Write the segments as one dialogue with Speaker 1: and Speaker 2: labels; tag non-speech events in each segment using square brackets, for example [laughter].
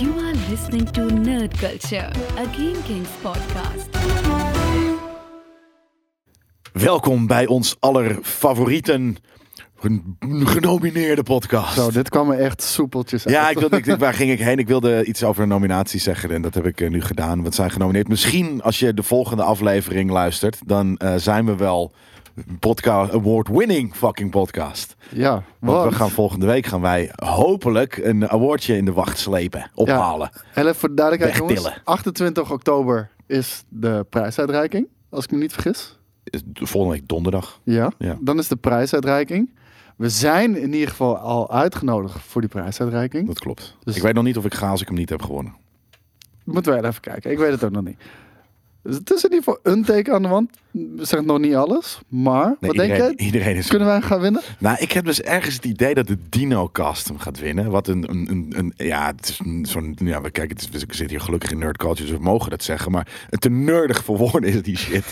Speaker 1: You are listening to Nerd Culture, a Game Kings podcast.
Speaker 2: Welkom bij ons aller favorieten gen- genomineerde podcast.
Speaker 3: Zo, dus- dit kwam er echt soepeltjes uit.
Speaker 2: ja, ik wilde, ik, ik- waar ging ik heen? Ik wilde iets over een nominatie zeggen en dat heb ik eh, nu gedaan. Want ze zijn genomineerd. Misschien als je de volgende aflevering luistert, dan eh, zijn we wel podcast award-winning fucking podcast.
Speaker 3: ja
Speaker 2: Want,
Speaker 3: want,
Speaker 2: we gaan volgende week gaan wij hopelijk een awardje in de wacht slepen, ophalen.
Speaker 3: En even voor de duidelijkheid,
Speaker 2: Wegtillen.
Speaker 3: jongens. 28 oktober is de prijsuitreiking, als ik me niet vergis.
Speaker 2: Eh, Volgende week donderdag.
Speaker 3: Ja,
Speaker 2: Ja.
Speaker 3: dan is de prijsuitreiking. We zijn in ieder geval al uitgenodigd voor die prijsuitreiking.
Speaker 2: Dat klopt.
Speaker 3: Dus-
Speaker 2: Ik weet nog niet of ik ga als ik hem niet heb gewonnen.
Speaker 3: Moeten we wel even kijken, ik weet het ook nog niet. Dus het is in ieder geval een teken aan de wand. Zegt nog niet alles, maar
Speaker 2: Nee,
Speaker 3: wat denk
Speaker 2: iedereen,
Speaker 3: je?
Speaker 2: iedereen is
Speaker 3: Kunnen wij gaan
Speaker 2: [laughs]
Speaker 3: winnen?
Speaker 2: Nou, ik heb dus ergens het idee dat de Dino-cast hem gaat winnen. Wat een, een, een, een- ja, het is een- zo'n, ja, we kijken, het is, ik zit hier gelukkig in nerd culture, dus we mogen dat zeggen, maar het te nerdig voor woorden is die
Speaker 3: [laughs]
Speaker 2: shit.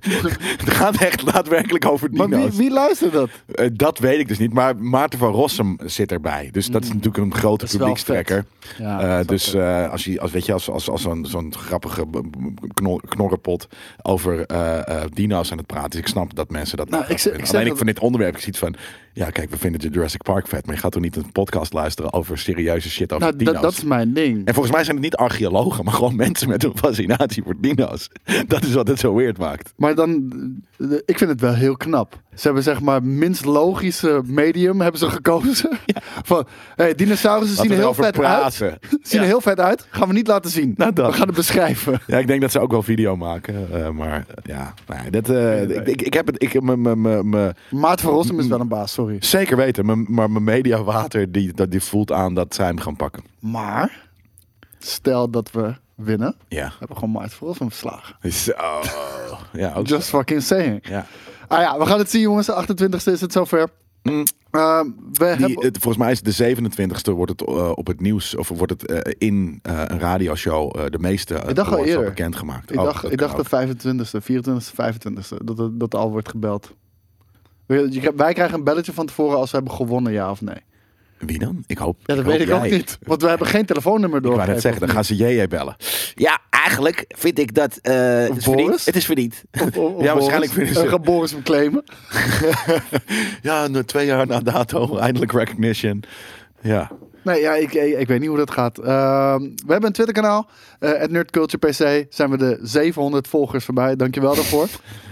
Speaker 2: het gaat echt daadwerkelijk over
Speaker 3: Maar
Speaker 2: dino's.
Speaker 3: wie, wie luistert dat?
Speaker 2: Eh, dat weet ik dus niet, maar Maarten van Rossum zit erbij, dus dat is natuurlijk een grote
Speaker 3: Hmm. Dat is wel
Speaker 2: publiekstrekker.
Speaker 3: vet. Ja,
Speaker 2: Eh,
Speaker 3: dat is wel
Speaker 2: dus eh, als je, als weet je, als, als, als zo'n, zo'n grappige b- b- knor, knorrenpot over eh, eh, dino's aan het praten is, ik snap dat mensen dat.
Speaker 3: Nou,
Speaker 2: gaan
Speaker 3: ik zeg-
Speaker 2: vinden.
Speaker 3: ik zeg
Speaker 2: Alleen ik
Speaker 3: dat-
Speaker 2: van dit onderwerp, ik zie het van, ja, kijk, we vinden de Jurassic Park vet, maar je gaat toch niet een podcast luisteren over serieuze shit over
Speaker 3: Nou, dat-
Speaker 2: dino's.
Speaker 3: dat is mijn ding.
Speaker 2: En volgens mij zijn het niet archeologen, maar gewoon mensen met een fascinatie voor dino's. [laughs] Dat is wat het zo weird maakt.
Speaker 3: Maar dan, eh, ik vind het wel heel knap. Ze hebben zeg maar minst logische medium hebben
Speaker 2: [laughs]
Speaker 3: ze gekozen. Van, hey, dinosaurussen zien
Speaker 2: Laten
Speaker 3: er
Speaker 2: we erover
Speaker 3: heel vet
Speaker 2: praten.
Speaker 3: uit. [laughs] Zien er heel vet uit. Gaan we niet laten zien.
Speaker 2: Nou, dat.
Speaker 3: We gaan het beschrijven.
Speaker 2: Ja, ik denk dat ze ook wel video maken. eh, maar eh, ja, nou, ja, dat, eh, ik, ik, ik heb het. Ik, me, me, me, me-
Speaker 3: Maart van Rossum is wel een baas, sorry.
Speaker 2: zeker weten, me- maar mijn mediawater die, dat- die voelt aan dat zij hem gaan pakken.
Speaker 3: Maar, stel dat we winnen.
Speaker 2: Ja.
Speaker 3: Hebben we gewoon Maart van Rossum verslagen.
Speaker 2: Zo. oh.
Speaker 3: [laughs]
Speaker 2: Ja, ook
Speaker 3: Just fucking saying.
Speaker 2: Ja.
Speaker 3: Ah ja, we gaan het zien jongens. De 28e is het zover. Ehm, we
Speaker 2: Mm. Die,
Speaker 3: hebben...
Speaker 2: het, volgens mij is de 27e wordt het eh, op het nieuws, of wordt het eh, in eh, een radioshow eh, de meeste eh,
Speaker 3: Ik dacht al
Speaker 2: awards
Speaker 3: eerder.
Speaker 2: bekendgemaakt.
Speaker 3: Ik
Speaker 2: Oh,
Speaker 3: dacht,
Speaker 2: dat
Speaker 3: ik
Speaker 2: kan
Speaker 3: dacht
Speaker 2: ook.
Speaker 3: de 25e, 24e, 25e, dat, dat, dat al wordt gebeld. Je- je- Wij krijgen een belletje van tevoren als we hebben gewonnen, ja of nee.
Speaker 2: Wie dan? Ik hoop.
Speaker 3: Ja, dat
Speaker 2: hoop
Speaker 3: weet ik ook
Speaker 2: jij.
Speaker 3: niet. Want we hebben geen telefoonnummer door.
Speaker 2: Ik wou net zeggen, dan gaan ze JJ bellen. Ja, eigenlijk vind ik dat... eh, het, is
Speaker 3: Boris?
Speaker 2: verdiend. het is verdiend. ja, waarschijnlijk vinden ze...
Speaker 3: Dan gaat Boris hem claimen.
Speaker 2: [laughs] Ja, nu twee jaar na dato, eindelijk recognition. Ja.
Speaker 3: Nee, ja, ik, ik, ik weet niet hoe dat gaat. Ehm, we hebben een Twitterkanaal. eh at NerdCulturePC zijn we de 700 volgers voorbij.
Speaker 2: [laughs]
Speaker 3: Dankjewel daarvoor.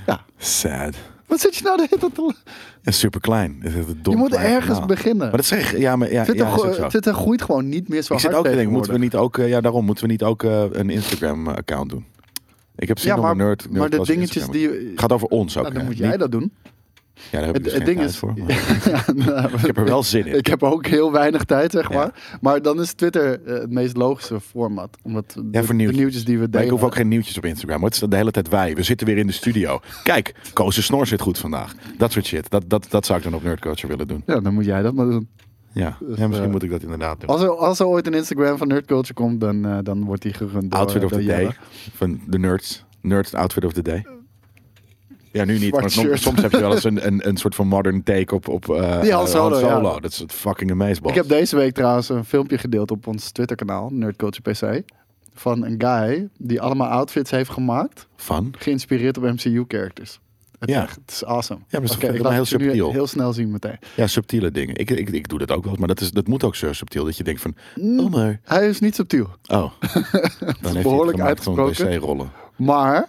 Speaker 3: ja,
Speaker 2: Sad.
Speaker 3: wat zit je nou de hele tijd te-
Speaker 2: Ja, super klein. Je
Speaker 3: Je moet ergens beginnen.
Speaker 2: Maar dat zeg ja, maar ja,
Speaker 3: Twitter,
Speaker 2: ja, is
Speaker 3: gro-
Speaker 2: ook zo.
Speaker 3: Twitter groeit gewoon niet meer zo
Speaker 2: Ik zit
Speaker 3: hard
Speaker 2: ook te denken,
Speaker 3: tegenwoordig.
Speaker 2: moeten we niet ook, eh, ja, daarom moeten we niet ook eh, een Instagram-account doen. Ik heb zin
Speaker 3: Ja,
Speaker 2: om
Speaker 3: maar-
Speaker 2: een nerd,
Speaker 3: maar de
Speaker 2: nerdcast
Speaker 3: dingetjes
Speaker 2: Instagram.
Speaker 3: die je-
Speaker 2: gaat over ons ook.
Speaker 3: Nou, dan
Speaker 2: hè?
Speaker 3: moet jij
Speaker 2: Niet-
Speaker 3: dat doen.
Speaker 2: Ja, daar heb ik
Speaker 3: Het,
Speaker 2: dus
Speaker 3: het
Speaker 2: geen
Speaker 3: ding
Speaker 2: tijd
Speaker 3: is.
Speaker 2: voor. maar-
Speaker 3: [laughs] Ja, nou,
Speaker 2: Ik heb er wel zin in.
Speaker 3: Ik heb ook heel weinig tijd, zeg
Speaker 2: Ja.
Speaker 3: maar. Maar dan is Twitter eh, het meest logische format. Omdat
Speaker 2: Ja,
Speaker 3: de,
Speaker 2: voor
Speaker 3: de
Speaker 2: nieuwtjes.
Speaker 3: nieuwtjes die we
Speaker 2: Maar
Speaker 3: delen.
Speaker 2: ik hoef ook geen nieuwtjes op Instagram. hoor. Het is de hele tijd wij. We zitten weer in de studio. Kijk, Koos' de snor zit goed vandaag. Dat soort shit. Dat, dat, dat zou ik dan op Nerdculture willen doen.
Speaker 3: Ja, dan moet jij dat maar doen.
Speaker 2: Ja, ja misschien
Speaker 3: eh,
Speaker 2: moet ik dat inderdaad doen.
Speaker 3: Als er, als er ooit een Instagram van Nerdculture komt, dan, eh, dan wordt die gerund door... eh,
Speaker 2: Outfit of
Speaker 3: door
Speaker 2: the day
Speaker 3: Jelle.
Speaker 2: van de nerds. Nerds outfit of the day. Ja, nu niet.
Speaker 3: Oh. Zwart
Speaker 2: Maar soms,
Speaker 3: shirt.
Speaker 2: soms heb je wel eens
Speaker 3: [laughs]
Speaker 2: een, een, een soort van modern take op, op eh,
Speaker 3: Die Han
Speaker 2: eh,
Speaker 3: Solo, ja.
Speaker 2: Dat is het fucking amazing.
Speaker 3: Ik heb deze week trouwens een filmpje gedeeld op ons Twitterkanaal, Nerdculture PC. Van een guy die allemaal outfits heeft gemaakt,
Speaker 2: Van?
Speaker 3: geïnspireerd op MCU-characters. Het,
Speaker 2: Ja.
Speaker 3: ja. het is awesome.
Speaker 2: Ja, maar dat is
Speaker 3: Oké,
Speaker 2: toch
Speaker 3: ik
Speaker 2: heel
Speaker 3: laat het je nu
Speaker 2: subtiel.
Speaker 3: Heel snel zien meteen.
Speaker 2: Ja, subtiele dingen. Ik, ik, ik doe dat ook wel eens, maar dat, is, dat moet ook zo subtiel. Dat je denkt van,
Speaker 3: Mm.
Speaker 2: oh maar...
Speaker 3: Hij is niet subtiel. [laughs]
Speaker 2: Oh, dan heeft hij het
Speaker 3: behoorlijk
Speaker 2: gemaakt van
Speaker 3: uitgesproken.
Speaker 2: wc-rollen.
Speaker 3: Maar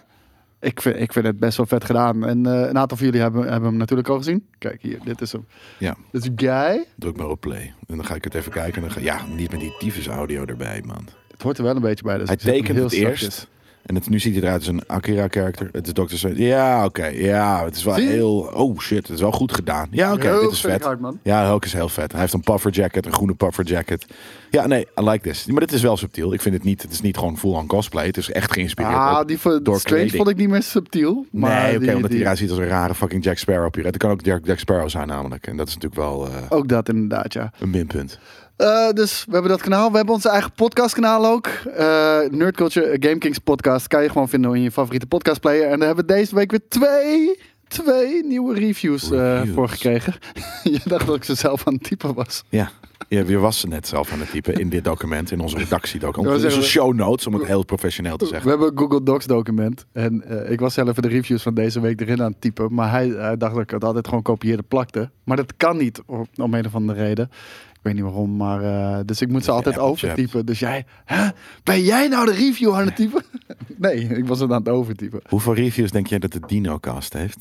Speaker 3: ik vind, ik vind het best wel vet gedaan. En eh, een aantal van jullie hebben, hebben hem natuurlijk al gezien. Kijk hier, dit is hem.
Speaker 2: Ja,
Speaker 3: Dit is Guy.
Speaker 2: druk maar op play. En dan ga ik het even kijken. En dan ga, ja, niet met die tyfus audio erbij, man.
Speaker 3: Het hoort er wel een beetje bij. Dus
Speaker 2: Hij
Speaker 3: ik zet hem
Speaker 2: tekent
Speaker 3: heel
Speaker 2: het
Speaker 3: zachtjes.
Speaker 2: eerst. En het, nu ziet hij eruit als een Akira-character. Het is Dr. Strange. Ja, oké. Ja, het is wel
Speaker 3: Zie je?
Speaker 2: heel... Oh shit, het is wel goed gedaan. Ja, oké,
Speaker 3: Heel
Speaker 2: dit is vet.
Speaker 3: vet hard, man.
Speaker 2: Ja, Hulk is heel vet. Hij heeft een puffer jacket, een groene puffer jacket. Ja, nee, I like this. Maar dit is wel subtiel. Ik vind het niet... Het is niet gewoon full-on cosplay. Het is echt geïnspireerd
Speaker 3: Ah,
Speaker 2: ook
Speaker 3: die voor
Speaker 2: door
Speaker 3: Strange vond ik niet meer subtiel. Maar
Speaker 2: nee, oké,
Speaker 3: die-
Speaker 2: omdat hij
Speaker 3: die-
Speaker 2: eruit ziet als een rare fucking Jack Sparrow. Op Het kan ook Jack, Jack Sparrow zijn namelijk. En dat is natuurlijk wel eh,
Speaker 3: Ook dat inderdaad, ja.
Speaker 2: een minpunt.
Speaker 3: Eh, dus we hebben dat kanaal. We hebben onze eigen podcastkanaal ook. Eh Nerd Culture eh, Game Kings podcast. Kan je gewoon vinden in je favoriete podcastplayer. En daar hebben we deze week weer twee. twee nieuwe reviews, eh,
Speaker 2: Reviews.
Speaker 3: voor gekregen. [laughs] je dacht dat ik ze zelf aan het typen was.
Speaker 2: Ja. Ja, je was ze net zelf aan het typen in dit document, in onze redactiedocument.
Speaker 3: Ja, we
Speaker 2: Onze
Speaker 3: zeggen-
Speaker 2: show notes, om het heel professioneel te
Speaker 3: We
Speaker 2: zeggen.
Speaker 3: hebben een Google Docs document. En eh, ik was zelf even de reviews van deze week erin aan het typen. Maar hij, hij dacht dat ik het altijd gewoon kopieerde plakte. Maar dat kan niet, om, om een of andere reden. Ik weet niet waarom, maar... eh, dus ik moet ze altijd
Speaker 2: appeltje hebt.
Speaker 3: overtypen. Dus jij... Hè? Ben jij nou de review aan het typen? [laughs] nee, ik was het aan het overtypen.
Speaker 2: Hoeveel reviews denk jij dat de DinoCast heeft?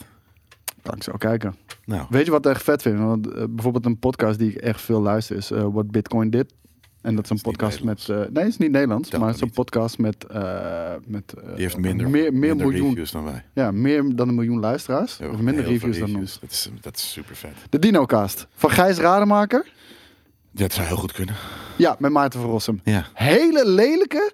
Speaker 3: Kan ik zo kijken.
Speaker 2: Nou,
Speaker 3: Weet je wat ik echt vet vind? Want eh, bijvoorbeeld een podcast die ik echt veel luister is eh What Bitcoin Did. En dat is een
Speaker 2: niet
Speaker 3: podcast met... eh, nee, het is niet Nederlands,
Speaker 2: Telt
Speaker 3: maar
Speaker 2: dat
Speaker 3: het is een
Speaker 2: niet.
Speaker 3: podcast met... eh, met eh,
Speaker 2: die heeft minder,
Speaker 3: meer, meer
Speaker 2: minder
Speaker 3: miljoen,
Speaker 2: reviews dan wij.
Speaker 3: Ja, meer dan een miljoen luisteraars.
Speaker 2: We hebben
Speaker 3: of
Speaker 2: gewoon
Speaker 3: minder
Speaker 2: heel veel
Speaker 3: reviews, dan ons.
Speaker 2: Dat is, dat is super vet.
Speaker 3: De Dinocast van Gijs Rademaker.
Speaker 2: Dat zou heel goed kunnen.
Speaker 3: Ja, met Maarten van Rossum.
Speaker 2: Ja.
Speaker 3: Hele lelijke,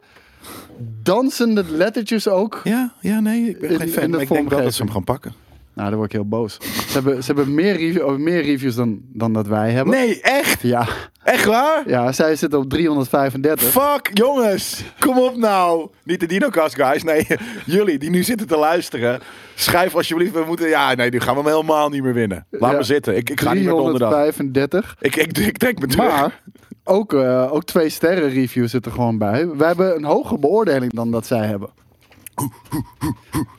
Speaker 3: dansende lettertjes ook.
Speaker 2: Ja, ja nee, ik ben
Speaker 3: In-
Speaker 2: geen
Speaker 3: in
Speaker 2: fan.
Speaker 3: de
Speaker 2: Maar ik denk wel dat ze
Speaker 3: vormgeving.
Speaker 2: hem gaan pakken.
Speaker 3: Nou, daar word ik heel boos. Ze hebben, ze hebben meer, review, oh, meer reviews dan, dan dat wij hebben.
Speaker 2: Nee, echt?
Speaker 3: Ja,
Speaker 2: Echt waar?
Speaker 3: ja, zij zit op 335.
Speaker 2: Fuck, jongens. Kom op nou. Niet de DinoCast guys. Nee, [laughs] jullie die nu zitten te luisteren. Schrijf alsjeblieft. We moeten... Ja, nee, nu gaan we hem helemaal niet meer winnen. Laat
Speaker 3: Ja.
Speaker 2: me zitten. Ik, ik ga niet meer donderdag.
Speaker 3: 335.
Speaker 2: [laughs] Ik, ik, ik trek me terug.
Speaker 3: Maar ook, eh, ook twee sterren reviews zitten gewoon bij. Wij hebben een hogere beoordeling dan dat zij hebben.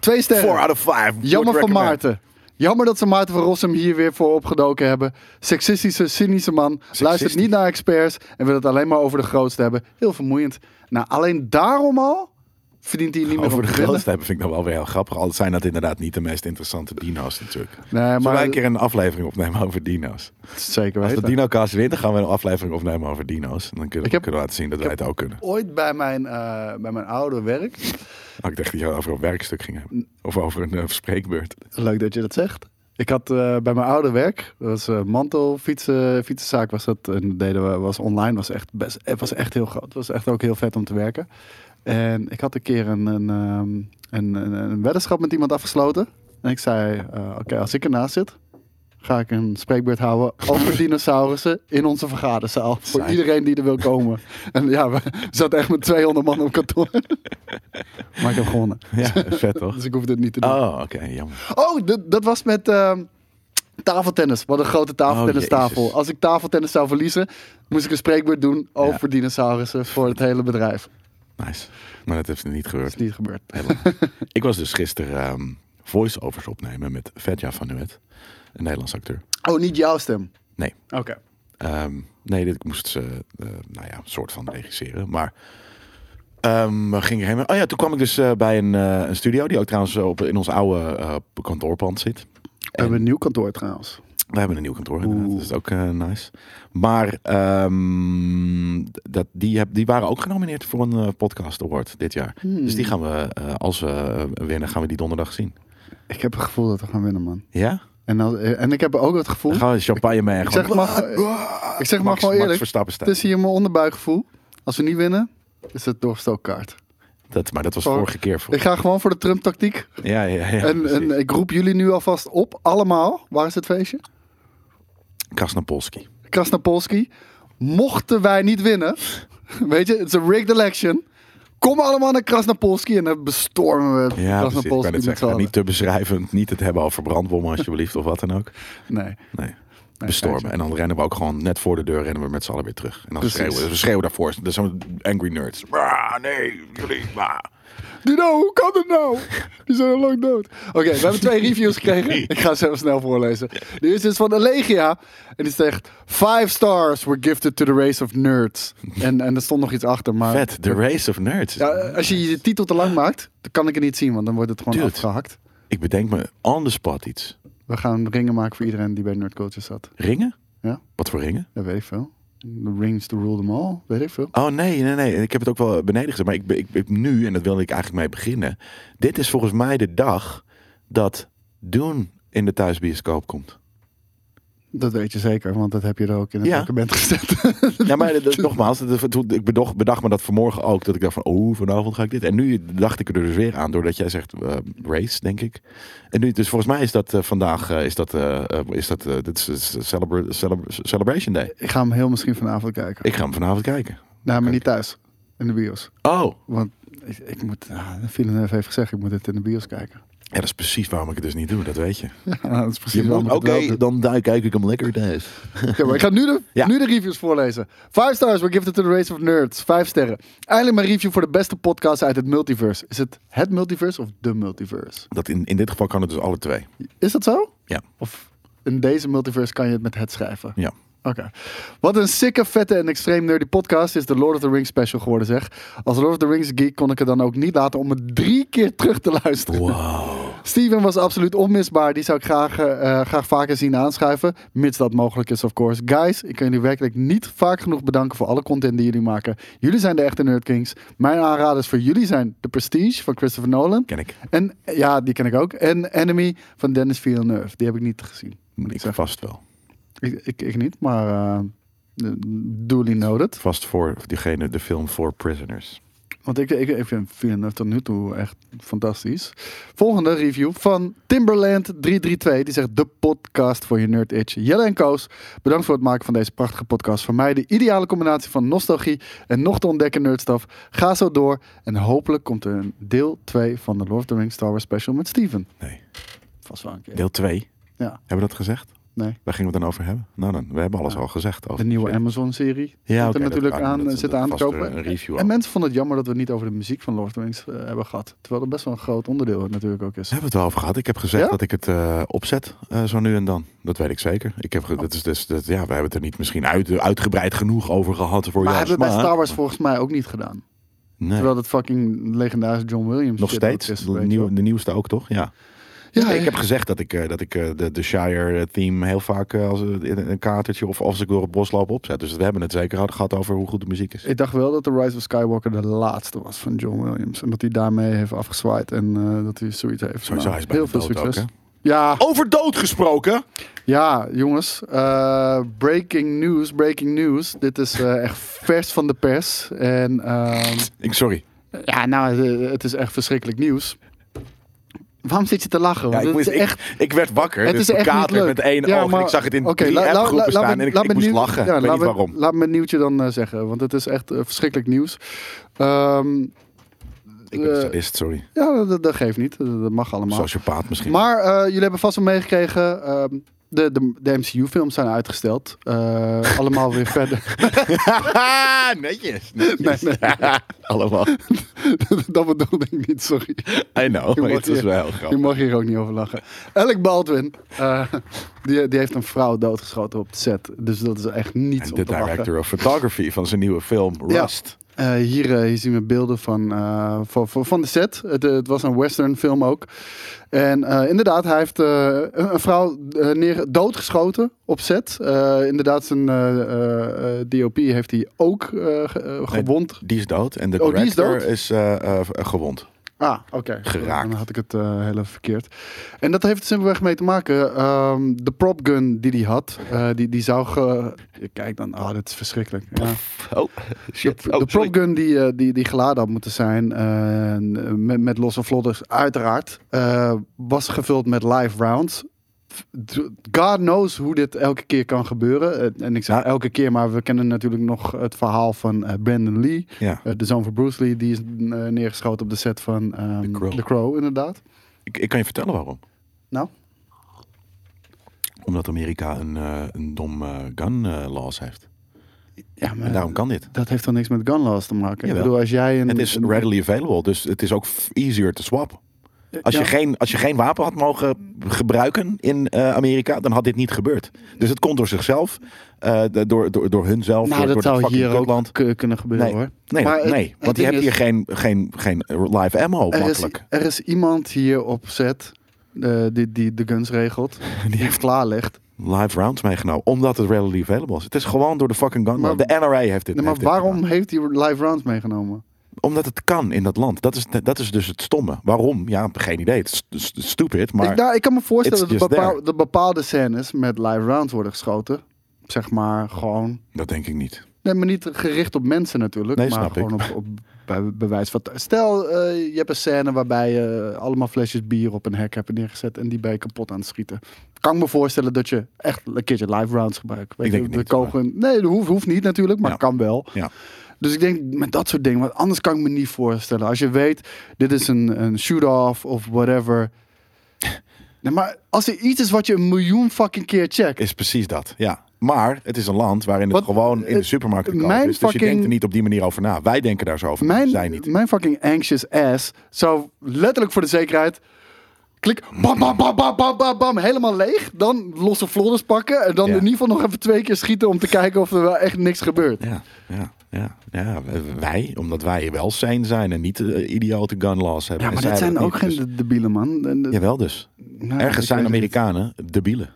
Speaker 3: Twee sterren.
Speaker 2: 4 out of 5.
Speaker 3: Jammer van Maarten. Jammer dat ze Maarten van Rossum hier weer voor opgedoken hebben. Sexistische, cynische man. Luistert niet naar experts en wil het alleen maar over de grootste hebben. Heel vermoeiend. Nou, alleen daarom al verdient hij niet meer
Speaker 2: Over
Speaker 3: om
Speaker 2: de
Speaker 3: te winnen.
Speaker 2: grootste hebben vind ik nog wel weer heel grappig. Al zijn dat inderdaad niet de meest interessante dino's natuurlijk.
Speaker 3: Nee,
Speaker 2: Zullen wij
Speaker 3: maar
Speaker 2: een keer een aflevering opnemen over dino's?
Speaker 3: zeker
Speaker 2: Als de
Speaker 3: weten.
Speaker 2: dino-cast wint, dan gaan we een aflevering opnemen over dino's. En dan kunnen,
Speaker 3: Ik heb-
Speaker 2: kunnen we laten zien dat wij het ook kunnen.
Speaker 3: Ooit bij mijn, eh, bij mijn oude werk.
Speaker 2: Oh, ik dacht dat je het over een werkstuk ging hebben. Of over een eh,
Speaker 3: [laughs]
Speaker 2: spreekbeurt.
Speaker 3: Leuk dat je dat zegt. Ik had eh, bij mijn oude werk, dat was eh, mantel, fietsen, fietsenzaak was dat. En dat deden we, was online, was echt, best, het was echt heel groot. Het was echt ook heel vet om te werken. En ik had een keer een, een, ehm, een, een, een weddenschap met iemand afgesloten. En ik zei, eh, oké, als ik ernaast zit, ga ik een spreekbeurt houden over dinosaurussen in onze vergaderzaal. Voor
Speaker 2: Saai.
Speaker 3: iedereen die er wil komen. en ja, we zaten echt met 200 man
Speaker 2: [laughs]
Speaker 3: op kantoor. maar ik heb gewonnen.
Speaker 2: Ja, [laughs] vet toch?
Speaker 3: Dus ik hoefde het niet te doen.
Speaker 2: Oh, oké, jammer.
Speaker 3: Oh, dat- dat was met ehm, tafeltennis. Wat een grote tafeltennistafel.
Speaker 2: Oh, Jezus.
Speaker 3: Als ik tafeltennis zou verliezen, moest ik een spreekwoord doen over dinosaurussen voor het hele bedrijf. Dat
Speaker 2: Nice. Maar dat heeft niet gebeurd.
Speaker 3: is niet gebeurd.
Speaker 2: Ik was dus gisteren ehm, voice-overs opnemen met Fedja van Nuet. Een Nederlands acteur.
Speaker 3: Oh, niet jouw stem.
Speaker 2: Nee.
Speaker 3: Oké.
Speaker 2: Ehm, nee, dit ik moest ze, eh, nou ja, een soort van regisseren. Maar ehm, we gingen heen. Oh ja, toen kwam ik dus eh, bij een, eh, een studio die ook trouwens op, in ons oude eh, kantoorpand zit.
Speaker 3: We hebben een nieuw kantoor trouwens.
Speaker 2: We hebben een nieuw kantoor inderdaad,
Speaker 3: Oeh.
Speaker 2: dat is ook eh, nice. Maar ehm, dat, die, heb, die waren ook genomineerd voor een eh, podcast award dit jaar. Dus
Speaker 3: Hmm.
Speaker 2: die gaan we, eh, als we eh, winnen, gaan we die donderdag zien.
Speaker 3: Ik heb het gevoel dat we gaan winnen, man.
Speaker 2: Ja?
Speaker 3: En, als- en ik heb ook het gevoel.
Speaker 2: Dan gaan we champagne mee. en
Speaker 3: Ik
Speaker 2: gewoon-
Speaker 3: zeg maar, ik zeg maar
Speaker 2: Max-
Speaker 3: gewoon
Speaker 2: Max
Speaker 3: eerlijk.
Speaker 2: Verstappen
Speaker 3: het
Speaker 2: staat.
Speaker 3: is hier mijn onderbuikgevoel. Als we niet winnen, is het doorstookkaart.
Speaker 2: Dat, maar dat was
Speaker 3: Oh.
Speaker 2: vorige keer.
Speaker 3: Ik
Speaker 2: Voor.
Speaker 3: ga gewoon voor de Trump-tactiek.
Speaker 2: Ja, ja, ja.
Speaker 3: en,
Speaker 2: precies.
Speaker 3: en ik roep jullie nu alvast op, allemaal. Waar is het feestje?
Speaker 2: Krasnopolski.
Speaker 3: Krasnapolski. Mochten wij niet winnen, [laughs] weet je, het is een rigged election. Kom allemaal naar Krasnapolski en dan bestormen we
Speaker 2: Ja, precies. Ik
Speaker 3: Krasnapolski
Speaker 2: kan het
Speaker 3: met z'n
Speaker 2: zeggen.
Speaker 3: allen.
Speaker 2: Niet te beschrijvend. Niet het hebben over brandbommen alsjeblieft of wat dan ook.
Speaker 3: Nee.
Speaker 2: Nee. Bestormen. En dan rennen we ook gewoon net voor de deur rennen we met z'n allen weer terug. En dan
Speaker 3: Precies.
Speaker 2: schreeuwen we. We schreeuwen daarvoor. Dat zijn angry nerds. Ah, nee, jullie. ah.
Speaker 3: Dino, hoe kan dat nou? Die zijn al lang dood. Oké, we hebben
Speaker 2: [laughs]
Speaker 3: twee reviews gekregen. Ik ga ze even snel voorlezen. De eerste is van Allegia. En die zegt, five stars were gifted to the race of nerds. En, en er stond nog iets achter, maar...
Speaker 2: Vet, The Race of Nerds.
Speaker 3: Ja, eh. als je je titel te lang maakt, dan kan ik het niet zien, want dan wordt het gewoon
Speaker 2: Dude.
Speaker 3: afgehakt.
Speaker 2: Ik bedenk me on the spot iets.
Speaker 3: We gaan ringen maken voor iedereen die bij Nerd Culture zat.
Speaker 2: Ringen?
Speaker 3: Ja.
Speaker 2: Wat voor ringen?
Speaker 3: Dat weet ik veel. The rings to rule them all, weet ik veel.
Speaker 2: Oh nee, nee, nee. Ik heb het ook wel beneden gezet. Maar ik, ik, ik nu, en dat wilde ik eigenlijk mee beginnen. Dit is volgens mij de dag dat Doen in de thuisbioscoop komt.
Speaker 3: Dat weet je zeker, want dat heb je er ook in het
Speaker 2: Ja.
Speaker 3: document [laughs] gezet.
Speaker 2: Ja, maar
Speaker 3: [laughs]
Speaker 2: dat- dat- nogmaals, dat- dat- ik bedacht, bedacht me dat vanmorgen ook. Dat ik dacht van, oh, vanavond ga ik dit. En nu dacht ik er dus weer aan, doordat jij zegt eh, race, denk ik. En nu, dus volgens mij is dat eh, vandaag, eh, is dat, eh, eh, is dat, eh, dit is, is celebra- celebra- Celebration Day.
Speaker 3: ik ga hem heel misschien vanavond kijken.
Speaker 2: Ik ga hem vanavond kijken.
Speaker 3: nou, maar niet thuis. In de bios.
Speaker 2: Oh,
Speaker 3: Want ik, ik moet, ah, Villeneuve heeft gezegd, ik moet dit in de bios kijken. [laughs]
Speaker 2: Ja, dat is precies waarom ik het dus niet doe, dat weet je.
Speaker 3: Ja, dat is [laughs] precies
Speaker 2: je moet-
Speaker 3: waarom ik
Speaker 2: Oké,
Speaker 3: het
Speaker 2: [laughs]
Speaker 3: wel doe.
Speaker 2: dan duik, kijk ik hem lekker thuis.
Speaker 3: Oké, maar ik ga nu de,
Speaker 2: Ja.
Speaker 3: nu de reviews voorlezen. Five stars, we give it to the race of nerds. Vijf sterren. Eindelijk mijn review voor de beste podcast uit het multiverse. Is het het multiverse of de multiverse?
Speaker 2: Dat in, in dit geval kan het dus alle twee.
Speaker 3: Is dat zo?
Speaker 2: Ja,
Speaker 3: Of in deze multiverse kan je het met het schrijven?
Speaker 2: ja.
Speaker 3: Oké. Wat een sikke, vette en extreem nerdy podcast is de Lord of the Rings special geworden, zeg. Als Lord of the Rings geek kon ik het dan ook niet laten om het drie keer terug te luisteren.
Speaker 2: Wow.
Speaker 3: Steven was absoluut onmisbaar. Die zou ik graag, eh, eh, graag vaker zien aanschuiven. Mits dat mogelijk is, of course. Guys, ik kan jullie werkelijk niet vaak genoeg bedanken voor alle content die jullie maken. Jullie zijn de echte Nerdkings. Mijn aanraders voor jullie zijn The Prestige van Christopher Nolan.
Speaker 2: Ken ik.
Speaker 3: En, ja, die ken ik ook. En Enemy van Dennis Villeneuve. Die heb ik niet gezien. moet
Speaker 2: Ik
Speaker 3: zeggen.
Speaker 2: vast wel.
Speaker 3: Ik, ik, ik niet, maar eh duly noted.
Speaker 2: Vast voor diegene, de film For Prisoners.
Speaker 3: Want ik, ik, ik vind Villeneuve tot nu toe echt fantastisch. Volgende review van Timberland332. Die zegt de podcast voor je nerd itch. Jelle en Koos, bedankt voor het maken van deze prachtige podcast. Voor mij de ideale combinatie van nostalgie en nog te ontdekken nerdstaf. Ga zo door en hopelijk komt er een deel 2 van de Lord of the Rings Star Wars special met Steven.
Speaker 2: Nee.
Speaker 3: Vast wel een keer.
Speaker 2: Deel 2.
Speaker 3: Ja,
Speaker 2: Hebben we dat gezegd?
Speaker 3: nee.
Speaker 2: Waar gingen we het dan over hebben? Nou dan, we hebben alles al gezegd. Over
Speaker 3: De nieuwe
Speaker 2: shit.
Speaker 3: Amazon-serie
Speaker 2: Ja, oké,
Speaker 3: komt er
Speaker 2: dat
Speaker 3: natuurlijk
Speaker 2: kan.
Speaker 3: aan,
Speaker 2: Dat-
Speaker 3: zit
Speaker 2: dat
Speaker 3: aan te
Speaker 2: vast eh, er
Speaker 3: kopen.
Speaker 2: een review
Speaker 3: en
Speaker 2: al.
Speaker 3: mensen vonden het jammer dat we het niet over de muziek van Lord of the Rings eh, hebben gehad. Terwijl dat best wel een groot onderdeel natuurlijk ook is.
Speaker 2: We hebben het wel over gehad. Ik heb gezegd
Speaker 3: Ja?
Speaker 2: dat ik het eh, opzet, eh, zo nu en dan. Dat weet ik zeker. Ik heb, ge-
Speaker 3: Oh.
Speaker 2: dat is, dus dat, ja, we hebben het er niet misschien uit, eh, uitgebreid genoeg over gehad voor
Speaker 3: Maar
Speaker 2: jou.
Speaker 3: hebben we bij Star Wars volgens mij ook niet gedaan.
Speaker 2: Nee.
Speaker 3: Terwijl dat fucking legendarische John Williams
Speaker 2: Nog
Speaker 3: shit
Speaker 2: steeds?
Speaker 3: ook is,
Speaker 2: De,
Speaker 3: weet je
Speaker 2: nieuw,
Speaker 3: wel.
Speaker 2: de nieuwste ook, toch? Ja.
Speaker 3: Ja,
Speaker 2: Nee,
Speaker 3: ja.
Speaker 2: ik heb gezegd dat ik, eh, dat ik eh, de, de Shire-theme heel vaak eh, als een, in een katertje of als ik door het bos loop opzet. Dus we hebben het zeker gehad- gehad over hoe goed de muziek is.
Speaker 3: Ik dacht wel dat The Rise of Skywalker de laatste was van John Williams. En dat hij daarmee heeft afgezwaaid en eh, dat hij zoiets heeft.
Speaker 2: Sowieso,
Speaker 3: Nou,
Speaker 2: hij is bijna
Speaker 3: heel veel
Speaker 2: dood ook,
Speaker 3: succes.
Speaker 2: hè?
Speaker 3: ja,
Speaker 2: Over dood gesproken!
Speaker 3: ja, jongens. eh, breaking news, breaking news. Dit is eh, echt vers van de pers. En ehm,
Speaker 2: Ik, sorry.
Speaker 3: Ja, nou, het- het is echt verschrikkelijk nieuws. Waarom zit je te lachen?
Speaker 2: Ja,
Speaker 3: Want
Speaker 2: ik,
Speaker 3: het
Speaker 2: moest,
Speaker 3: is echt,
Speaker 2: ik, ik werd wakker,
Speaker 3: het
Speaker 2: dus
Speaker 3: is echt niet
Speaker 2: bekaterd
Speaker 3: leuk.
Speaker 2: met één
Speaker 3: Ja,
Speaker 2: oog. en
Speaker 3: maar-
Speaker 2: ik zag het in
Speaker 3: oké,
Speaker 2: drie
Speaker 3: la- la-
Speaker 2: appgroepen
Speaker 3: la- laat
Speaker 2: staan
Speaker 3: me-
Speaker 2: en ik,
Speaker 3: laat
Speaker 2: ik
Speaker 3: me
Speaker 2: moest
Speaker 3: nieuw-
Speaker 2: lachen.
Speaker 3: ja,
Speaker 2: ik weet
Speaker 3: laat
Speaker 2: niet
Speaker 3: me-
Speaker 2: waarom.
Speaker 3: Laat me nieuwtje dan eh, zeggen, want het is echt eh, verschrikkelijk nieuws. Ehm,
Speaker 2: ik ben
Speaker 3: eh,
Speaker 2: sadist, sorry.
Speaker 3: ja, dat, dat geeft niet. Dat, dat mag allemaal.
Speaker 2: Sociopaat
Speaker 3: [laughs]
Speaker 2: misschien.
Speaker 3: Maar eh, jullie hebben vast wel meegekregen... ehm, de, de, de MCU-films zijn uitgesteld. Eh, [laughs] allemaal weer verder. [laughs]
Speaker 2: [laughs] netjes.
Speaker 3: Nee, nee,
Speaker 2: [laughs] Allemaal.
Speaker 3: dat bedoelde ik niet, sorry.
Speaker 2: I know, maar
Speaker 3: Je
Speaker 2: het is
Speaker 3: mag
Speaker 2: wel heel
Speaker 3: Je
Speaker 2: grappig.
Speaker 3: mag hier ook niet over lachen. Alec Baldwin, eh, die, die heeft een vrouw doodgeschoten op de set. Dus dat is echt niets
Speaker 2: En
Speaker 3: om
Speaker 2: de
Speaker 3: te lachen.
Speaker 2: director of photography van zijn nieuwe film
Speaker 3: Ja.
Speaker 2: Rust.
Speaker 3: Eh, hier, eh, hier zien we beelden van, eh, van, van, van de set. Het, eh, het was een western film ook. En eh, inderdaad, hij heeft eh, een, een vrouw eh, neer, doodgeschoten op set. Eh, inderdaad, zijn eh, eh, eh, DOP heeft hij ook eh, ge- eh, gewond.
Speaker 2: Die is dood en de
Speaker 3: Oh, die is
Speaker 2: director
Speaker 3: dood?
Speaker 2: is, eh, eh, gewond.
Speaker 3: Ah, oké.
Speaker 2: Geraakt.
Speaker 3: Dan had ik het eh heel even verkeerd. En dat heeft er simpelweg mee te maken. ehm, de prop gun die hij had, eh, die, die zou... Ge... Kijk dan, ah, dit is verschrikkelijk. Ja.
Speaker 2: Oh, shit.
Speaker 3: De, de prop gun die, eh, die, die geladen had moeten zijn, eh, met, met losse vlodders uiteraard, eh, was gevuld met live rounds. God knows hoe dit elke keer kan gebeuren. Eh, En ik zeg
Speaker 2: Ja.
Speaker 3: elke keer, maar we kennen natuurlijk nog het verhaal van eh, Brandon Lee.
Speaker 2: Ja,
Speaker 3: Eh, de zoon van Bruce Lee, die is eh, neergeschoten op de set van ehm,
Speaker 2: The
Speaker 3: The,
Speaker 2: Crow.
Speaker 3: Crow. inderdaad.
Speaker 2: ik, ik kan je vertellen waarom.
Speaker 3: Nou,
Speaker 2: Omdat Amerika een, eh, een dom eh, gun eh, laws heeft.
Speaker 3: ja, maar
Speaker 2: En daarom kan dit.
Speaker 3: dat heeft dan niks met gun laws te maken.
Speaker 2: nou. Jawel.
Speaker 3: Ik bedoel, als jij een...
Speaker 2: Het is
Speaker 3: een-
Speaker 2: readily available, dus het is ook f- easier te swap. Als,
Speaker 3: Ja.
Speaker 2: je geen, als je geen wapen had mogen gebruiken in eh, Amerika, dan had dit niet gebeurd. Dus het komt door zichzelf, eh, de- door, door, door hunzelf,
Speaker 3: Nou,
Speaker 2: door,
Speaker 3: dat
Speaker 2: door het
Speaker 3: zou
Speaker 2: fucking
Speaker 3: hier ook
Speaker 2: Grootland.
Speaker 3: ku- kunnen gebeuren
Speaker 2: Nee.
Speaker 3: hoor.
Speaker 2: Nee,
Speaker 3: Maar
Speaker 2: dat-
Speaker 3: het-
Speaker 2: nee
Speaker 3: het
Speaker 2: want die
Speaker 3: ding
Speaker 2: hebben hier
Speaker 3: is-
Speaker 2: geen, geen, geen live ammo
Speaker 3: Er is,
Speaker 2: makkelijk.
Speaker 3: er is iemand hier op set eh, die, die de guns
Speaker 2: [laughs]
Speaker 3: regelt, die heeft klaarlegt.
Speaker 2: Live rounds meegenomen, omdat het readily available is. Het is gewoon door de fucking gun.
Speaker 3: Maar-
Speaker 2: de NRA heeft dit.
Speaker 3: Nee, maar
Speaker 2: heeft dit
Speaker 3: waarom
Speaker 2: gedaan.
Speaker 3: heeft hij live rounds meegenomen?
Speaker 2: Omdat het kan in dat land. Dat is, dat is dus het stomme. Waarom? Ja, geen idee. Het is st- st- stupid, maar...
Speaker 3: ik, nou, ik kan me voorstellen
Speaker 2: it's
Speaker 3: dat
Speaker 2: just
Speaker 3: bepaal-
Speaker 2: there.
Speaker 3: dat bepaalde scènes met live rounds worden geschoten. Zeg maar gewoon.
Speaker 2: Dat denk ik niet.
Speaker 3: Nee, maar niet gericht op mensen natuurlijk.
Speaker 2: Nee,
Speaker 3: maar
Speaker 2: snap ik.
Speaker 3: gewoon op, op bij- bewijs van. Stel, eh, je hebt een scène waarbij je allemaal flesjes bier op een hek hebt neergezet en die ben je kapot aan het schieten. Kan ik me voorstellen dat je echt een keertje live rounds gebruikt. Weet
Speaker 2: Ik denk
Speaker 3: je,
Speaker 2: het
Speaker 3: de
Speaker 2: niet,
Speaker 3: kogel- Nee, dat hoeft, hoeft niet natuurlijk, maar
Speaker 2: Ja.
Speaker 3: kan wel.
Speaker 2: Ja.
Speaker 3: Dus ik denk met dat
Speaker 2: [laughs]
Speaker 3: soort dingen, want anders kan ik me niet voorstellen. Als je weet, dit is een, een shoot-off of whatever. Nee, maar als er iets is wat je een miljoen fucking keer checkt.
Speaker 2: Is precies dat, ja. Maar het is een land waarin het
Speaker 3: Wat-
Speaker 2: gewoon in de
Speaker 3: het-
Speaker 2: supermarkt te koop
Speaker 3: eh, mijn
Speaker 2: is. Dus je
Speaker 3: fucking-
Speaker 2: denkt er niet op die manier over na. Wij denken daar zo over na. Zij
Speaker 3: Mijn,
Speaker 2: niet.
Speaker 3: mijn fucking anxious ass zou letterlijk voor de zekerheid. Klik, bam, bam, bam, bam, bam, bam, bam, helemaal leeg. Dan losse flores pakken. En dan
Speaker 2: Ja.
Speaker 3: in ieder geval nog even twee keer schieten om te kijken of er wel echt niks gebeurt.
Speaker 2: Ja, ja, ja, ja. Wij, omdat wij wel zijn zijn en niet eh, idiote gun laws hebben.
Speaker 3: Ja, maar
Speaker 2: En
Speaker 3: dat
Speaker 2: zij
Speaker 3: zijn
Speaker 2: hebben
Speaker 3: ook
Speaker 2: niet,
Speaker 3: geen
Speaker 2: dus-
Speaker 3: de- debielen, man. En de-
Speaker 2: Jawel dus.
Speaker 3: nou, ik
Speaker 2: Ergens zijn
Speaker 3: weet het
Speaker 2: Amerikanen debielen.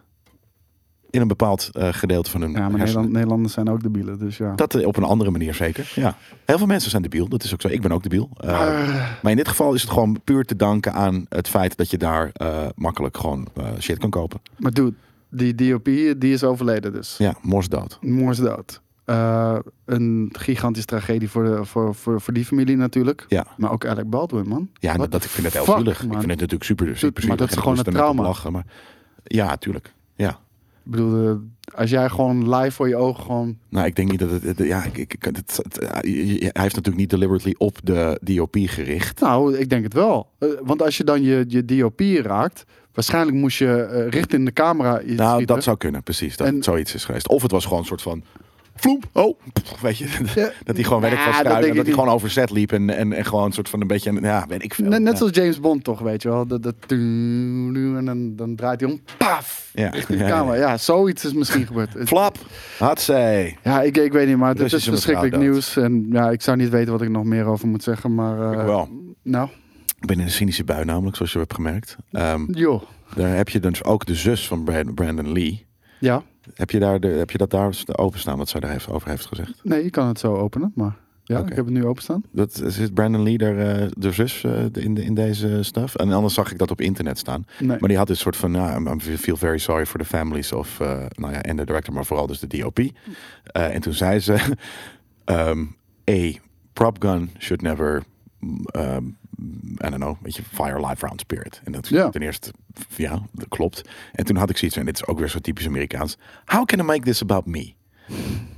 Speaker 2: In een bepaald eh, gedeelte van hun
Speaker 3: niet. Ja, maar
Speaker 2: hersenen.
Speaker 3: Nederland, Nederlanders zijn ook debielen, dus ja.
Speaker 2: Dat eh, op een andere manier zeker. Ja. Heel veel mensen zijn debiel. Dat is ook zo. Ik ben ook debiel. Eh,
Speaker 3: Maar-
Speaker 2: maar in dit geval is het gewoon puur te danken aan het feit dat je daar eh, makkelijk gewoon eh, shit kan kopen.
Speaker 3: Maar dude, die DOP die is overleden dus.
Speaker 2: Ja, morsdood.
Speaker 3: Moors dood. Eh, een gigantische tragedie voor, de, voor, voor, voor die familie natuurlijk.
Speaker 2: Ja.
Speaker 3: Maar ook Alec Baldwin, man.
Speaker 2: Ja,
Speaker 3: What
Speaker 2: dat,
Speaker 3: the
Speaker 2: ik vind het heel
Speaker 3: fuck,
Speaker 2: zielig. Ik
Speaker 3: man.
Speaker 2: vind het natuurlijk super, super
Speaker 3: maar dat
Speaker 2: zielig.
Speaker 3: is gewoon
Speaker 2: Ik
Speaker 3: een
Speaker 2: moest er net om
Speaker 3: trauma.
Speaker 2: Lachen, maar... Ja, tuurlijk. Ja.
Speaker 3: Ik bedoel, eh, als jij gewoon live voor je ogen gewoon...
Speaker 2: Nou, ik denk niet dat het... het- ja, ik, ik, het, het- ja, je- je- hij heeft natuurlijk niet deliberately op de DOP gericht.
Speaker 3: Nou, ik denk het wel. Eh, want als je dan je, je DOP raakt... Waarschijnlijk moest je eh, richt in de camera iets
Speaker 2: Nou,
Speaker 3: schieten.
Speaker 2: dat zou kunnen, precies. Dat
Speaker 3: En-
Speaker 2: het zoiets is geweest. Of het was gewoon een soort van. Vloep, oh, pff, weet je. [laughs]
Speaker 3: Ja.
Speaker 2: Dat hij gewoon werk
Speaker 3: Nou,
Speaker 2: was kruid
Speaker 3: dat denk
Speaker 2: en
Speaker 3: ik
Speaker 2: dat hij
Speaker 3: niet.
Speaker 2: gewoon overzet liep. En, en, en gewoon een soort van een beetje. Ja, weet ik veel.
Speaker 3: Net, net
Speaker 2: Ja.
Speaker 3: zoals James Bond toch, weet je wel. Dat, dat, en dan, dan draait hij om. Paf!
Speaker 2: Ja.
Speaker 3: Richt in de
Speaker 2: Ja, ja,
Speaker 3: camera. Ja, zoiets is misschien
Speaker 2: [laughs]
Speaker 3: gebeurd. Het-
Speaker 2: Flap, had zij.
Speaker 3: Ja, ik, ik weet niet, maar het is
Speaker 2: Russische
Speaker 3: verschrikkelijk
Speaker 2: mevrouw
Speaker 3: nieuws. En ja, ik zou niet weten wat ik nog meer over moet zeggen, maar... eh,
Speaker 2: Ik wel.
Speaker 3: Nou,
Speaker 2: Ik ben in een cynische bui namelijk, zoals je hebt gemerkt. Ehm,
Speaker 3: joh.
Speaker 2: daar heb je dus ook de zus van Brand- Brandon Lee.
Speaker 3: Ja,
Speaker 2: Heb je, daar de, heb je dat daar openstaan, wat zij daar heeft, over heeft gezegd?
Speaker 3: nee, je kan het zo openen, maar... Ja,
Speaker 2: Oké.
Speaker 3: ik heb het nu openstaan.
Speaker 2: Dat, zit Brandon Lee daar, eh, de zus eh, in, de- in deze stuff? En anders zag ik dat op internet staan.
Speaker 3: Nee.
Speaker 2: Maar die had dit soort van, nou, I'm- I'm feel very sorry for the families of, eh, nou ja, en de director, maar vooral dus de DOP.
Speaker 3: Mm.
Speaker 2: Eh, en toen zei ze, [laughs] ehm a prop gun should never, mm, ehm, I don't know, weet je, fire live round spirit. En dat
Speaker 3: Ja.
Speaker 2: ten eerste, f- ja, dat klopt. En toen had ik zoiets, en dit is ook weer zo typisch Amerikaans, how can I make this about me?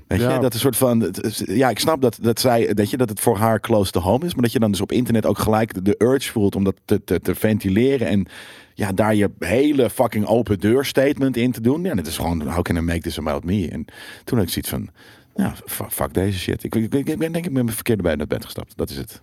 Speaker 2: Weet je,
Speaker 3: Ja.
Speaker 2: dat is een soort van. het is- Ja, ik snap dat, dat, zij, dat, je, dat het voor haar close to home is. Maar dat je dan dus op internet ook gelijk de, de urge voelt om dat te, te, te ventileren. En ja, daar je hele fucking open deur statement in te doen. Ja, dat is gewoon, how can I make this about me? En toen had ik zoiets van, ja, fuck, fuck deze shit. Ik, ik, ik, ik ben denk ik met mijn verkeerde bij naar bed gestapt. Dat is het.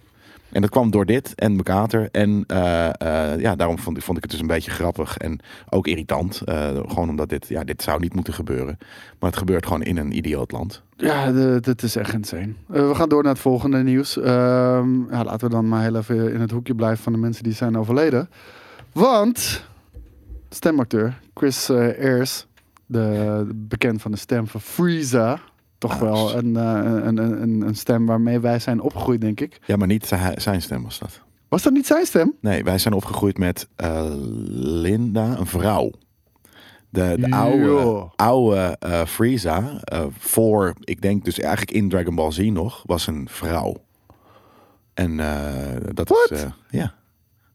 Speaker 2: En dat kwam door dit en mijn kater. En eh, eh, ja, daarom vond, ik- vond ik het dus een beetje grappig en ook irritant. Eh, gewoon omdat dit, ja, dit zou niet moeten gebeuren. Maar het gebeurt gewoon in een idioot land.
Speaker 3: Ja, de- dat is echt insane. Eh, we gaan door naar het volgende nieuws. Ehm, ja, laten we dan maar heel even in het hoekje blijven van de mensen die zijn overleden. Want stemacteur Chris eh Ayers, de, bekend van de stem van Frieza... Toch wel een, eh, een, een, een- een stem waarmee wij zijn opgegroeid, denk ik.
Speaker 2: Ja, maar niet zi- zijn stem was dat.
Speaker 3: Was dat niet zijn stem?
Speaker 2: Nee, wij zijn opgegroeid met eh, Linda, een vrouw. De, de oude,
Speaker 3: Yo.
Speaker 2: oude eh, Frieza, eh, voor, ik denk dus eigenlijk in Dragon Ball Z nog, was een vrouw. En eh, dat
Speaker 3: What?
Speaker 2: is... eh, ja,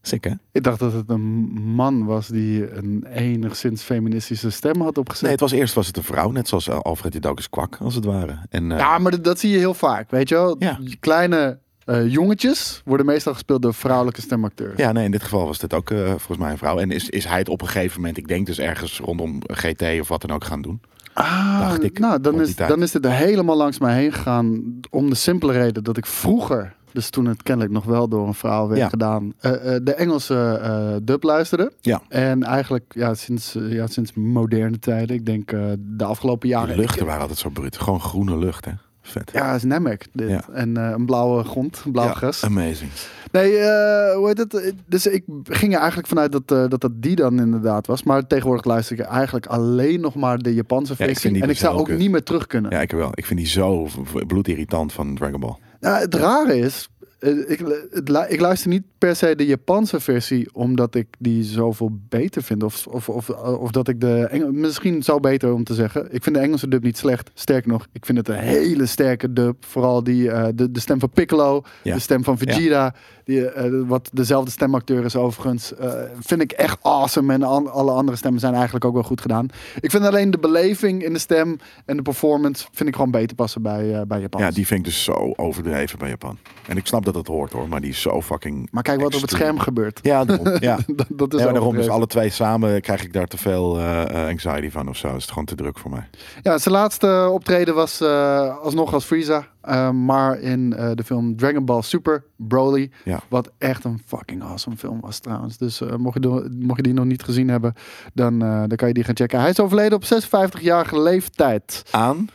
Speaker 2: sick hè?
Speaker 3: Ik dacht dat het een man was die een enigszins feministische stem had opgezet.
Speaker 2: Nee, het was eerst was het een vrouw, net zoals eh, Alfred de Dokus Kwak, als het ware. En, eh,
Speaker 3: Ja, maar dat, dat zie je heel vaak, weet je wel?
Speaker 2: Ja.
Speaker 3: Kleine eh, jongetjes worden meestal gespeeld door vrouwelijke stemacteurs.
Speaker 2: Ja, nee, in dit geval was dit ook eh, volgens mij een vrouw. En is, is hij het op een gegeven moment, ik denk dus ergens rondom GT of wat dan ook gaan doen.
Speaker 3: Ah,
Speaker 2: dacht ik,
Speaker 3: nou, dan
Speaker 2: rond
Speaker 3: is,
Speaker 2: die tijd.
Speaker 3: dan is dit er helemaal langs mij heen gegaan om de simpele reden dat ik vroeger, dus toen het kennelijk nog wel door een vrouw werd
Speaker 2: Ja.
Speaker 3: gedaan, eh, eh, de Engelse eh, dub luisterde.
Speaker 2: Ja.
Speaker 3: En eigenlijk ja, sinds, eh, ja, sinds moderne tijden, ik denk eh, de afgelopen
Speaker 2: De
Speaker 3: jaren...
Speaker 2: luchten waren altijd zo bruut. Gewoon groene lucht, hè? Vet.
Speaker 3: Ja, is Nemec dit.
Speaker 2: Ja.
Speaker 3: En eh, een blauwe grond, een blauw
Speaker 2: Ja,
Speaker 3: gras.
Speaker 2: Amazing.
Speaker 3: Nee, eh, hoe heet het? Dus ik ging er eigenlijk vanuit dat, eh, dat dat die dan inderdaad was. Maar tegenwoordig luister ik eigenlijk alleen nog maar de Japanse
Speaker 2: vind
Speaker 3: versie.
Speaker 2: die
Speaker 3: en ik
Speaker 2: dus
Speaker 3: zou
Speaker 2: heel
Speaker 3: ook
Speaker 2: kut.
Speaker 3: niet meer terug kunnen.
Speaker 2: Ja, ik wel. Ik vind die zo v- v- bloedirritant van Dragon Ball.
Speaker 3: Nou, het rare is, eh, ik, lu- het lu- ik luister niet per se de Japanse versie omdat ik die zoveel beter vind. Of, of, of, eh, of dat ik de Engel, misschien zo beter om te zeggen. Ik vind de Engelse dub niet slecht. Sterker nog, ik vind het een hele sterke dub. Vooral die, eh, de, de stem van Piccolo,
Speaker 2: Ja.
Speaker 3: de stem van Vegeta. Die, eh, wat dezelfde stemacteur is overigens. eh, vind ik echt awesome. En an- alle andere stemmen zijn eigenlijk ook wel goed gedaan. Ik vind alleen de beleving in de stem en de performance vind ik gewoon beter passen bij, eh bij Japan.
Speaker 2: Ja, die vind ik dus zo overdreven bij Japan. En ik snap dat dat hoort hoor, maar die is zo fucking.
Speaker 3: Maar kijken wat er op het
Speaker 2: extreem.
Speaker 3: scherm gebeurt.
Speaker 2: Ja,
Speaker 3: [laughs]
Speaker 2: daarom. Ja.
Speaker 3: dat, dat is
Speaker 2: Ja, maar
Speaker 3: ook
Speaker 2: daarom. Dus
Speaker 3: het
Speaker 2: alle twee samen krijg ik daar te veel eh, eh, anxiety van of zo. Is het gewoon te druk voor mij.
Speaker 3: Ja, zijn laatste optreden was eh, alsnog als Frieza, eh, maar in eh, de film Dragon Ball Super Broly.
Speaker 2: Ja.
Speaker 3: Wat echt een fucking awesome film was trouwens. Dus eh, mocht, je do- mocht je die nog niet gezien hebben, dan, eh, dan kan je die gaan checken. Hij is overleden op 56-jarige leeftijd.
Speaker 2: Aan.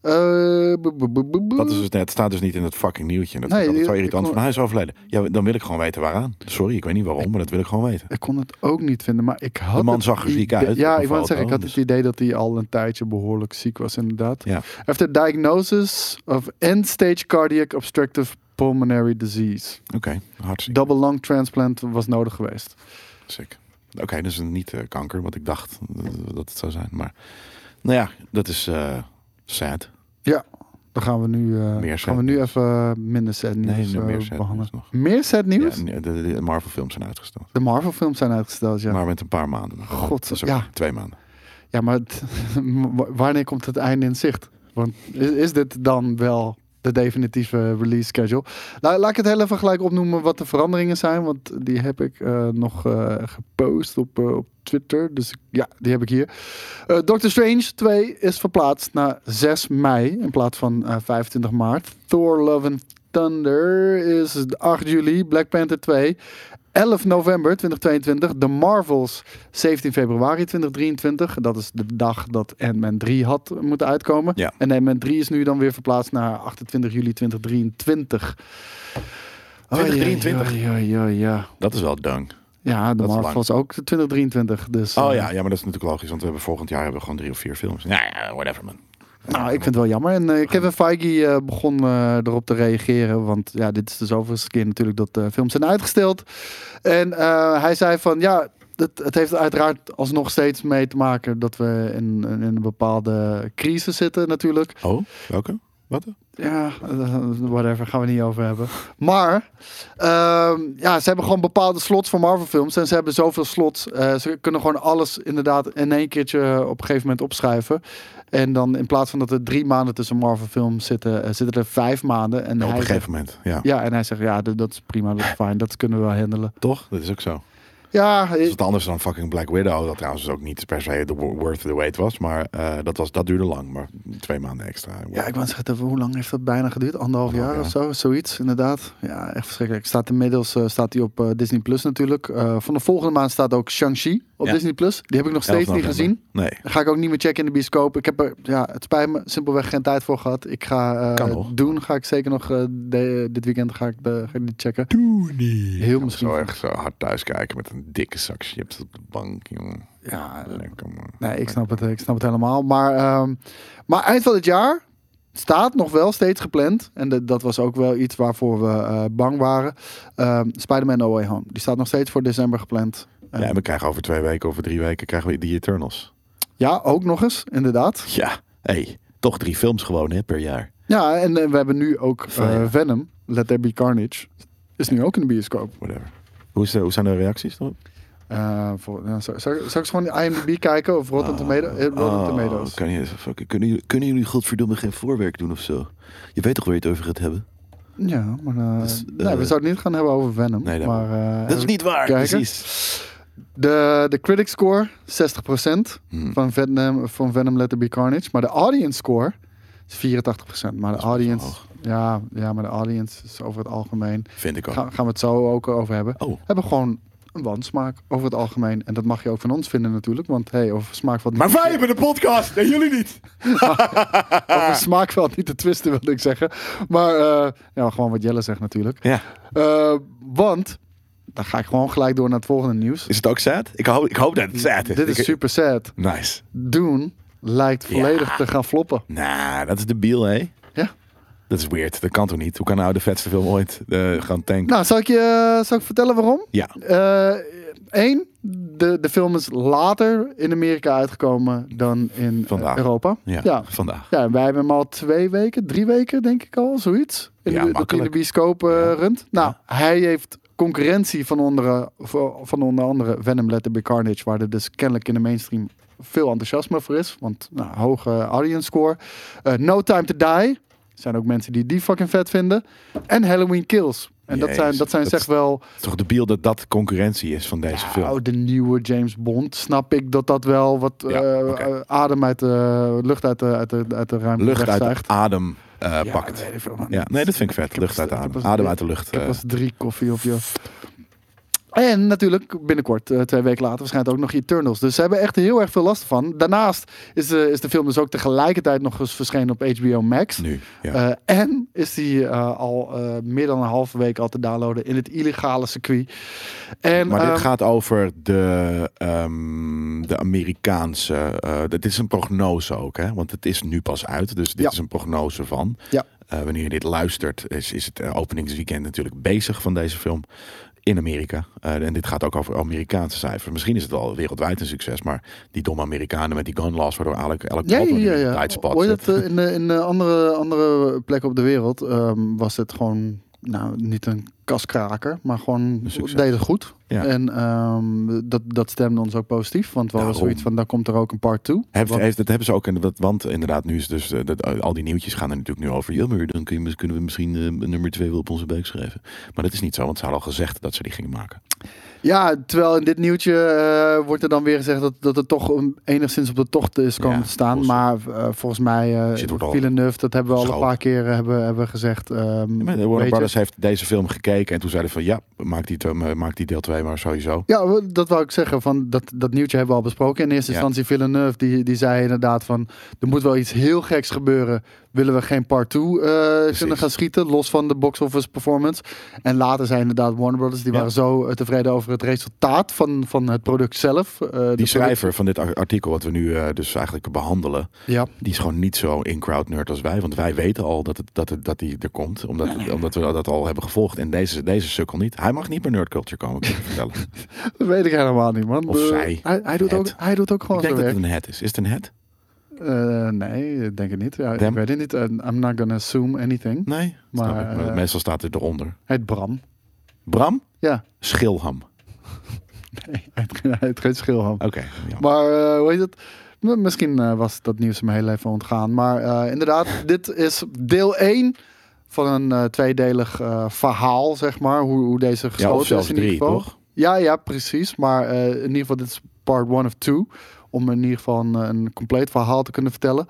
Speaker 3: Eh, boe, boe, boe, boe, boe.
Speaker 2: Dat is dus net, het staat dus niet in het fucking nieuwtje. Dat
Speaker 3: Mm. Nee,
Speaker 2: vind ik altijd
Speaker 3: ik-
Speaker 2: zo irritant.
Speaker 3: ik-
Speaker 2: Van, hij is overleden. Ja, dan wil ik gewoon weten waaraan. Sorry, ik weet niet waarom, maar dat wil ik gewoon weten.
Speaker 3: Ik kon het ook niet vinden, maar ik had
Speaker 2: De man
Speaker 3: het
Speaker 2: zag er ziek
Speaker 3: idee-
Speaker 2: uit op
Speaker 3: Ja,
Speaker 2: een
Speaker 3: ik wou
Speaker 2: foto,
Speaker 3: net zeggen, ik had
Speaker 2: dus-
Speaker 3: het idee dat hij al een tijdje behoorlijk ziek was inderdaad.
Speaker 2: Ja.
Speaker 3: After diagnosis of end-stage cardiac obstructive pulmonary disease.
Speaker 2: Oké, hartstikke
Speaker 3: Double lung transplant was nodig geweest.
Speaker 2: sick. Oké, dus niet eh, kanker, want ik dacht eh, dat het zou zijn. Maar nou ja, dat is eh, sad.
Speaker 3: Dan gaan we nu, eh,
Speaker 2: Meer
Speaker 3: gaan
Speaker 2: sad
Speaker 3: we nu
Speaker 2: nieuws.
Speaker 3: even eh, minder sad
Speaker 2: Nee,
Speaker 3: nieuws
Speaker 2: nee,
Speaker 3: eh,
Speaker 2: meer sad
Speaker 3: behandelen.
Speaker 2: nieuws nog.
Speaker 3: Meer sad
Speaker 2: Ja,
Speaker 3: nieuws?
Speaker 2: de, de Marvel films zijn uitgesteld.
Speaker 3: De Marvel films zijn uitgesteld, ja.
Speaker 2: Maar met een paar maanden. nog.
Speaker 3: God,
Speaker 2: Dat is ook
Speaker 3: ja.
Speaker 2: Twee maanden.
Speaker 3: Ja, maar het- [laughs] wa- wanneer komt het einde in zicht? Want is, is dit dan wel de definitieve release schedule? La- laat ik het heel even gelijk opnoemen wat de veranderingen zijn. Want die heb ik eh, nog eh, gepost op, eh, op Twitter. Dus ik- ja, die heb ik hier. Eh Doctor Strange 2 is verplaatst naar 6 mei in plaats van eh, 25 maart. Thor Love and Thunder is 8 juli. Black Panther 2 11 november 2022. The Marvels 17 februari 2023. Dat is de dag dat Ant-Man 3 had moeten uitkomen.
Speaker 2: Ja.
Speaker 3: En Ant-Man 3 is nu dan weer verplaatst naar 28 juli 2023. Oh, ja,
Speaker 2: 2023?
Speaker 3: Ja, ja, ja. Ja,
Speaker 2: Dat is wel dunk.
Speaker 3: ja de
Speaker 2: Dat is lang.
Speaker 3: Marvels ook 2023. Dus,
Speaker 2: Oh
Speaker 3: eh,
Speaker 2: ja, ja, maar dat is natuurlijk logisch, want we hebben volgend jaar hebben we gewoon drie of vier films. Nou ja, whatever man.
Speaker 3: Nou, ik vind het wel jammer. En eh, Kevin Feige eh, begon eh, erop te reageren. Want ja, dit is dus de zoveelste keer natuurlijk dat de films zijn uitgesteld. En eh, hij zei van ja, het, het heeft uiteraard alsnog steeds mee te maken dat we in, in een bepaalde crisis zitten natuurlijk.
Speaker 2: Oh, welke? Wat?
Speaker 3: Ja, eh, whatever, gaan we niet over hebben. Maar, ehm, ja, ze hebben gewoon bepaalde slots voor Marvel-films. En ze hebben zoveel slots. eh, ze kunnen gewoon alles inderdaad in één keertje op een gegeven moment opschrijven. En dan in plaats van dat er drie maanden tussen Marvel-films zitten, eh, zitten er vijf maanden. En
Speaker 2: Op
Speaker 3: hij
Speaker 2: een
Speaker 3: zegt-
Speaker 2: gegeven moment, ja.
Speaker 3: ja, en hij zegt, ja, d- dat is prima, dat is fijn, dat kunnen we wel handelen.
Speaker 2: Toch? Dat is ook zo.
Speaker 3: Ja, eh,
Speaker 2: Dat is wat anders dan fucking Black Widow. Dat trouwens ook niet per se de wo- worth the wait was. Maar eh, dat, was, dat duurde lang. Maar twee maanden extra.
Speaker 3: Ja, ik wou zeggen, hoe lang heeft dat bijna geduurd? Anderhalf jaar
Speaker 2: Anderhalf
Speaker 3: of zo, zoiets, inderdaad. Ja, echt verschrikkelijk. Staat inmiddels eh, staat die op eh, Disney Plus natuurlijk. Eh, van de volgende maand staat ook Shang-Chi op
Speaker 2: Ja.
Speaker 3: Disney Plus. Die heb ik nog
Speaker 2: 11
Speaker 3: steeds niet
Speaker 2: november.
Speaker 3: gezien.
Speaker 2: Nee.
Speaker 3: Daar ga ik ook niet meer checken in de bioscoop. Ik heb er, ja, het spijt me, simpelweg geen tijd voor gehad. Ik ga
Speaker 2: Kan
Speaker 3: eh
Speaker 2: nog.
Speaker 3: doen, ga ik zeker nog eh, de- dit weekend ga ik, de, ga ik die checken.
Speaker 2: Doe niet.
Speaker 3: Heel misschien.
Speaker 2: Zo echt zo hard thuis kijken met een dikke zak chips op de bank, jongen.
Speaker 3: Ja,
Speaker 2: Lekker man.
Speaker 3: Nee, ik snap het, ik snap het helemaal. Maar, ehm, maar eind van het jaar staat nog wel steeds gepland. En dat- dat was ook wel iets waarvoor we eh, bang waren. Ehm Spider-Man No Way Home. Die staat nog steeds voor december gepland. Eh,
Speaker 2: Ja, en we krijgen over twee weken, over drie weken krijgen we die Eternals.
Speaker 3: ja, ook nog eens, inderdaad.
Speaker 2: Ja, hey, toch drie films gewoon hè, per jaar.
Speaker 3: Ja, en eh, we hebben nu ook eh,
Speaker 2: Van, ja.
Speaker 3: Venom. Let There Be Carnage. Is nu ook in de bioscoop.
Speaker 2: Whatever. Hoe, is de, hoe zijn de reacties dan?
Speaker 3: Eh, voor, ja, zal, zal, zal ik eens gewoon IMDb kijken of
Speaker 4: Ah.
Speaker 3: Rotten, Tomato- eh, Rotten
Speaker 2: Oh,
Speaker 3: Tomatoes?
Speaker 4: Kan je, fuck, kunnen, jullie, kunnen jullie godverdomme geen voorwerk doen of zo? Je weet toch waar je het over gaat hebben?
Speaker 3: Ja, maar eh,
Speaker 4: Dus,
Speaker 3: nee, we
Speaker 4: eh,
Speaker 3: zouden het niet gaan hebben over Venom.
Speaker 4: Nee, dat-
Speaker 3: maar, eh,
Speaker 4: dat is niet waar.
Speaker 3: kijken.
Speaker 4: Precies.
Speaker 3: De, de critic score 60%
Speaker 2: Hmm.
Speaker 3: van, Venom, van Venom Let There Be Carnage. Maar de audience score is 84%. Maar de
Speaker 2: best wel
Speaker 3: audience.
Speaker 2: hoog.
Speaker 3: Ja, ja, maar de audience is over het algemeen.
Speaker 2: Vind ik ook.
Speaker 3: Ga, gaan we het zo ook over hebben.
Speaker 2: Oh.
Speaker 3: Hebben gewoon een wansmaak over het algemeen. En dat mag je ook van ons vinden natuurlijk. Want hey, over smaak valt niet,
Speaker 2: Maar wij hebben de podcast en jullie niet.
Speaker 3: over smaak valt niet te twisten, wilde ik zeggen. Maar eh, ja, gewoon wat Jelle zegt natuurlijk.
Speaker 2: Ja.
Speaker 3: Eh, want, dan ga ik gewoon gelijk door naar het volgende nieuws.
Speaker 2: Is het ook sad? Ik hoop, ik hoop dat het sad is.
Speaker 3: Mm, Dit is
Speaker 2: Ik-
Speaker 3: super sad.
Speaker 2: Nice.
Speaker 3: Doen lijkt volledig te gaan floppen.
Speaker 2: Nou, dat is debiel, hè?
Speaker 3: Ja.
Speaker 2: Dat is weird. Dat kan toch niet? Hoe kan nou de vetste film ooit eh, gaan tanken?
Speaker 3: Nou, zal ik je zal ik vertellen waarom?
Speaker 2: ja.
Speaker 3: Eén, de, de film is later in Amerika uitgekomen dan in eh,
Speaker 2: Vandaag.
Speaker 3: Europa.
Speaker 2: Ja,
Speaker 3: ja.
Speaker 2: vandaag.
Speaker 3: Ja, en wij hebben hem al twee weken, drie weken denk ik al, zoiets. In
Speaker 2: Ja,
Speaker 3: de, dat hij in de
Speaker 2: makkelijk.
Speaker 3: bioscoop eh,
Speaker 2: Ja.
Speaker 3: runt. Nou, hij heeft concurrentie van onder, van onder andere Venom Let There Be Carnage, waar er dus kennelijk in de mainstream veel enthousiasme voor is. Want nou, hoge audience score. Eh, no Time to Die. Zijn ook mensen die die fucking vet vinden. En Halloween Kills. En dat
Speaker 2: Jezus,
Speaker 3: zijn, dat zijn
Speaker 2: dat
Speaker 3: zeg
Speaker 2: is
Speaker 3: wel...
Speaker 2: Het is toch debiel dat dat concurrentie is van deze film.
Speaker 3: Nou, de nieuwe James Bond snap ik dat dat wel wat
Speaker 2: Ja,
Speaker 3: eh,
Speaker 2: oké.
Speaker 3: eh, adem uit de lucht uit de, uit de, uit de ruimte
Speaker 2: lucht uit de
Speaker 3: wegzuigt.
Speaker 2: adem eh,
Speaker 3: Ja,
Speaker 2: pakt.
Speaker 3: weet ik veel, man.
Speaker 2: Ja, nee, dat vind ik vet. Lucht uit de
Speaker 3: ik heb
Speaker 2: adem.
Speaker 3: pas-
Speaker 2: Adem uit de lucht.
Speaker 3: Ik
Speaker 2: eh.
Speaker 3: heb pas drie koffie op je. En natuurlijk binnenkort, eh, twee weken later, waarschijnlijk ook nog Eternals. Dus ze hebben echt heel erg veel last van. Daarnaast is de, is de film dus ook tegelijkertijd nog eens verschenen op HBO Max.
Speaker 2: Nu. Ja.
Speaker 3: Eh, en is die eh, al eh, meer dan een halve week al te downloaden in het illegale circuit. En,
Speaker 2: maar
Speaker 3: ehm,
Speaker 2: dit gaat over de, ehm, de Amerikaanse. eh, dit is een prognose ook, hè? Want het is nu pas uit. Dus dit
Speaker 3: Ja.
Speaker 2: is een prognose van.
Speaker 3: Ja.
Speaker 2: Eh, wanneer je dit luistert, is, is het eh, openingsweekend natuurlijk bezig van deze film. In Amerika. Eh, en dit gaat ook over Amerikaanse cijfers. Misschien is het al wereldwijd een succes, maar die domme Amerikanen met die gun laws, waardoor elk, elk
Speaker 3: Ja,
Speaker 2: land
Speaker 3: ja,
Speaker 2: nu
Speaker 3: ja.
Speaker 2: in een
Speaker 3: ja.
Speaker 2: tight spot
Speaker 3: Hoor je
Speaker 2: zit.
Speaker 3: dat eh, in, eh, in eh, andere, andere plekken op de wereld ehm, was het gewoon, nou, niet een kaskraker, maar gewoon
Speaker 2: Een succes.
Speaker 3: deden goed.
Speaker 2: Ja.
Speaker 3: En ehm, dat, dat stemde ons ook positief, want we hadden
Speaker 2: Daarom.
Speaker 3: zoiets van, daar komt er ook een part toe.
Speaker 2: Heeft,
Speaker 3: Want-
Speaker 2: heeft, dat hebben ze ook, en dat, want inderdaad, nu is dus eh, dat, eh, al die nieuwtjes gaan er natuurlijk nu over. Ja, maar dan kun je, kunnen we misschien eh, nummer twee wel op onze buik schrijven. Maar dat is niet zo, want ze hadden al gezegd dat ze die gingen maken.
Speaker 3: Ja, terwijl in dit nieuwtje eh, wordt er dan weer gezegd dat, dat het toch een- enigszins op de tocht is komen
Speaker 2: Ja,
Speaker 3: te staan.
Speaker 2: bullshit.
Speaker 3: Maar eh, volgens mij
Speaker 2: Shit wordt
Speaker 3: eh
Speaker 2: al
Speaker 3: Villeneuve, dat hebben we al een
Speaker 2: geschoten.
Speaker 3: paar keer eh, hebben, hebben gezegd. ehm,
Speaker 2: Maar de
Speaker 3: weet
Speaker 2: Warner
Speaker 3: je.
Speaker 2: Brothers heeft deze film gekeken en toen zeiden van ja, maak die, te- eh, maak die deel 2 maar sowieso.
Speaker 3: Ja, w- dat wou ik zeggen. Van dat, dat nieuwtje hebben we al besproken. In eerste
Speaker 2: Ja.
Speaker 3: instantie Villeneuve, die, die zei inderdaad van... er moet wel iets heel geks gebeuren. Willen we geen part 2 eh, kunnen gaan schieten? Los van de box office performance. En later zijn inderdaad Warner Brothers... die
Speaker 2: Ja.
Speaker 3: waren zo eh, tevreden over het resultaat van, van het product zelf. eh, de
Speaker 2: Die
Speaker 3: product-
Speaker 2: schrijver van dit ar- artikel, wat we nu eh, dus eigenlijk behandelen,
Speaker 3: Ja,
Speaker 2: die is gewoon niet zo in crowd nerd als wij. Want wij weten al dat, het, dat, het, dat die er komt, omdat, omdat we dat al hebben gevolgd. En deze, deze sukkel niet. Hij mag niet meer nerd culture komen,
Speaker 3: [laughs]
Speaker 2: kan ik je vertellen.
Speaker 3: dat weet ik helemaal niet, man.
Speaker 2: Of
Speaker 3: Eh,
Speaker 2: zij.
Speaker 3: Hij, hij, doet, ook,
Speaker 2: Het.
Speaker 3: hij doet ook
Speaker 2: ik
Speaker 3: gewoon
Speaker 2: denk
Speaker 3: zijn
Speaker 2: dat het
Speaker 3: werk.
Speaker 2: een het is. Is het een het?
Speaker 3: Eh, nee, ik denk het niet. Ja, ik
Speaker 2: Dem? Hm.
Speaker 3: weet het niet. Eh, I'm not gonna assume anything.
Speaker 2: Nee,
Speaker 3: Maar,
Speaker 2: maar, snap ik. Maar
Speaker 3: eh,
Speaker 2: meestal staat het eronder.
Speaker 3: Hij heet Bram.
Speaker 2: Bram?
Speaker 3: Ja, [laughs]
Speaker 2: Schilham.
Speaker 3: nee, hij heet- hij heet geen schilham.
Speaker 2: Oké. ja.
Speaker 3: Maar eh, hoe heet het? M- Misschien eh, was dat nieuws hem heel even ontgaan. Maar eh, inderdaad, [laughs] dit is deel 1 van een eh, tweedelig eh, verhaal, zeg maar. Hoe, hoe deze
Speaker 2: Ja,
Speaker 3: geschoten
Speaker 2: of zelfs
Speaker 3: is in ieder
Speaker 2: drie,
Speaker 3: geval.
Speaker 2: toch?
Speaker 3: Ja, ja, precies. Maar eh, in ieder geval, dit is part 1 of 2. Om in ieder geval een, een compleet verhaal te kunnen vertellen.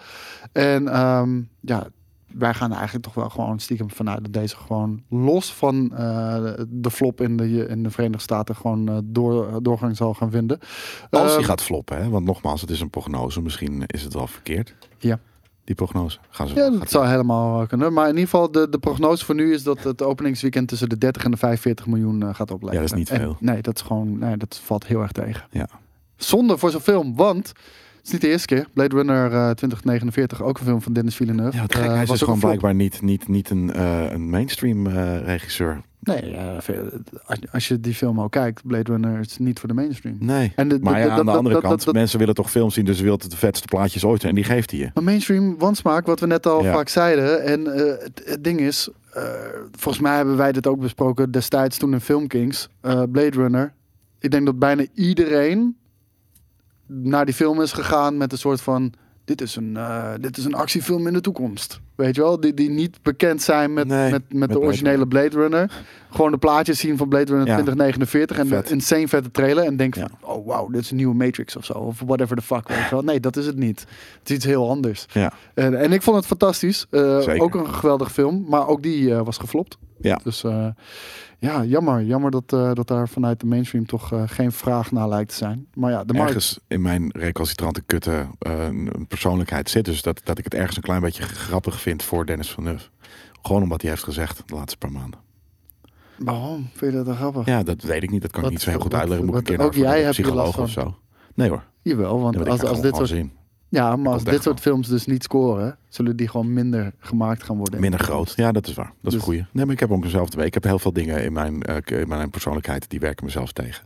Speaker 3: En ehm, ja, wij gaan er eigenlijk toch wel gewoon stiekem vanuit dat deze gewoon los van eh, de flop in de, in de Verenigde Staten gewoon eh, door, doorgang zal gaan vinden.
Speaker 2: Als
Speaker 3: Ehm,
Speaker 2: die gaat floppen, hè? want nogmaals, het is een prognose. Misschien is het wel verkeerd.
Speaker 3: Ja.
Speaker 2: Die prognose. Gaan ze
Speaker 3: Ja,
Speaker 2: gaat-
Speaker 3: dat zou helemaal eh, kunnen. Maar in ieder geval, de, de prognose voor nu is dat het openingsweekend tussen de 30 en de 45 miljoen eh, gaat opleveren.
Speaker 2: Ja, dat is niet
Speaker 3: En
Speaker 2: veel.
Speaker 3: nee, dat is gewoon, nee, dat valt heel erg tegen.
Speaker 2: Ja.
Speaker 3: Zonde voor zo'n film, want het is niet de eerste keer. Blade Runner eh, 2049, ook een film van Dennis Villeneuve.
Speaker 2: Ja, wat gek.
Speaker 3: eh,
Speaker 2: Hij is
Speaker 3: was
Speaker 2: dus
Speaker 3: ook
Speaker 2: gewoon
Speaker 3: een flop.
Speaker 2: blijkbaar niet, niet, niet een, eh, een mainstream eh, regisseur.
Speaker 3: Nee, eh, veel- als, als je die film al kijkt, Blade Runner is niet voor de mainstream.
Speaker 2: Nee.
Speaker 3: En de-
Speaker 2: maar ja,
Speaker 3: de-
Speaker 2: aan
Speaker 3: dat-
Speaker 2: de
Speaker 3: dat-
Speaker 2: andere
Speaker 3: dat-
Speaker 2: kant,
Speaker 3: dat- dat-
Speaker 2: mensen willen toch films zien, dus ze willen de vetste plaatjes ooit. En die geeft hij je.
Speaker 3: Maar mainstream wansmaak, wat we net al
Speaker 2: Ja.
Speaker 3: vaak zeiden. En eh, het, het ding is, eh, volgens mij hebben wij dit ook besproken destijds toen in Film Kings, eh, Blade Runner. Ik denk dat bijna iedereen naar die film is gegaan met een soort van... Dit is een, eh, dit is een actiefilm in de toekomst. Weet je wel? Die, die niet bekend zijn met,
Speaker 2: Nee,
Speaker 3: met, met,
Speaker 2: met
Speaker 3: de
Speaker 2: Blade
Speaker 3: originele Blade Runner. Gewoon de plaatjes zien van Blade Runner
Speaker 2: Ja.
Speaker 3: 2049 en
Speaker 2: Vet.
Speaker 3: de insane vette trailer. En denken
Speaker 2: Ja.
Speaker 3: van, oh wow, dit is een nieuwe Matrix of zo. Of whatever the fuck, weet je wel. Nee, dat is het niet. Het is iets heel anders.
Speaker 2: Ja.
Speaker 3: En, en ik vond het fantastisch. Eh,
Speaker 2: Zeker.
Speaker 3: ook een geweldige film, maar ook die eh, was geflopt.
Speaker 2: Ja.
Speaker 3: Dus eh, ja, jammer. Jammer dat, eh, dat daar vanuit de mainstream toch eh, geen vraag naar lijkt te zijn. Maar ja, de markt...
Speaker 2: ergens in mijn recalcitrante kutte eh, een een persoonlijkheid zit. Dus dat, dat ik het ergens een klein beetje grappig vind voor Dennis van Nuff. Gewoon omdat hij heeft gezegd de laatste paar maanden.
Speaker 3: Waarom? Vind je dat dan grappig?
Speaker 2: Ja, dat weet ik niet. Dat kan
Speaker 3: Wat-
Speaker 2: ik niet zo heel goed
Speaker 3: wat-
Speaker 2: uitleggen. Moet ik een keer
Speaker 3: wat-
Speaker 2: naar
Speaker 3: ook jij
Speaker 2: een
Speaker 3: hebt hier
Speaker 2: psycholoog of
Speaker 3: last
Speaker 2: zo. Nee hoor.
Speaker 3: Jawel, want
Speaker 2: Ja, maar ik
Speaker 3: als,
Speaker 2: ga
Speaker 3: als
Speaker 2: gewoon
Speaker 3: dit
Speaker 2: gewoon
Speaker 3: soort,
Speaker 2: zien.
Speaker 3: ja, maar als
Speaker 2: komt
Speaker 3: dit
Speaker 2: echt
Speaker 3: soort films dus niet scoren, zullen die gewoon minder gemaakt gaan worden.
Speaker 2: Minder groot. Ja, dat is waar. Dat is
Speaker 3: Dus-
Speaker 2: een goeie. Nee, maar ik heb ook mezelf te Ik heb heel veel dingen in mijn, eh, k- in mijn persoonlijkheid die werken mezelf tegen.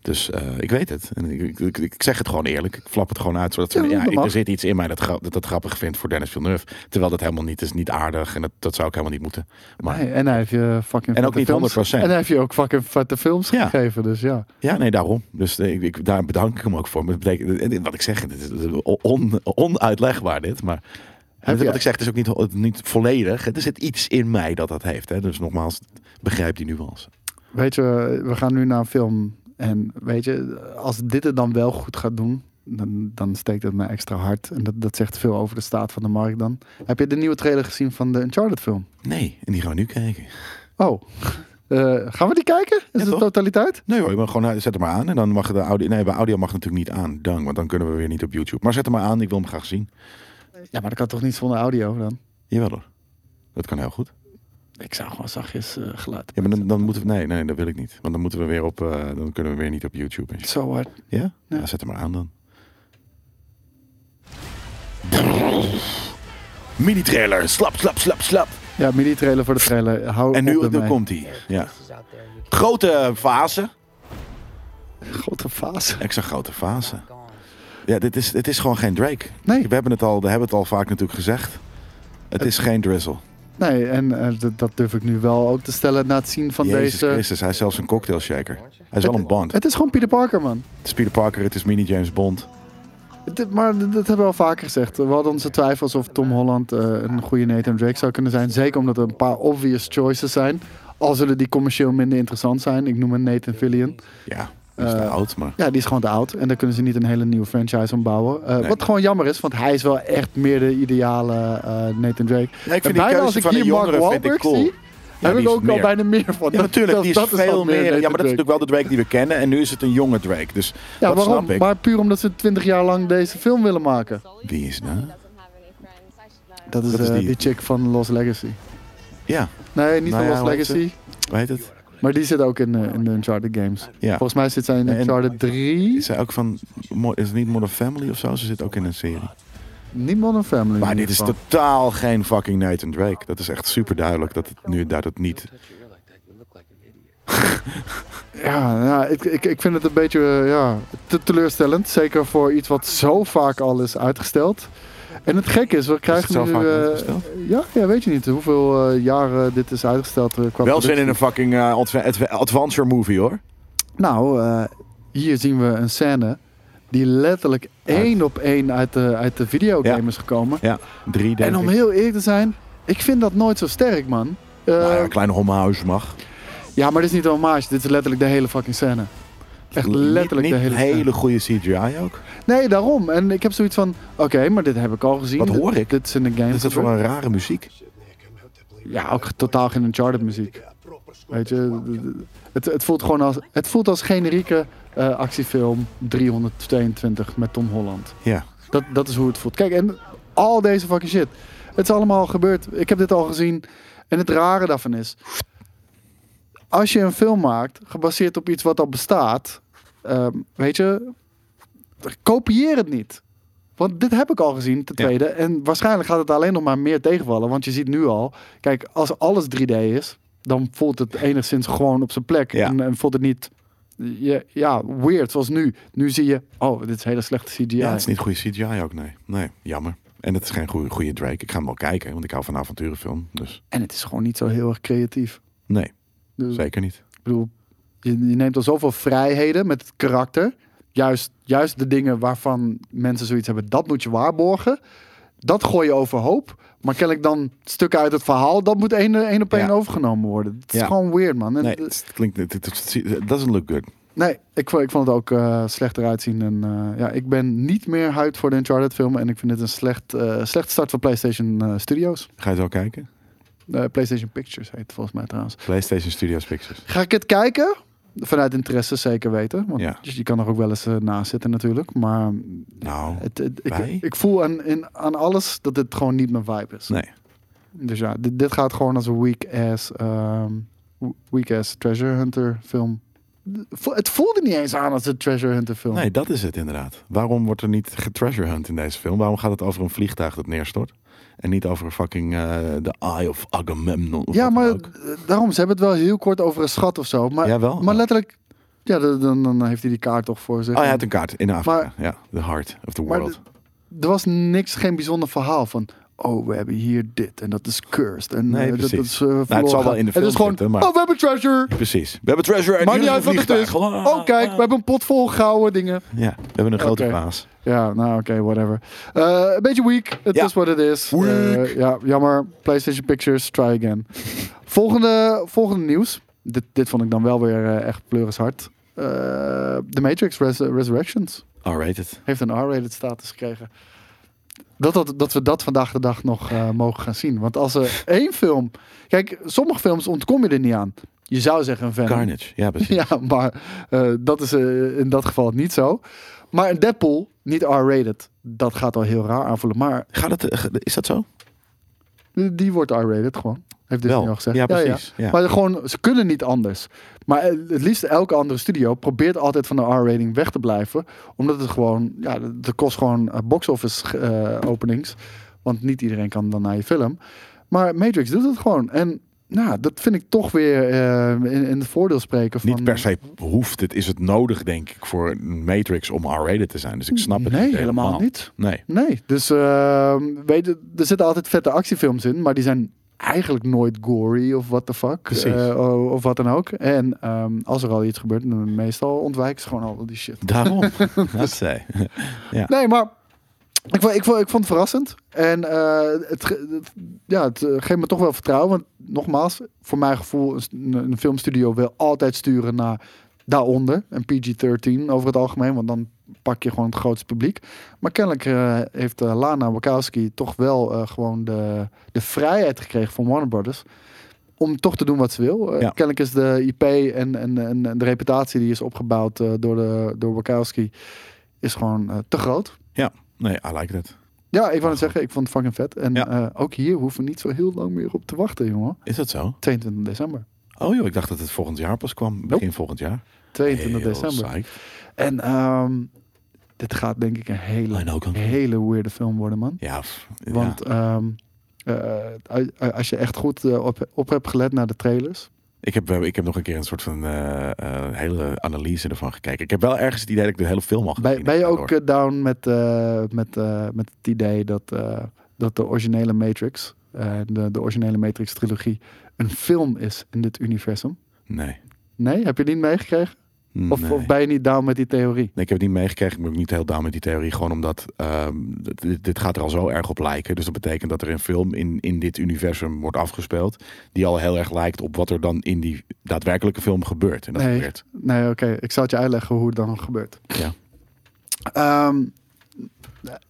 Speaker 2: Dus eh, ik weet het. En ik, ik, ik zeg het gewoon eerlijk. Ik flap het gewoon uit. Zodat ze,
Speaker 3: Ja,
Speaker 2: ja,
Speaker 3: dat
Speaker 2: ik-
Speaker 3: mag.
Speaker 2: er zit iets in mij dat, gra- dat dat grappig vindt voor Dennis Villeneuve. Terwijl dat helemaal niet is. Niet aardig. En dat, dat zou ik helemaal niet moeten. Maar
Speaker 3: Nee, en hij heeft je fucking
Speaker 2: En ook
Speaker 3: vette
Speaker 2: niet
Speaker 3: films.
Speaker 2: 100%.
Speaker 3: En hij heeft je ook fucking vette films
Speaker 2: Ja.
Speaker 3: gegeven, dus ja.
Speaker 2: ja, nee, daarom. Dus eh, ik, ik- daar bedank ik hem ook voor. Maar dat betekent, en wat ik zeg, het is on, onuitlegbaar dit. Maar En
Speaker 3: Heb
Speaker 2: wat
Speaker 3: jij-
Speaker 2: ik zeg, het is ook niet, niet volledig. Er zit iets in mij dat dat heeft. Hè? Dus nogmaals, begrijp die nuance.
Speaker 3: Weet je, we gaan nu naar een film. En weet je, als dit het dan wel goed gaat doen, dan, dan steekt het me extra hard. En dat, dat zegt veel over de staat van de markt dan. Heb je de nieuwe trailer gezien van de Uncharted film?
Speaker 2: Nee, en die gaan we nu kijken.
Speaker 3: Oh, Eh, gaan we die kijken? Is het de
Speaker 2: toch?
Speaker 3: totaliteit?
Speaker 2: Nee hoor, je mag gewoon, eh, zet hem maar aan. En dan mag de audio... Nee, bij audio mag natuurlijk niet aan. Dank, want dan kunnen we weer niet op YouTube. Maar zet hem maar aan, ik wil hem graag zien.
Speaker 3: Ja, maar dat kan toch niet zonder audio dan?
Speaker 2: Jawel hoor. Dat kan heel goed.
Speaker 3: Ik zou gewoon zachtjes eh, geluid.
Speaker 2: Ja, maar dan, dan moeten we... Nee, nee, dat wil ik niet. Want dan moeten we weer op... eh, dan kunnen we weer niet op YouTube. en shit.
Speaker 3: Zo hard.
Speaker 2: Ja?
Speaker 3: Ja.
Speaker 2: ja? Zet hem maar aan dan. Mini-trailer. Slap, slap, slap, slap.
Speaker 3: Ja, mini-trailer voor de trailer. Hou
Speaker 2: En nu
Speaker 3: op
Speaker 2: dan
Speaker 3: ermee.
Speaker 2: komt hij. Ja. Grote fase.
Speaker 3: Grote fase.
Speaker 2: Extra grote fase. Ja, dit is, het is gewoon geen Drake.
Speaker 3: Nee.
Speaker 2: We hebben het al, we hebben het al vaak natuurlijk gezegd. Het is geen drizzle.
Speaker 3: Nee, en eh, dat- dat durf ik nu wel ook te stellen na het zien van
Speaker 2: Jezus
Speaker 3: deze...
Speaker 2: Christus, hij is zelfs een cocktail shaker. Hij is wel een bond. Het
Speaker 3: Het is gewoon Peter Parker, man.
Speaker 2: is Peter Parker, het is mini James Bond.
Speaker 3: Dit- maar d- dat hebben we al vaker gezegd. We hadden onze twijfels of Tom Holland eh, een goede Nathan Drake zou kunnen zijn. Zeker omdat er een paar obvious choices zijn. Al zullen die commercieel minder interessant zijn. Ik noem een Nathan Fillion.
Speaker 2: Ja, hij is
Speaker 3: Eh,
Speaker 2: te oud, maar...
Speaker 3: Ja, die is gewoon te oud. En daar kunnen ze niet een hele nieuwe franchise om bouwen. Eh,
Speaker 2: Nee.
Speaker 3: Wat gewoon jammer is, want hij is wel echt meer de ideale eh, Nathan Drake.
Speaker 2: die
Speaker 3: En
Speaker 2: keuze van die jongere vind ik cool.
Speaker 3: zie,
Speaker 2: Ja,
Speaker 3: heb
Speaker 2: die
Speaker 3: ik
Speaker 2: is
Speaker 3: ook al
Speaker 2: meer.
Speaker 3: bijna meer van.
Speaker 2: Ja,
Speaker 3: Dat-
Speaker 2: natuurlijk,
Speaker 3: dat-
Speaker 2: die is
Speaker 3: dat
Speaker 2: veel
Speaker 3: al
Speaker 2: meer... Ja, maar dat
Speaker 3: Nathan
Speaker 2: is natuurlijk wel de Drake die we kennen. En nu is het een jonge Drake, dus
Speaker 3: Ja,
Speaker 2: dat
Speaker 3: waarom?
Speaker 2: snap ik.
Speaker 3: Maar puur omdat ze 20 jaar lang deze film willen maken.
Speaker 2: Wie is dat?
Speaker 3: Dat is,
Speaker 2: Dat is
Speaker 3: eh,
Speaker 2: die.
Speaker 3: die chick van Lost Legacy.
Speaker 2: Ja,
Speaker 3: Nee,
Speaker 2: Nou
Speaker 3: niet van
Speaker 2: ja,
Speaker 3: Lost
Speaker 2: hoe heet
Speaker 3: Legacy.
Speaker 2: hoe heet het?
Speaker 3: Maar die zit ook in, eh, in de Uncharted games.
Speaker 2: Ja.
Speaker 3: Volgens mij zit zij in
Speaker 2: En-
Speaker 3: Uncharted 3.
Speaker 2: Is hij ook van... Mo- Is het niet Modern Family of zo? Ze zit ook in een serie.
Speaker 3: Niet Modern Family.
Speaker 2: Maar
Speaker 3: in
Speaker 2: dit
Speaker 3: ieder
Speaker 2: is
Speaker 3: geval.
Speaker 2: totaal geen fucking Nathan Drake. Dat is echt super duidelijk dat het nu dat het niet.
Speaker 3: Ja, ja ik, ik, ik vind het een beetje eh, ja, te teleurstellend. Zeker voor iets wat zo vaak al is uitgesteld. En het gek is, we krijgen
Speaker 2: zo
Speaker 3: nu...
Speaker 2: vaak
Speaker 3: eh,
Speaker 2: uitgesteld?
Speaker 3: ja, ja, weet je niet hoeveel eh, jaren dit is uitgesteld. eh, qua
Speaker 2: Wel zin
Speaker 3: productie.
Speaker 2: in een fucking eh, adve- adve- adventure movie hoor.
Speaker 3: Nou, eh, hier zien we een scène die letterlijk één op één uit de, uit de videogame
Speaker 2: Ja.
Speaker 3: is gekomen.
Speaker 2: Ja, drie denk
Speaker 3: En om
Speaker 2: ik.
Speaker 3: heel eerlijk te zijn, ik vind dat nooit zo sterk, man. Eh,
Speaker 2: Nou ja, een klein hommehuis mag.
Speaker 3: Ja, maar dit is niet een hommage. Dit is letterlijk de hele fucking scène. Echt
Speaker 2: Niet-
Speaker 3: letterlijk
Speaker 2: niet
Speaker 3: de hele scène.
Speaker 2: hele goede CGI ook.
Speaker 3: Nee, daarom. En ik heb zoiets van... Oké, maar dit heb ik al gezien.
Speaker 2: Wat
Speaker 3: Dit-
Speaker 2: hoor ik?
Speaker 3: Dit is in de game.
Speaker 2: Wat is dat voor een rare muziek?
Speaker 3: Ja, ook totaal geen Uncharted muziek. Weet je, het, het voelt gewoon als... Het voelt als generieke eh, actiefilm 322 met Tom Holland.
Speaker 2: Ja.
Speaker 3: Dat, dat is hoe het voelt. Kijk, en al deze fucking shit. Het is allemaal gebeurd. Ik heb dit al gezien. En het rare daarvan is... Als je een film maakt, gebaseerd op iets wat al bestaat... ehm, weet je, kopieer het niet. Want dit heb ik al gezien, ten
Speaker 2: Ja.
Speaker 3: tweede. En waarschijnlijk gaat het alleen nog maar meer tegenvallen. Want je ziet nu al... Kijk, als alles 3D is... dan voelt het enigszins gewoon op zijn plek.
Speaker 2: Ja.
Speaker 3: En, en voelt het niet... Ja, ja, weird, zoals nu. Nu zie je... Oh, dit is hele slechte CGI.
Speaker 2: Ja, het is niet goede CGI ook, nee. Nee, jammer. En het is geen goede, goede Drake. Ik ga hem wel kijken, want ik hou van avonturenfilm. Dus
Speaker 3: En het is gewoon niet zo heel erg creatief.
Speaker 2: nee,
Speaker 3: Dus,
Speaker 2: zeker niet.
Speaker 3: Ik bedoel, je, je neemt al zoveel vrijheden met het karakter. Juist, juist de dingen waarvan mensen zoiets hebben, dat moet je waarborgen. Dat gooi je overhoop. Maar kennelijk dan stukken uit het verhaal, dat moet één één op één
Speaker 2: Ja.
Speaker 3: overgenomen worden. Het is
Speaker 2: Ja.
Speaker 3: gewoon weird, man. En,
Speaker 2: Nee,
Speaker 3: eh,
Speaker 2: het klinkt... Het, het, it doesn't look good.
Speaker 3: nee ik, vond- ik vond het ook eh, slecht eruit zien. En, eh, ja, ik ben niet meer huid voor de Uncharted film. En ik vind dit een slecht, eh, slecht start van PlayStation eh, Studios.
Speaker 2: Ga je het wel kijken?
Speaker 3: Eh, PlayStation Pictures heet het volgens mij trouwens.
Speaker 2: PlayStation Studios Pictures.
Speaker 3: Ga ik het kijken? Vanuit interesse zeker weten. Want
Speaker 2: Ja.
Speaker 3: je kan er ook wel eens eh, naast zitten natuurlijk. Maar
Speaker 2: Nou,
Speaker 3: het, het- ik,
Speaker 2: Wij?
Speaker 3: ik voel aan, in, aan alles dat dit gewoon niet mijn vibe is.
Speaker 2: nee.
Speaker 3: Dus ja, dit, dit gaat gewoon als een weak-ass ehm, weak-ass treasure hunter film. Vo- Het voelde niet eens aan als een treasure hunter film.
Speaker 2: Nee, dat is het inderdaad. Waarom wordt er niet getreasure hunt in deze film? Waarom gaat het over een vliegtuig dat neerstort? En niet over fucking eh The Eye of Agamemnon. of
Speaker 3: ja,
Speaker 2: wat dan
Speaker 3: maar
Speaker 2: ook?
Speaker 3: eh, daarom, ze hebben het wel heel kort over een schat of zo. Maar,
Speaker 2: Ja, wel.
Speaker 3: maar letterlijk, ja, dan, dan- dan heeft hij die kaart toch voor zich.
Speaker 2: Oh, hij had een kaart in Afrika.
Speaker 3: Mm-hmm. Maar-
Speaker 2: ja, the heart of the
Speaker 3: Maar
Speaker 2: world.
Speaker 3: d- er was niks, geen bijzonder verhaal van. oh, we hebben hier dit en dat is cursed. En
Speaker 2: Nee,
Speaker 3: eh, dat,
Speaker 2: precies. Nou,
Speaker 3: dat
Speaker 2: zal
Speaker 3: is, eh, verloren
Speaker 2: wel in de
Speaker 3: gegaan.
Speaker 2: film
Speaker 3: Het is gewoon,
Speaker 2: zitten, maar-
Speaker 3: oh, we hebben treasure.
Speaker 2: Precies. We hebben treasure en
Speaker 3: Maakt
Speaker 2: hier
Speaker 3: niet uit wat het is.
Speaker 2: vliegtuig. Ah.
Speaker 3: Oh, kijk, we hebben een pot vol gouden dingen.
Speaker 2: Ja, we hebben een grote
Speaker 3: Oké.
Speaker 2: baas.
Speaker 3: Ja, nou oké, whatever. Eh, een beetje weak. Het
Speaker 2: Ja.
Speaker 3: is wat het is.
Speaker 2: Weak.
Speaker 3: Eh, ja, jammer. PlayStation Pictures, try again. volgende, volgende nieuws. Dit, dit vond ik dan wel weer eh, echt pleurishard. Eh The Matrix Res- Resurrections
Speaker 2: R-rated.
Speaker 3: heeft een R-rated status gekregen. Dat, dat, dat we dat vandaag de dag nog eh, mogen gaan zien. Want als er één film... Kijk, sommige films ontkom je er niet aan. Je zou zeggen een Venom.
Speaker 2: Carnage. Ja, precies.
Speaker 3: [laughs] Ja, maar eh, dat is eh, in dat geval niet zo. Maar een Deadpool, niet R-rated, dat gaat al heel raar aanvoelen. Maar
Speaker 2: Gaat het, eh, is dat zo?
Speaker 3: die wordt R-rated gewoon. Heeft dit
Speaker 2: Wel.
Speaker 3: al gezegd.
Speaker 2: Ja, precies. Ja.
Speaker 3: Maar gewoon, ze kunnen niet anders. Maar eh, het liefst elke andere studio probeert altijd van de R-rating weg te blijven. Omdat het gewoon, ja, dat dat kost gewoon eh, box office eh, openings. Want niet iedereen kan dan naar je film. Maar Matrix doet het gewoon. En nou, dat vind ik toch weer eh, in, in het voordeel spreken van...
Speaker 2: Niet per se hoeft het, is het nodig, denk ik, voor een Matrix om R-rated te zijn. Dus ik snap het
Speaker 3: Nee,
Speaker 2: niet
Speaker 3: helemaal niet.
Speaker 2: Nee.
Speaker 3: Nee, dus ehm, weet je, er zitten altijd vette actiefilms in, maar die zijn eigenlijk nooit gory of what the fuck.
Speaker 2: Precies.
Speaker 3: eh, o- of wat dan ook. En ehm, als er al iets gebeurt, dan meestal ontwijken ze gewoon al die shit.
Speaker 2: Daarom. [laughs] dat zei.
Speaker 3: Nee, maar ik, vo- ik, vo- ik vond het verrassend. En eh, het, ge- het- ja, het eh, geeft me toch wel vertrouwen. Want nogmaals, voor mijn gevoel, een, st- een- een filmstudio wil altijd sturen naar daaronder. Een PG-13 over het algemeen, want dan pak je gewoon het grootste publiek. Maar kennelijk eh, heeft eh, Lana Wachowski toch wel eh, gewoon de, de vrijheid gekregen van Warner Brothers. Om toch te doen wat ze wil. Eh,
Speaker 2: Ja.
Speaker 3: Kennelijk is de IP en, en, en, en de reputatie die is opgebouwd eh, door, de, door Wachowski is gewoon eh, te groot.
Speaker 2: Ja, nee, I like that.
Speaker 3: Ja, ik wou het zeggen, ik vond het fucking vet. En
Speaker 2: Ja.
Speaker 3: eh, ook hier hoeven we niet zo heel lang meer op te wachten, jongen.
Speaker 2: Is dat zo?
Speaker 3: 22 december.
Speaker 2: Oh joh, ik dacht dat het volgend jaar pas kwam. Begin volgend jaar.
Speaker 3: 22
Speaker 2: Heel
Speaker 3: december.
Speaker 2: psyched.
Speaker 3: En ehm, dit gaat denk ik een
Speaker 2: I
Speaker 3: hele,
Speaker 2: know, kan-
Speaker 3: hele weirde film worden, man.
Speaker 2: Ja, f- ja.
Speaker 3: Want ehm, eh, als- als je echt goed eh, op, op hebt gelet naar de trailers.
Speaker 2: Ik, heb, eh, ik heb nog een keer een soort van eh, eh, hele analyse ervan gekeken. Ik heb wel ergens het idee dat ik de hele film al gezien
Speaker 3: Ben,
Speaker 2: heb
Speaker 3: ben je ook
Speaker 2: daardoor.
Speaker 3: eh, down met, eh, met, eh, met het idee dat, eh, dat de originele Matrix, eh, de, de originele Matrix trilogie, een film is in dit universum?
Speaker 2: Nee.
Speaker 3: Nee, heb je die niet meegekregen? eh, Of,
Speaker 2: Nee.
Speaker 3: of ben je niet down met die theorie?
Speaker 2: Nee, ik heb het niet meegekregen. Ik ben ook niet heel down met die theorie. Gewoon omdat ehm, dit- dit, dit gaat er al zo erg op lijken. Dus dat betekent dat er een film in, in dit universum wordt afgespeeld. Die al heel erg lijkt op wat er dan in die daadwerkelijke film gebeurt. En dat
Speaker 3: Nee.
Speaker 2: gebeurt.
Speaker 3: Nee, oké. Ik zal het je uitleggen hoe het dan gebeurt.
Speaker 2: Ja.
Speaker 3: Ehm,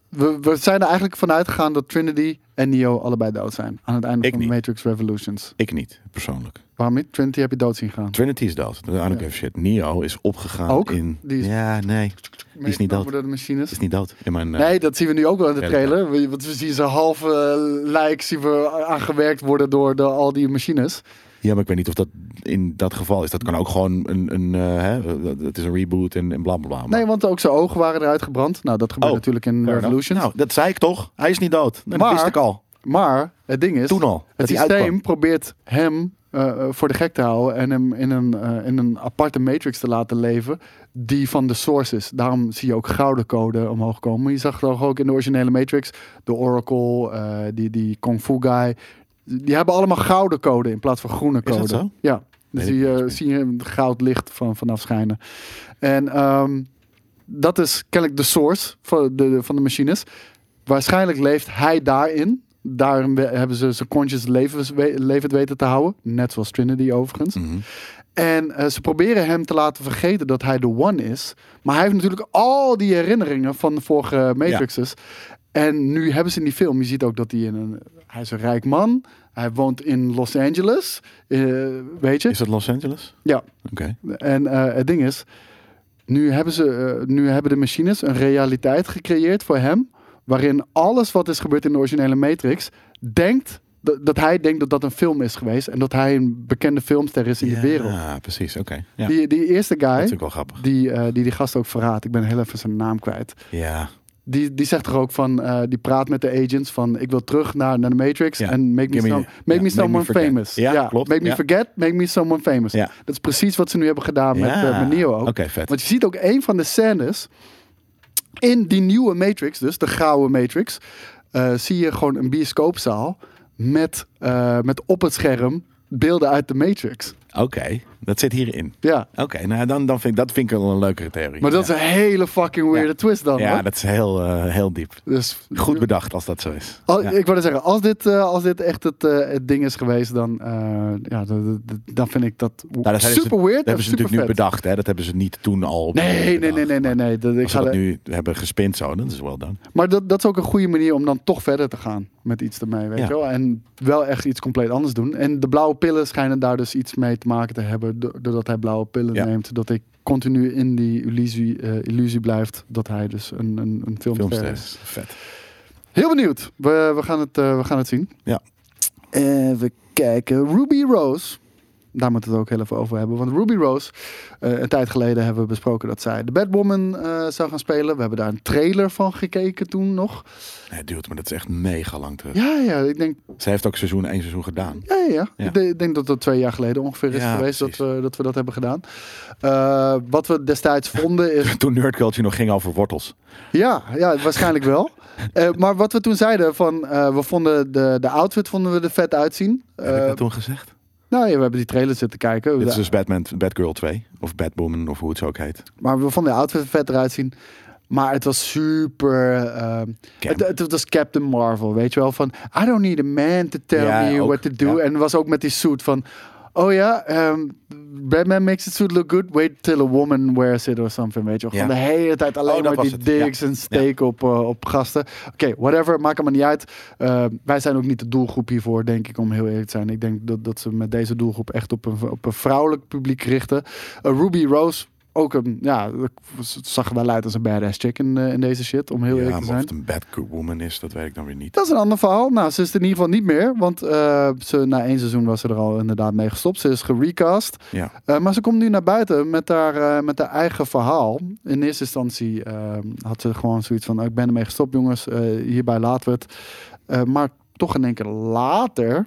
Speaker 3: we, we zijn er eigenlijk vanuit gegaan dat Trinity en Neo allebei dood zijn. Aan het einde
Speaker 2: Ik
Speaker 3: van
Speaker 2: niet.
Speaker 3: Matrix Revolutions.
Speaker 2: Ik niet, persoonlijk.
Speaker 3: Waarom niet? Trinity heb je dood zien gaan.
Speaker 2: Trinity is dood. I don't give a shit. Neo is opgegaan
Speaker 3: Ook?
Speaker 2: in...
Speaker 3: Die is-
Speaker 2: Ja, nee. Die is niet dood.
Speaker 3: Meegenomen door de machines.
Speaker 2: Is niet dood. In mijn, eh,
Speaker 3: Nee, dat zien we nu ook wel in de
Speaker 2: Ja,
Speaker 3: trailer. We- Want we zien zijn halve eh, lijk zien we a- aangewerkt worden door de, al die machines.
Speaker 2: Ja, maar ik weet niet of dat in dat geval is. Dat kan ook gewoon een... een eh, hè, dat- het is een reboot en, en bla bla bla.
Speaker 3: Nee, want ook zijn ogen waren eruit gebrand. Nou, dat gebeurt
Speaker 2: Oh,
Speaker 3: natuurlijk in
Speaker 2: Maar-
Speaker 3: Revolutions.
Speaker 2: Nou, dat zei ik toch. Hij is niet dood. Nee,
Speaker 3: Maar-
Speaker 2: dat wist ik al.
Speaker 3: Maar het ding is,
Speaker 2: Toen al, dat
Speaker 3: het
Speaker 2: hij
Speaker 3: systeem
Speaker 2: uitkwam.
Speaker 3: probeert hem eh, eh, voor de gek te houden en hem in een, eh, in een aparte matrix te laten leven die van de source is. Daarom zie je ook gouden code omhoog komen. Je zag toch ook in de originele matrix, de Oracle, eh, die, die Kung Fu guy. Die hebben allemaal gouden code in plaats van groene
Speaker 2: Is
Speaker 3: code.
Speaker 2: dat zo?
Speaker 3: Ja. Dan
Speaker 2: Weet
Speaker 3: zie
Speaker 2: ik
Speaker 3: je,
Speaker 2: niet.
Speaker 3: zie je een goud licht van, vanaf schijnen. En ehm, dat is kennelijk de source van de, van de machines. Waarschijnlijk leeft hij daarin. Daarin we- hebben ze zijn conscious levens- we- levend weten te houden. Net zoals Trinity overigens.
Speaker 2: Mhm.
Speaker 3: En eh, ze proberen hem te laten vergeten dat hij de One is. Maar hij heeft natuurlijk al die herinneringen van de vorige Matrixes. En nu hebben ze in die film, je ziet ook dat hij in een... Hij is een rijk man. Hij woont in Los Angeles. eh, weet je?
Speaker 2: Is dat Los Angeles?
Speaker 3: Ja.
Speaker 2: Oké.
Speaker 3: En eh, het ding is, nu hebben, ze, eh, nu hebben de machines een realiteit gecreëerd voor hem. Waarin alles wat is gebeurd in de originele Matrix. denkt dat, dat hij denkt dat dat een film is geweest. En dat hij een bekende filmster is in de wereld.
Speaker 2: Ja, precies. Oké. Ja. Dat is
Speaker 3: Die, die eerste guy,
Speaker 2: natuurlijk wel grappig.
Speaker 3: die, eh, die die gast ook verraadt. Ik ben heel even zijn naam kwijt.
Speaker 2: Ja.
Speaker 3: Die, die zegt er ook van, eh, die praat met de agents van... ik wil terug naar, naar de Matrix
Speaker 2: Ja.
Speaker 3: en make me,
Speaker 2: Give me-
Speaker 3: some-
Speaker 2: ja,
Speaker 3: make me
Speaker 2: make me
Speaker 3: someone
Speaker 2: forget.
Speaker 3: famous.
Speaker 2: Ja, klopt,
Speaker 3: Make me
Speaker 2: ja.
Speaker 3: forget, make me someone famous.
Speaker 2: Ja.
Speaker 3: Dat is precies wat ze nu hebben gedaan met,
Speaker 2: ja.
Speaker 3: eh, met Neo ook.
Speaker 2: Oké, vet.
Speaker 3: Want je ziet ook een van de scènes in die nieuwe Matrix, dus de gouden Matrix... eh, eh, zie je gewoon een bioscoopzaal met, eh, met op het scherm beelden uit de Matrix.
Speaker 2: Oké, dat zit hierin.
Speaker 3: Ja.
Speaker 2: Oké, nou dan, dan vind ik dat vind ik wel een leukere theorie.
Speaker 3: Maar dat
Speaker 2: ja.
Speaker 3: is een hele fucking weirde
Speaker 2: Ja.
Speaker 3: twist dan.
Speaker 2: Ja,
Speaker 3: hoor.
Speaker 2: dat is heel, eh, heel diep.
Speaker 3: Dus
Speaker 2: Goed bedacht als dat zo is. Nou,
Speaker 3: Al-
Speaker 2: Ja.
Speaker 3: Ik wilde zeggen, als dit, eh, als dit echt het, eh, het ding is geweest, dan, eh, ja, d- d- d- dan vind ik dat
Speaker 2: Nou, dat zijn ze-
Speaker 3: super weird.
Speaker 2: Dat hebben ze
Speaker 3: en
Speaker 2: natuurlijk nu
Speaker 3: super vet.
Speaker 2: bedacht, hè? Dat hebben ze niet toen al. op-
Speaker 3: Nee, nee,
Speaker 2: bedacht.
Speaker 3: nee, nee, nee. nee. Dat, ik
Speaker 2: Als ze
Speaker 3: ga
Speaker 2: dat
Speaker 3: er-
Speaker 2: nu hebben gespind zo, dat is wel dan.
Speaker 3: Maar dat, dat is ook een goede manier om dan toch verder te gaan met iets ermee, weet
Speaker 2: Ja.
Speaker 3: je wel. En wel echt iets compleet anders doen. En de blauwe pillen schijnen daar dus iets mee te maken te hebben, do- doordat hij blauwe pillen
Speaker 2: Ja.
Speaker 3: neemt. Dat hij continu in die illusie, eh, illusie blijft dat hij dus een, een, een filmster is.
Speaker 2: Filmstress. Vet.
Speaker 3: Heel benieuwd. We, we, gaan, het, eh, we gaan het zien.
Speaker 2: Ja.
Speaker 3: Even kijken. Ruby Rose. Daar moeten we het ook heel even over hebben. Want Ruby Rose, eh, een tijd geleden hebben we besproken dat zij de Batwoman eh, zou gaan spelen. We hebben daar een trailer van gekeken toen nog.
Speaker 2: Nee, het duurt, maar dat is echt mega lang terug.
Speaker 3: Ja, ja, ik denk,
Speaker 2: Zij heeft ook seizoen één seizoen gedaan.
Speaker 3: ja, ja, ja.
Speaker 2: Ja.
Speaker 3: Ik, de- ik denk dat dat twee jaar geleden ongeveer is
Speaker 2: Ja,
Speaker 3: geweest dat
Speaker 2: precies.
Speaker 3: we, dat we dat hebben gedaan. Eh, wat we destijds vonden
Speaker 2: [laughs]
Speaker 3: is
Speaker 2: Toen Nerd Culture nog ging over wortels.
Speaker 3: Ja, ja waarschijnlijk wel. Eh, maar wat we toen zeiden, van, eh, we vonden de, de outfit vonden we er vet uitzien.
Speaker 2: Heb ik
Speaker 3: Eh,
Speaker 2: dat toen gezegd?
Speaker 3: nou ja, we hebben die trailer zitten kijken.
Speaker 2: Dit is dus Batman, Batgirl 2. Of Batwoman, of hoe het zo ook heet.
Speaker 3: Maar we vonden de outfit er vet eruit zien. Maar het was super... ehm,
Speaker 2: Camp.
Speaker 3: het, het, was Captain Marvel, weet je wel? Van, I don't need a man to tell
Speaker 2: Ja,
Speaker 3: me
Speaker 2: ook,
Speaker 3: what to do.
Speaker 2: ja.
Speaker 3: En het was ook met die suit van... Oh ja, ehm, Batman makes his suit look good. Wait till a woman wears it or something, weet je wel. Gewoon
Speaker 2: Ja.
Speaker 3: de hele tijd alleen
Speaker 2: Oh, dat
Speaker 3: maar die
Speaker 2: was het, ja.
Speaker 3: dicks en steek op, eh, op gasten. Oké, whatever, maakt allemaal niet uit. Eh, wij zijn ook niet de doelgroep hiervoor, denk ik, om heel eerlijk te zijn. Ik denk dat, dat ze met deze doelgroep echt op een, op een vrouwelijk publiek richten. Eh, Ruby Rose, ook een, ja, het zag er wel uit als een badass chick in, eh, in deze shit, om heel
Speaker 2: ja,
Speaker 3: eerlijk
Speaker 2: maar
Speaker 3: te
Speaker 2: of
Speaker 3: zijn.
Speaker 2: het een Batwoman is, dat weet ik dan weer niet.
Speaker 3: Dat is een ander verhaal. Nou, ze is het in ieder geval niet meer. Want eh, ze, na één seizoen was ze er al inderdaad mee gestopt. Ze is gerecast.
Speaker 2: Ja.
Speaker 3: Eh, maar ze komt nu naar buiten met haar, eh, met haar eigen verhaal. In eerste instantie eh, had ze gewoon zoiets van... ik ben ermee gestopt jongens, Eh, hierbij laten we het. Eh, maar toch in één keer later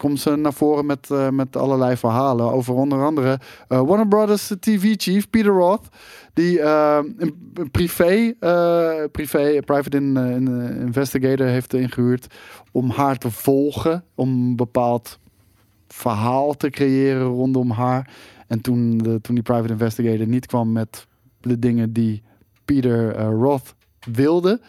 Speaker 3: komt ze naar voren met, eh, met allerlei verhalen... over onder andere eh, Warner Brothers TV-chief Peter Roth... die eh, een een privé, eh, privé private in, eh, in- eh, investigator heeft ingehuurd... om haar te volgen, om een bepaald verhaal te creëren rondom haar. En toen, de, toen die private investigator niet kwam met de dingen die Peter eh, Roth wilde,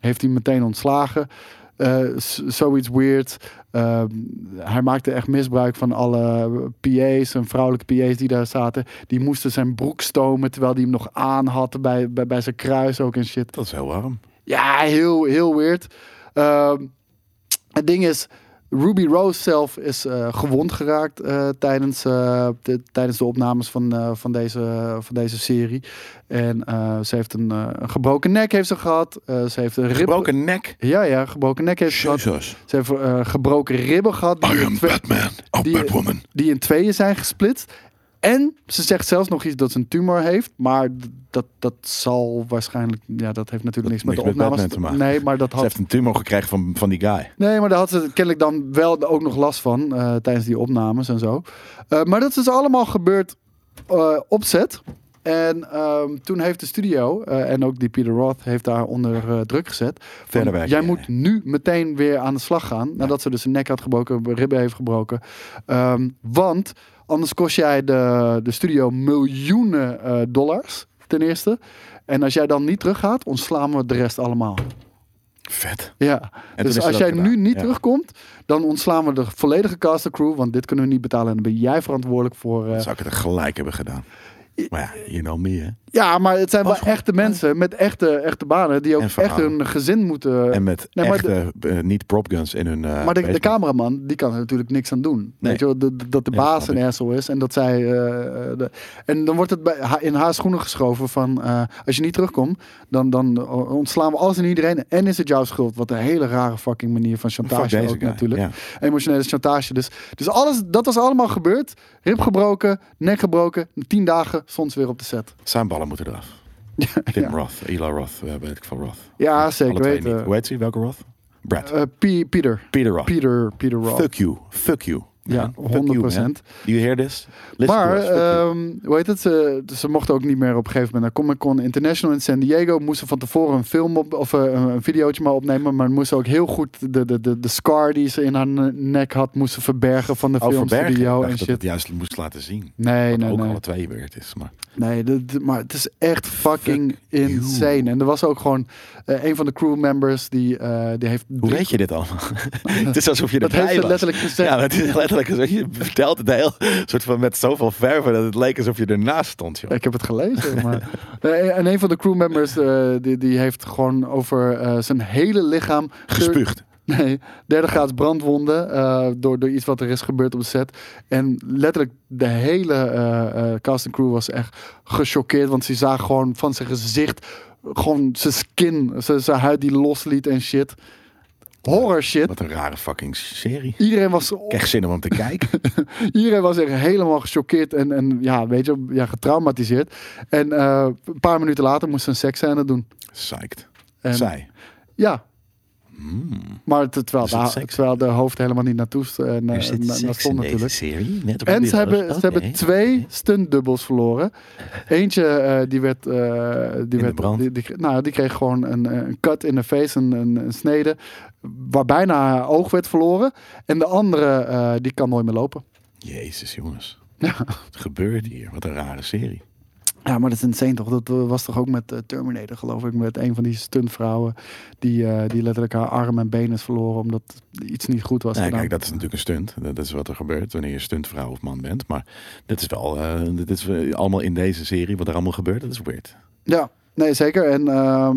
Speaker 3: heeft hij meteen ontslagen. Eh, z- zoiets weird. Ehm, hij maakte echt misbruik van alle PA's en vrouwelijke PA's die daar zaten. Die moesten zijn broek stomen terwijl hij hem nog aan had bij, bij, bij zijn kruis ook en shit.
Speaker 2: Dat is heel warm.
Speaker 3: Ja, heel, heel weird. Ehm, het ding is, Ruby Rose zelf is eh, gewond geraakt eh, tijdens, eh, de, tijdens de opnames van, eh, van, deze, van deze serie. En eh, ze heeft een, eh, een gebroken nek heeft ze gehad. Eh, ze heeft een rib-
Speaker 2: Gebroken nek.
Speaker 3: Ja, ja, gebroken nek heeft ze gehad.
Speaker 4: Jezus.
Speaker 3: Ze heeft eh, gebroken ribben gehad. die
Speaker 2: I
Speaker 3: in
Speaker 2: am
Speaker 3: twee-
Speaker 2: Batman. Oh,
Speaker 3: die-
Speaker 2: Batwoman.
Speaker 3: die in tweeën zijn gesplitst. En ze zegt zelfs nog iets dat ze een tumor heeft. Maar d- dat, dat zal waarschijnlijk. Ja, dat heeft natuurlijk niks, met
Speaker 2: niks
Speaker 3: de
Speaker 2: met
Speaker 3: opnames
Speaker 2: Batman te maken.
Speaker 3: Nee, maar dat
Speaker 2: Ze
Speaker 3: had.
Speaker 2: heeft een tumor gekregen van, van die guy.
Speaker 3: Nee, maar daar had ze kennelijk dan wel ook nog last van. eh, tijdens die opnames en zo. Eh, maar dat is dus allemaal gebeurd eh, opzet. En ehm, toen heeft de studio eh, en ook die Peter Roth heeft daar onder eh, druk gezet. van,
Speaker 2: Verder werken,
Speaker 3: Jij
Speaker 2: ja,
Speaker 3: moet
Speaker 2: ja.
Speaker 3: nu meteen weer aan de slag gaan. Nadat ze dus zijn nek had gebroken, ribben heeft gebroken. Ehm, want anders kost jij de, de studio miljoenen eh, dollars ten eerste. En als jij dan niet teruggaat, ontslaan we de rest allemaal.
Speaker 2: Vet.
Speaker 3: Ja,
Speaker 2: toen is
Speaker 3: dus
Speaker 2: ze
Speaker 3: als
Speaker 2: dat
Speaker 3: jij
Speaker 2: gedaan,
Speaker 3: nu niet
Speaker 2: ja.
Speaker 3: terugkomt, dan ontslaan we de volledige cast en crew. Want dit kunnen we niet betalen en dan ben jij verantwoordelijk voor... eh,
Speaker 2: Zou ik het er gelijk hebben gedaan. Maar ja, you know me, hè.
Speaker 3: Ja, maar het zijn wel
Speaker 2: Was Oh, goed.
Speaker 3: echte mensen met echte, echte banen die ook
Speaker 2: En
Speaker 3: echt
Speaker 2: verhalen.
Speaker 3: hun gezin moeten...
Speaker 2: En met
Speaker 3: Nee, maar de-
Speaker 2: echte, eh, niet propguns in hun... eh,
Speaker 3: maar de, de
Speaker 2: basement.
Speaker 3: cameraman, die kan er natuurlijk niks aan doen.
Speaker 2: Nee.
Speaker 3: Weet je wel, de- de- dat de
Speaker 2: Nee, dat
Speaker 3: baas
Speaker 2: snap
Speaker 3: een
Speaker 2: ik.
Speaker 3: asshole is en dat zij... eh, de- en dan wordt het bij, ha- in haar schoenen geschoven van... eh, als je niet terugkomt, dan, dan ontslaan we alles en iedereen. En is het jouw schuld. Wat een hele rare fucking manier van
Speaker 2: Fuck
Speaker 3: chantage
Speaker 2: deze
Speaker 3: ook
Speaker 2: guy,
Speaker 3: natuurlijk.
Speaker 2: ja.
Speaker 3: emotionele chantage. Dus, dus alles, dat was allemaal gebeurd. Rib gebroken, nek gebroken. Tien dagen stond ze weer op de set.
Speaker 2: Zijn ballen moeten eraf.
Speaker 3: [laughs]
Speaker 2: Tim Roth, Eli Roth, eh, weet ik van Roth.
Speaker 3: Ja, zeker
Speaker 2: Alle twee
Speaker 3: weten.
Speaker 2: niet. Hoe heet Oh. ze? Welke Roth? Brad.
Speaker 3: Eh, P- eh, Peter.
Speaker 2: Peter Roth.
Speaker 3: Peter, Peter Roth.
Speaker 2: Fuck you. Fuck you.
Speaker 3: Ja,
Speaker 4: Fuck
Speaker 3: 100
Speaker 4: you, man.
Speaker 3: procent.
Speaker 4: Do you hear this? Listen
Speaker 3: maar,
Speaker 4: to us, fuck you.
Speaker 3: ehm, hoe heet het? Ze, ze mochten ook niet meer op een gegeven moment naar Comic Con International in San Diego. Moesten van tevoren een film op, of eh, een, een videootje maar opnemen. Maar moesten ook heel goed de, de, de, de scar die ze in haar ne- nek had, moesten verbergen van de
Speaker 2: Oh, verbergen. Ik
Speaker 3: filmstudio
Speaker 2: dacht
Speaker 3: en
Speaker 2: dat
Speaker 3: shit.
Speaker 2: het juist moest laten zien.
Speaker 3: Nee,
Speaker 2: Wat
Speaker 3: nee,
Speaker 2: ook
Speaker 3: nee.
Speaker 2: alle twee weer het is. Maar
Speaker 3: nee de- de- maar het is echt fucking
Speaker 2: you.
Speaker 3: insane. En er was ook gewoon eh, een van de crewmembers die, eh, die heeft...
Speaker 4: Hoe weet je dit
Speaker 3: [laughs]
Speaker 4: allemaal? het is alsof je
Speaker 3: Dat
Speaker 4: erbij
Speaker 3: heeft ze
Speaker 4: was.
Speaker 3: letterlijk gezegd.
Speaker 2: Ja, maar het is letterlijk alsof je vertelt het heel soort van met zoveel verven dat het leek alsof je ernaast stond, joh.
Speaker 3: Ik heb het gelezen. [laughs] Maar... Nee, en een van de crewmembers eh, die, die heeft gewoon over eh, zijn hele lichaam.
Speaker 2: Gespuugd.
Speaker 3: [laughs] Nee, derde graads brandwonden. eh, door, door iets wat er is gebeurd op de set. En letterlijk de hele eh, eh, cast en crew was echt gechoqueerd. Want ze zagen gewoon van zijn gezicht. Gewoon zijn skin. Zijn, zijn huid die losliet en shit. Horror shit.
Speaker 2: Wat een rare fucking serie.
Speaker 3: Iedereen was
Speaker 2: Ik heb echt zin om hem te kijken.
Speaker 3: [laughs] Iedereen was echt helemaal gechoqueerd en, en ja, weet je, ja, getraumatiseerd. En eh, een paar minuten later moest ze een seksscène doen.
Speaker 2: Psyched.
Speaker 3: En,
Speaker 2: Zij.
Speaker 3: Ja. Maar te- terwijl,
Speaker 4: Hmm. Is dat
Speaker 3: de,
Speaker 4: seks?
Speaker 3: terwijl de hoofd helemaal niet naartoe st- eh, na-
Speaker 4: Er zit
Speaker 3: na-
Speaker 4: seks
Speaker 3: naar stond
Speaker 4: in deze
Speaker 3: natuurlijk.
Speaker 4: serie. Net op
Speaker 3: En
Speaker 4: de
Speaker 3: ze hebben,
Speaker 4: wereld.
Speaker 3: ze hebben
Speaker 4: Oké.
Speaker 3: twee stuntdubbels verloren. Eentje eh, die werd, eh, die,
Speaker 4: de
Speaker 3: werd
Speaker 4: brand.
Speaker 3: die, die- nou, die kreeg gewoon een, eh, een cut in de face, een, een, een snede, waar bijna haar oog werd verloren. En de andere, eh, die kan nooit meer lopen.
Speaker 2: Jezus, jongens.
Speaker 3: Ja.
Speaker 2: Wat gebeurt hier? Wat een rare serie.
Speaker 3: Ja, maar dat is insane toch? Dat eh, was toch ook met eh, Terminator, geloof ik. Met een van die stuntvrouwen. Die, eh, die letterlijk haar arm en benen is verloren. omdat iets niet goed was.
Speaker 2: Nou,
Speaker 3: gedaan.
Speaker 2: kijk, dat is natuurlijk een stunt. Dat is wat er gebeurt wanneer je stuntvrouw of man bent. Maar dit is wel, eh, dit is eh, allemaal in deze serie, wat er allemaal gebeurt, dat is weird.
Speaker 3: Ja, nee, zeker. En ehm,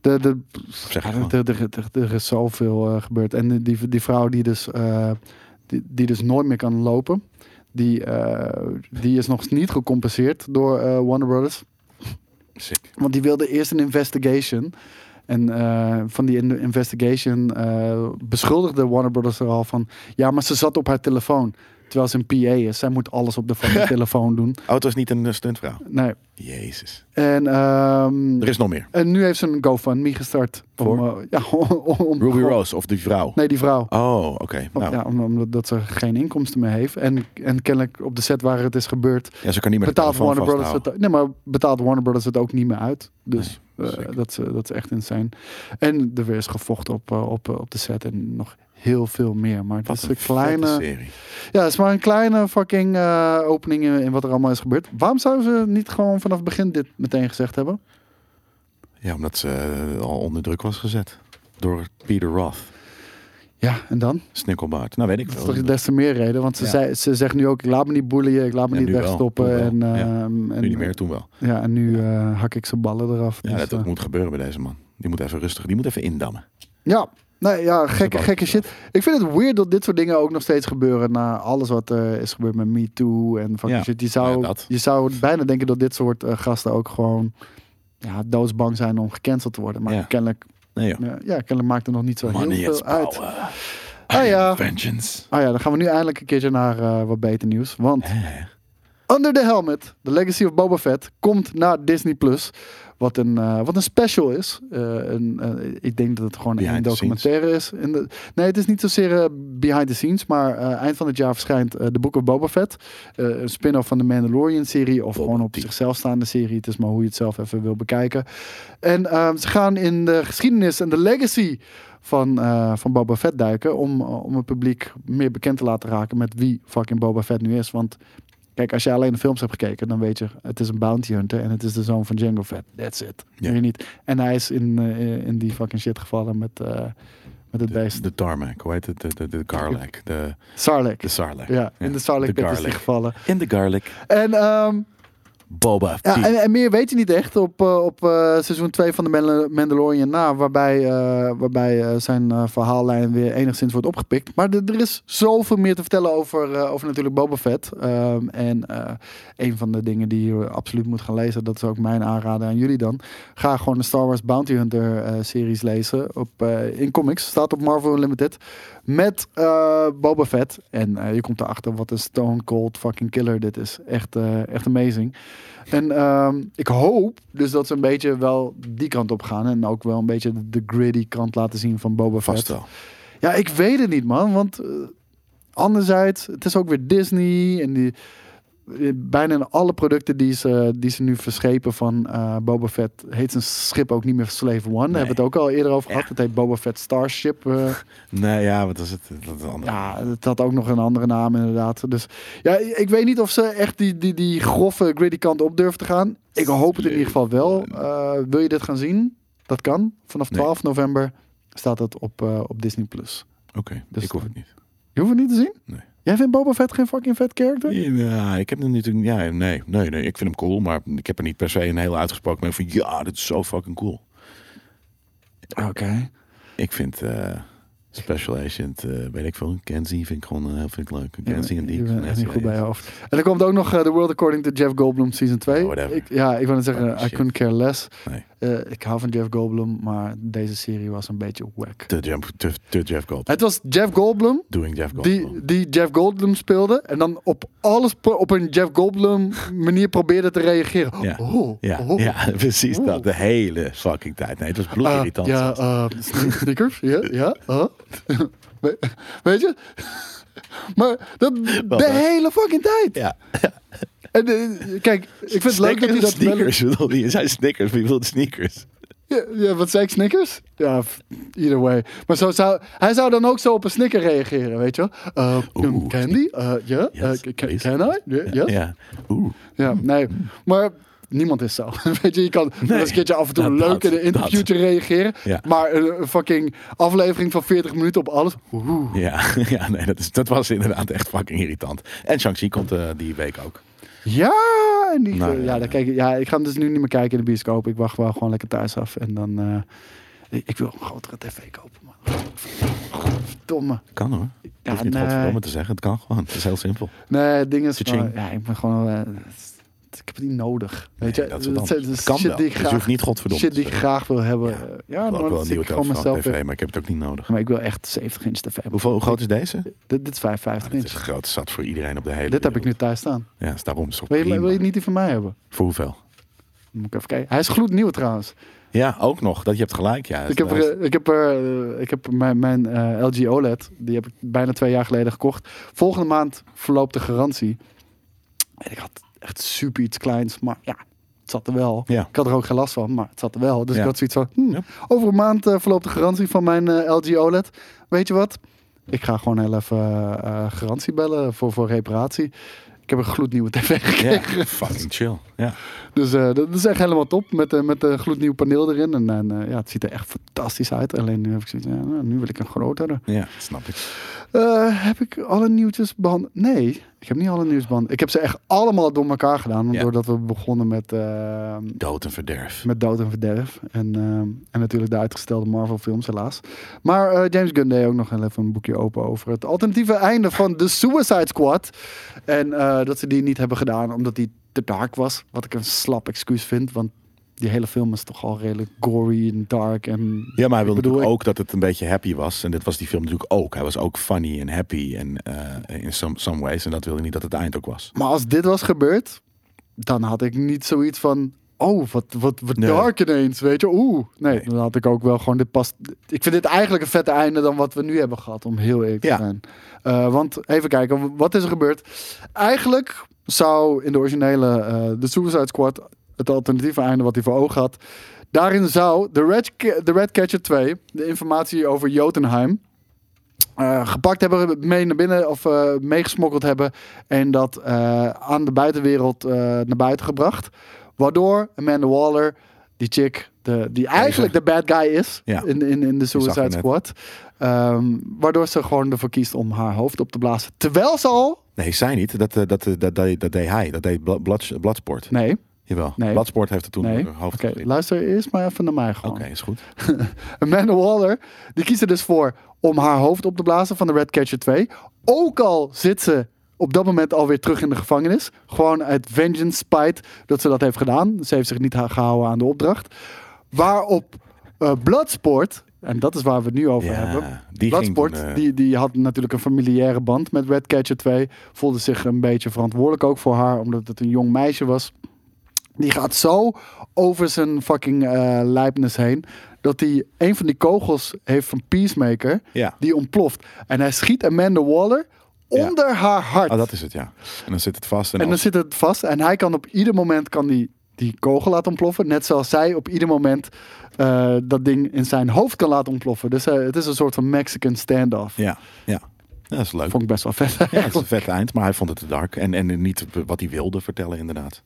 Speaker 3: de, de,
Speaker 2: Zeg
Speaker 3: ja,
Speaker 2: het maar.
Speaker 3: de, de, de- de- er is zoveel eh, gebeurd. En die, die vrouw die dus, eh, die, die dus nooit meer kan lopen. Die, eh, die is nog niet gecompenseerd door eh, Warner Brothers.
Speaker 2: Sick.
Speaker 3: Want die wilde eerst een investigation. En eh, van die in- investigation eh, beschuldigde Warner Brothers er al van... Ja, maar ze zat op haar telefoon. Terwijl ze een PA is. Zij moet alles op
Speaker 2: [laughs]
Speaker 3: de fucking telefoon doen.
Speaker 2: Auto is niet een eh, stuntvrouw.
Speaker 3: Nee.
Speaker 2: Jezus.
Speaker 3: En, ehm,
Speaker 2: Er is nog meer.
Speaker 3: en nu heeft ze een GoFundMe gestart. Om, eh, ja, [laughs] om, om-
Speaker 2: Ruby Rose of die vrouw.
Speaker 3: Nee, die vrouw.
Speaker 2: Oh, oké.
Speaker 3: Om-
Speaker 2: Nou,
Speaker 3: ja, om- omdat dat ze geen inkomsten meer heeft. En, en kennelijk op de set waar het is gebeurd...
Speaker 2: ja, ze kan niet meer de
Speaker 3: betaalt
Speaker 2: telefoon
Speaker 3: Warner Brothers
Speaker 2: vasthouden.
Speaker 3: het, nee, maar betaalt Warner Brothers het ook niet meer uit. Dus
Speaker 2: Nee,
Speaker 3: eh,
Speaker 2: zeker.
Speaker 3: dat, is, eh, dat is echt insane. En er weer is gevochten op, eh, op, eh, op de set en nog heel veel meer. Maar het
Speaker 2: Wat
Speaker 3: is
Speaker 2: een
Speaker 3: een kleine.
Speaker 2: serie.
Speaker 3: Ja, het is maar een kleine fucking eh, opening in, in wat er allemaal is gebeurd. Waarom zouden ze niet gewoon vanaf het begin dit meteen gezegd hebben?
Speaker 2: Ja, omdat ze eh, al onder druk was gezet. Door Peter Roth.
Speaker 3: Ja, en dan?
Speaker 2: Snikkelbaard. Nou, weet ik
Speaker 3: Dat is
Speaker 2: veel.
Speaker 3: toch des te meer reden. Want ze,
Speaker 2: Ja.
Speaker 3: zei, ze zegt nu ook, ik laat me niet boeien, ik laat me
Speaker 2: Ja,
Speaker 3: niet
Speaker 2: nu wel. Toen
Speaker 3: wegstoppen.
Speaker 2: wel.
Speaker 3: En,
Speaker 2: Ja.
Speaker 3: ehm, en,
Speaker 2: Nu niet meer, toen wel.
Speaker 3: Ja, en nu eh, hak ik zijn ballen eraf.
Speaker 2: Ja,
Speaker 3: Dus,
Speaker 2: dat, dat
Speaker 3: eh,
Speaker 2: moet gebeuren bij deze man. Die moet even rustig, die moet even indammen.
Speaker 3: Ja, nee, ja gekke,
Speaker 2: ook
Speaker 3: gekke
Speaker 2: zo.
Speaker 3: shit. Ik vind het weird dat dit soort dingen ook nog steeds gebeuren na alles wat eh, is gebeurd met Me Too en fucking
Speaker 2: Ja,
Speaker 3: shit. Je zou,
Speaker 2: ja, dat.
Speaker 3: je zou bijna denken dat dit soort eh, gasten ook gewoon ja, doodsbang zijn om gecanceld te worden. Maar
Speaker 2: Ja.
Speaker 3: kennelijk,
Speaker 2: Nee joh.
Speaker 3: ja, ja, kennelijk maakt er nog niet zo
Speaker 2: Money
Speaker 3: heel
Speaker 2: is
Speaker 3: veel uit.
Speaker 2: power.
Speaker 3: Ah ja.
Speaker 2: Vengeance.
Speaker 3: Ah ja, dan gaan we nu eindelijk een keertje naar eh, wat beter nieuws. Want
Speaker 2: Eh,
Speaker 3: Under the Helmet, The Legacy of Boba Fett, komt naar Disney+. Plus. Wat een, eh, wat een special is. Eh, een, eh, ik denk dat het gewoon
Speaker 2: Behind
Speaker 3: een
Speaker 2: the
Speaker 3: documentaire is. In de, nee, het is niet zozeer eh, behind the scenes, maar eh, eind van het jaar verschijnt eh The Book of Boba Fett. Eh, een spin-off van de Mandalorian-serie of
Speaker 2: Boba
Speaker 3: gewoon op
Speaker 2: Tea.
Speaker 3: zichzelf staande serie. Het is maar hoe je het zelf even wil bekijken. En eh, ze gaan in de geschiedenis en de legacy van, eh, van Boba Fett duiken. Om, om het publiek meer bekend te laten raken met wie fucking Boba Fett nu is. Want kijk, als je alleen de films hebt gekeken, dan weet je, het is een bounty hunter. En het is de zoon van Django Fett. That's it.
Speaker 2: Ja.
Speaker 3: Meer niet. En hij is in, eh, in die fucking shit gevallen met, eh, met het
Speaker 2: De,
Speaker 3: beest.
Speaker 2: de tarmac, hoe heet het? De, de, de garlic. De,
Speaker 3: Sarlacc.
Speaker 2: de sarlacc.
Speaker 3: ja, in de Sarlacc pit is
Speaker 2: garlic.
Speaker 3: die gevallen.
Speaker 2: In de garlic.
Speaker 3: En ehm,
Speaker 2: Boba
Speaker 3: Ja,
Speaker 2: Fett.
Speaker 3: en, en meer weet je niet echt op, eh, op eh, seizoen 2 van de Mandal- Mandalorian na, waarbij, eh, waarbij eh, zijn eh, verhaallijn weer enigszins wordt opgepikt. Maar er- er is zoveel meer te vertellen over, eh, over natuurlijk Boba Fett. Ehm, en eh, een van de dingen die je absoluut moet gaan lezen, dat is ook mijn aanrader aan jullie dan. Ga gewoon de Star Wars Bounty Hunter eh, series lezen op, eh, in comics. Staat op Marvel Unlimited met eh, Boba Fett. En eh, je komt erachter wat een stone cold fucking killer dit is. Echt, eh, echt amazing. En ehm, ik hoop dus dat ze een beetje wel die kant op gaan. En ook wel een beetje de, de gritty kant laten zien van Boba
Speaker 2: Vast
Speaker 3: Fett.
Speaker 2: wel.
Speaker 3: Ja, ik weet het niet, man. Want eh, Anderzijds, het is ook weer Disney en die... eh, Bijna in alle producten die ze, die ze nu verschepen van eh, Boba Fett... heet zijn schip ook niet meer Slave One. Daar hebben we het ook al eerder over gehad. Het heet Boba Fett Starship. eh.
Speaker 2: Nee, ja, wat is het? Dat is een andere.
Speaker 3: Ja, het had ook nog een andere naam inderdaad. Dus ja, ik weet niet of ze echt die, die, die grove, gritty kant op durven te gaan. Ik hoop het in ieder geval wel. Eh, wil je dit gaan zien? Dat kan. Vanaf
Speaker 2: Nee.
Speaker 3: 12 november staat het op, eh, op Disney+. Plus.
Speaker 2: Oké,
Speaker 3: Dus-
Speaker 2: ik hoef het niet.
Speaker 3: Je hoeft het niet te zien?
Speaker 2: Nee.
Speaker 3: Jij vindt Boba Fett geen fucking vet character?
Speaker 2: Ja, nou, ik heb er natuurlijk. Ja, nee, nee, nee. Ik vind hem cool, maar ik heb er niet per se een heel uitgesproken mening van. Ja, dit is zo fucking cool.
Speaker 3: Oké.
Speaker 2: Ik vind eh, Special Agent, eh, weet ik veel, Kenzie vind ik gewoon eh, heel vind ik leuk. Kenzie en
Speaker 3: Je
Speaker 2: die.
Speaker 3: bent echt niet goed bij je
Speaker 2: jou.
Speaker 3: hoofd. En dan komt ook nog eh, The World According to Jeff Goldblum Season 2.
Speaker 2: Oh, whatever.
Speaker 3: ik, ja, ik wou net zeggen,
Speaker 2: Fucking
Speaker 3: I
Speaker 2: shit.
Speaker 3: couldn't care less.
Speaker 2: Nee.
Speaker 3: Eh, ik hou van Jeff Goldblum, maar deze serie was een beetje whack.
Speaker 2: Te, Jeff- te, te Jeff Goldblum.
Speaker 3: Het was Jeff Goldblum
Speaker 2: Doing Jeff Goldblum.
Speaker 3: die, die Jeff Goldblum speelde. En dan op alles pro- op een Jeff Goldblum manier probeerde te reageren.
Speaker 2: Ja.
Speaker 3: Oh,
Speaker 2: ja,
Speaker 3: oh.
Speaker 2: ja, [laughs] precies
Speaker 3: Oeh.
Speaker 2: dat. De hele fucking tijd. Nee, het was
Speaker 3: Ah,
Speaker 2: bloedirritant.
Speaker 3: ja, eh, sneakers. Ja, ja. ah. We- Weet je? Maar dat, de
Speaker 2: Wel, hè?
Speaker 3: hele fucking tijd.
Speaker 2: ja.
Speaker 3: En, eh, kijk, ik vind het leuk dat hij dat wel...
Speaker 2: sneakers. [laughs] Wel... Die zijn sneakers, wie wil sneakers?
Speaker 3: Ja, ja, wat zei ik, Snickers? Ja, f- either way. Maar zo zou, hij zou dan ook zo op een Snicker reageren, weet je wel? Eh,
Speaker 2: Oeh.
Speaker 3: candy? Eh, Ja? Eh,
Speaker 2: Yes,
Speaker 3: can-
Speaker 2: please.
Speaker 3: can I? Yeah, yes?
Speaker 2: Ja. Oeh.
Speaker 3: Ja, nee. Maar niemand is zo. [laughs] Weet je, je kan wel eens een keertje af en toe
Speaker 2: Nou,
Speaker 3: leuk
Speaker 2: dat-
Speaker 3: in een interviewtje reageren.
Speaker 2: Ja.
Speaker 3: Maar een, een fucking aflevering van 40 minuten op alles. Oeh.
Speaker 2: Ja, [laughs] ja nee, dat, is, dat was inderdaad echt fucking irritant. En Shang-Chi komt eh, die week ook.
Speaker 3: Ja, en die,
Speaker 2: Nou,
Speaker 3: ja,
Speaker 2: ja,
Speaker 3: dan
Speaker 2: ja.
Speaker 3: Kijk, ik- ja, ik ga hem dus nu niet meer kijken in de bioscoop. Ik wacht wel gewoon lekker thuis af. En dan, eh, ik, ik wil een grotere tv kopen. Man. Godverdomme.
Speaker 2: Kan hoor. Je
Speaker 3: Ja, eh,
Speaker 2: hoeft niet
Speaker 3: nee.
Speaker 2: godverdomme te zeggen. Het kan gewoon. Het is heel simpel.
Speaker 3: Nee, het ding is,
Speaker 2: Tja-ching.
Speaker 3: maar, ja, ik ben gewoon, eh, ik heb het niet nodig. Weet je,
Speaker 2: Nee, dat is wat
Speaker 3: zijn-
Speaker 2: anders. Het
Speaker 3: is
Speaker 2: kan
Speaker 3: shit
Speaker 2: wel.
Speaker 3: die ik
Speaker 2: Dus je
Speaker 3: graag,
Speaker 2: hoeft niet godverdomme
Speaker 3: shit
Speaker 2: te
Speaker 3: die ik graag wil hebben. Ja,
Speaker 2: Ik wil
Speaker 3: maar
Speaker 2: ook wel
Speaker 3: dat
Speaker 2: een
Speaker 3: zit
Speaker 2: nieuwe
Speaker 3: ik gewoon
Speaker 2: telefoon
Speaker 3: mezelf
Speaker 2: tv,
Speaker 3: in.
Speaker 2: maar ik heb het ook niet nodig.
Speaker 3: Maar ik wil echt 70 inch tv. hebben.
Speaker 2: Hoeveel, hoe groot is deze?
Speaker 3: Dit, dit is 55
Speaker 2: Het Ah, is
Speaker 3: inch.
Speaker 2: groot zat voor iedereen op de hele
Speaker 3: Dit heb ik
Speaker 2: wereld.
Speaker 3: nu thuis staan.
Speaker 2: Ja, is daarom zo
Speaker 3: Wil je, wil je
Speaker 2: prima.
Speaker 3: niet die van mij hebben?
Speaker 2: Voor hoeveel?
Speaker 3: Moet ik even kijken. Hij is gloednieuw trouwens.
Speaker 2: Ja, ook nog. Dat, je hebt gelijk. Ja,
Speaker 3: Ik heb, er, eh, ik heb, er, eh, ik heb mijn, mijn eh, LG OLED, die heb ik bijna twee jaar geleden gekocht. Volgende maand verloopt de garantie. En ik had echt super iets kleins, maar ja, het zat er wel.
Speaker 2: Ja.
Speaker 3: Ik had er ook geen last van, maar het zat er wel. Dus
Speaker 2: Ja.
Speaker 3: ik had zoiets van, hm,
Speaker 2: Ja.
Speaker 3: over een maand eh, verloopt de garantie van mijn eh, LG OLED. Weet je wat? Ik ga gewoon heel even eh, eh, garantie bellen voor, voor reparatie. Ik heb een gloednieuwe tv
Speaker 2: Ja,
Speaker 3: [laughs] gekregen.
Speaker 2: fucking chill. Ja.
Speaker 3: Dus eh, dat is echt helemaal top. Met, eh, met een gloednieuw paneel erin. En, eh, ja, het ziet er echt fantastisch uit. Alleen nu heb ik zoiets. Ja, nou, nu wil ik een grotere.
Speaker 2: ja, snap ik.
Speaker 3: Eh, heb ik alle nieuwtjes behandeld? Nee, ik heb niet alle nieuws behandeld. Ik heb ze echt allemaal door elkaar gedaan. want
Speaker 2: Ja.
Speaker 3: Doordat we begonnen met, eh,
Speaker 2: Dood en verderf.
Speaker 3: met Dood en Verderf. En, eh, en natuurlijk de uitgestelde Marvel films, helaas. Maar eh, James Gunn deed ook nog heel even een boekje open over het alternatieve einde van The Suicide Squad. En eh, dat ze die niet hebben gedaan omdat die te dark was. Wat ik een slap excuus vind, want die hele film is toch al redelijk gory en dark. En
Speaker 2: Ja, maar hij wilde
Speaker 3: bedoel,
Speaker 2: natuurlijk ook dat het een beetje happy was. En dit was die film natuurlijk ook. Hij was ook funny en happy en, eh, in some, some ways. En dat wilde niet dat het eind ook was.
Speaker 3: Maar als dit was gebeurd, dan had ik niet zoiets van... Oh, wat, wat, wat
Speaker 2: Nee.
Speaker 3: dark ineens, weet je. Oeh. Nee,
Speaker 2: Nee.
Speaker 3: dan had ik ook wel gewoon... Dit past, ik vind dit eigenlijk een vette einde dan wat we nu hebben gehad, om heel eerlijk
Speaker 2: Ja.
Speaker 3: te zijn. Eh, want even kijken, wat is er gebeurd? Eigenlijk zou in de originele eh The Suicide Squad... het alternatieve einde wat hij voor ogen had... Daarin zou de Red, Ca- de Red Catcher 2, de informatie over Jotunheim... eh, gepakt hebben, mee naar binnen of eh, meegesmokkeld hebben. En dat eh, aan de buitenwereld eh, naar buiten gebracht. Waardoor Amanda Waller, die chick, de, die eigenlijk de bad guy is
Speaker 2: Ja.
Speaker 3: in, in, in de
Speaker 2: zag je
Speaker 3: Suicide
Speaker 2: net.
Speaker 3: Squad. ehm, waardoor ze gewoon ervoor kiest om haar hoofd op te blazen. Terwijl ze al...
Speaker 2: Nee, zij niet. Dat, eh, dat, eh, dat, deed- dat deed hij. Dat deed Bla- Bloods- Bloodsport.
Speaker 3: Nee,
Speaker 2: Jawel.
Speaker 3: Nee.
Speaker 2: Bloodsport heeft het toen
Speaker 3: nee.
Speaker 2: haar hoofd
Speaker 3: Oké,
Speaker 2: gezien.
Speaker 3: luister eerst maar even naar mij gewoon.
Speaker 2: Oké, is goed.
Speaker 3: [laughs] Amanda Waller, die kiest er dus voor om haar hoofd op te blazen van de Red Catcher 2. Ook al zit ze op dat moment alweer terug in de gevangenis. Gewoon uit vengeance spijt dat ze dat heeft gedaan. Ze heeft zich niet ha- gehouden aan de opdracht. Waarop eh Bloodsport, en dat is waar we het nu over
Speaker 2: Ja,
Speaker 3: hebben.
Speaker 2: die ging
Speaker 3: Bloodsport,
Speaker 2: toen, eh,
Speaker 3: die, die had natuurlijk een familiaire band met Red Catcher 2. Voelde zich een beetje verantwoordelijk ook voor haar, omdat het een jong meisje was. Die gaat zo over zijn fucking eh lijpnis heen. Dat hij een van die kogels heeft van Peacemaker.
Speaker 2: Ja.
Speaker 3: Die ontploft. En hij schiet Amanda Waller onder haar hart.
Speaker 2: Ah, dat is het, ja. En dan zit het vast. En,
Speaker 3: En dan
Speaker 2: als-
Speaker 3: zit het vast. En hij kan op ieder moment kan die, die kogel laten ontploffen. Net zoals zij op ieder moment eh, dat ding in zijn hoofd kan laten ontploffen. Dus eh, het is een soort van Mexican standoff.
Speaker 2: Ja, ja. ja, dat is leuk.
Speaker 3: Vond ik best wel vet.
Speaker 2: Ja, het is een vet eind, maar hij vond het te dark. En, en niet wat hij wilde vertellen, inderdaad.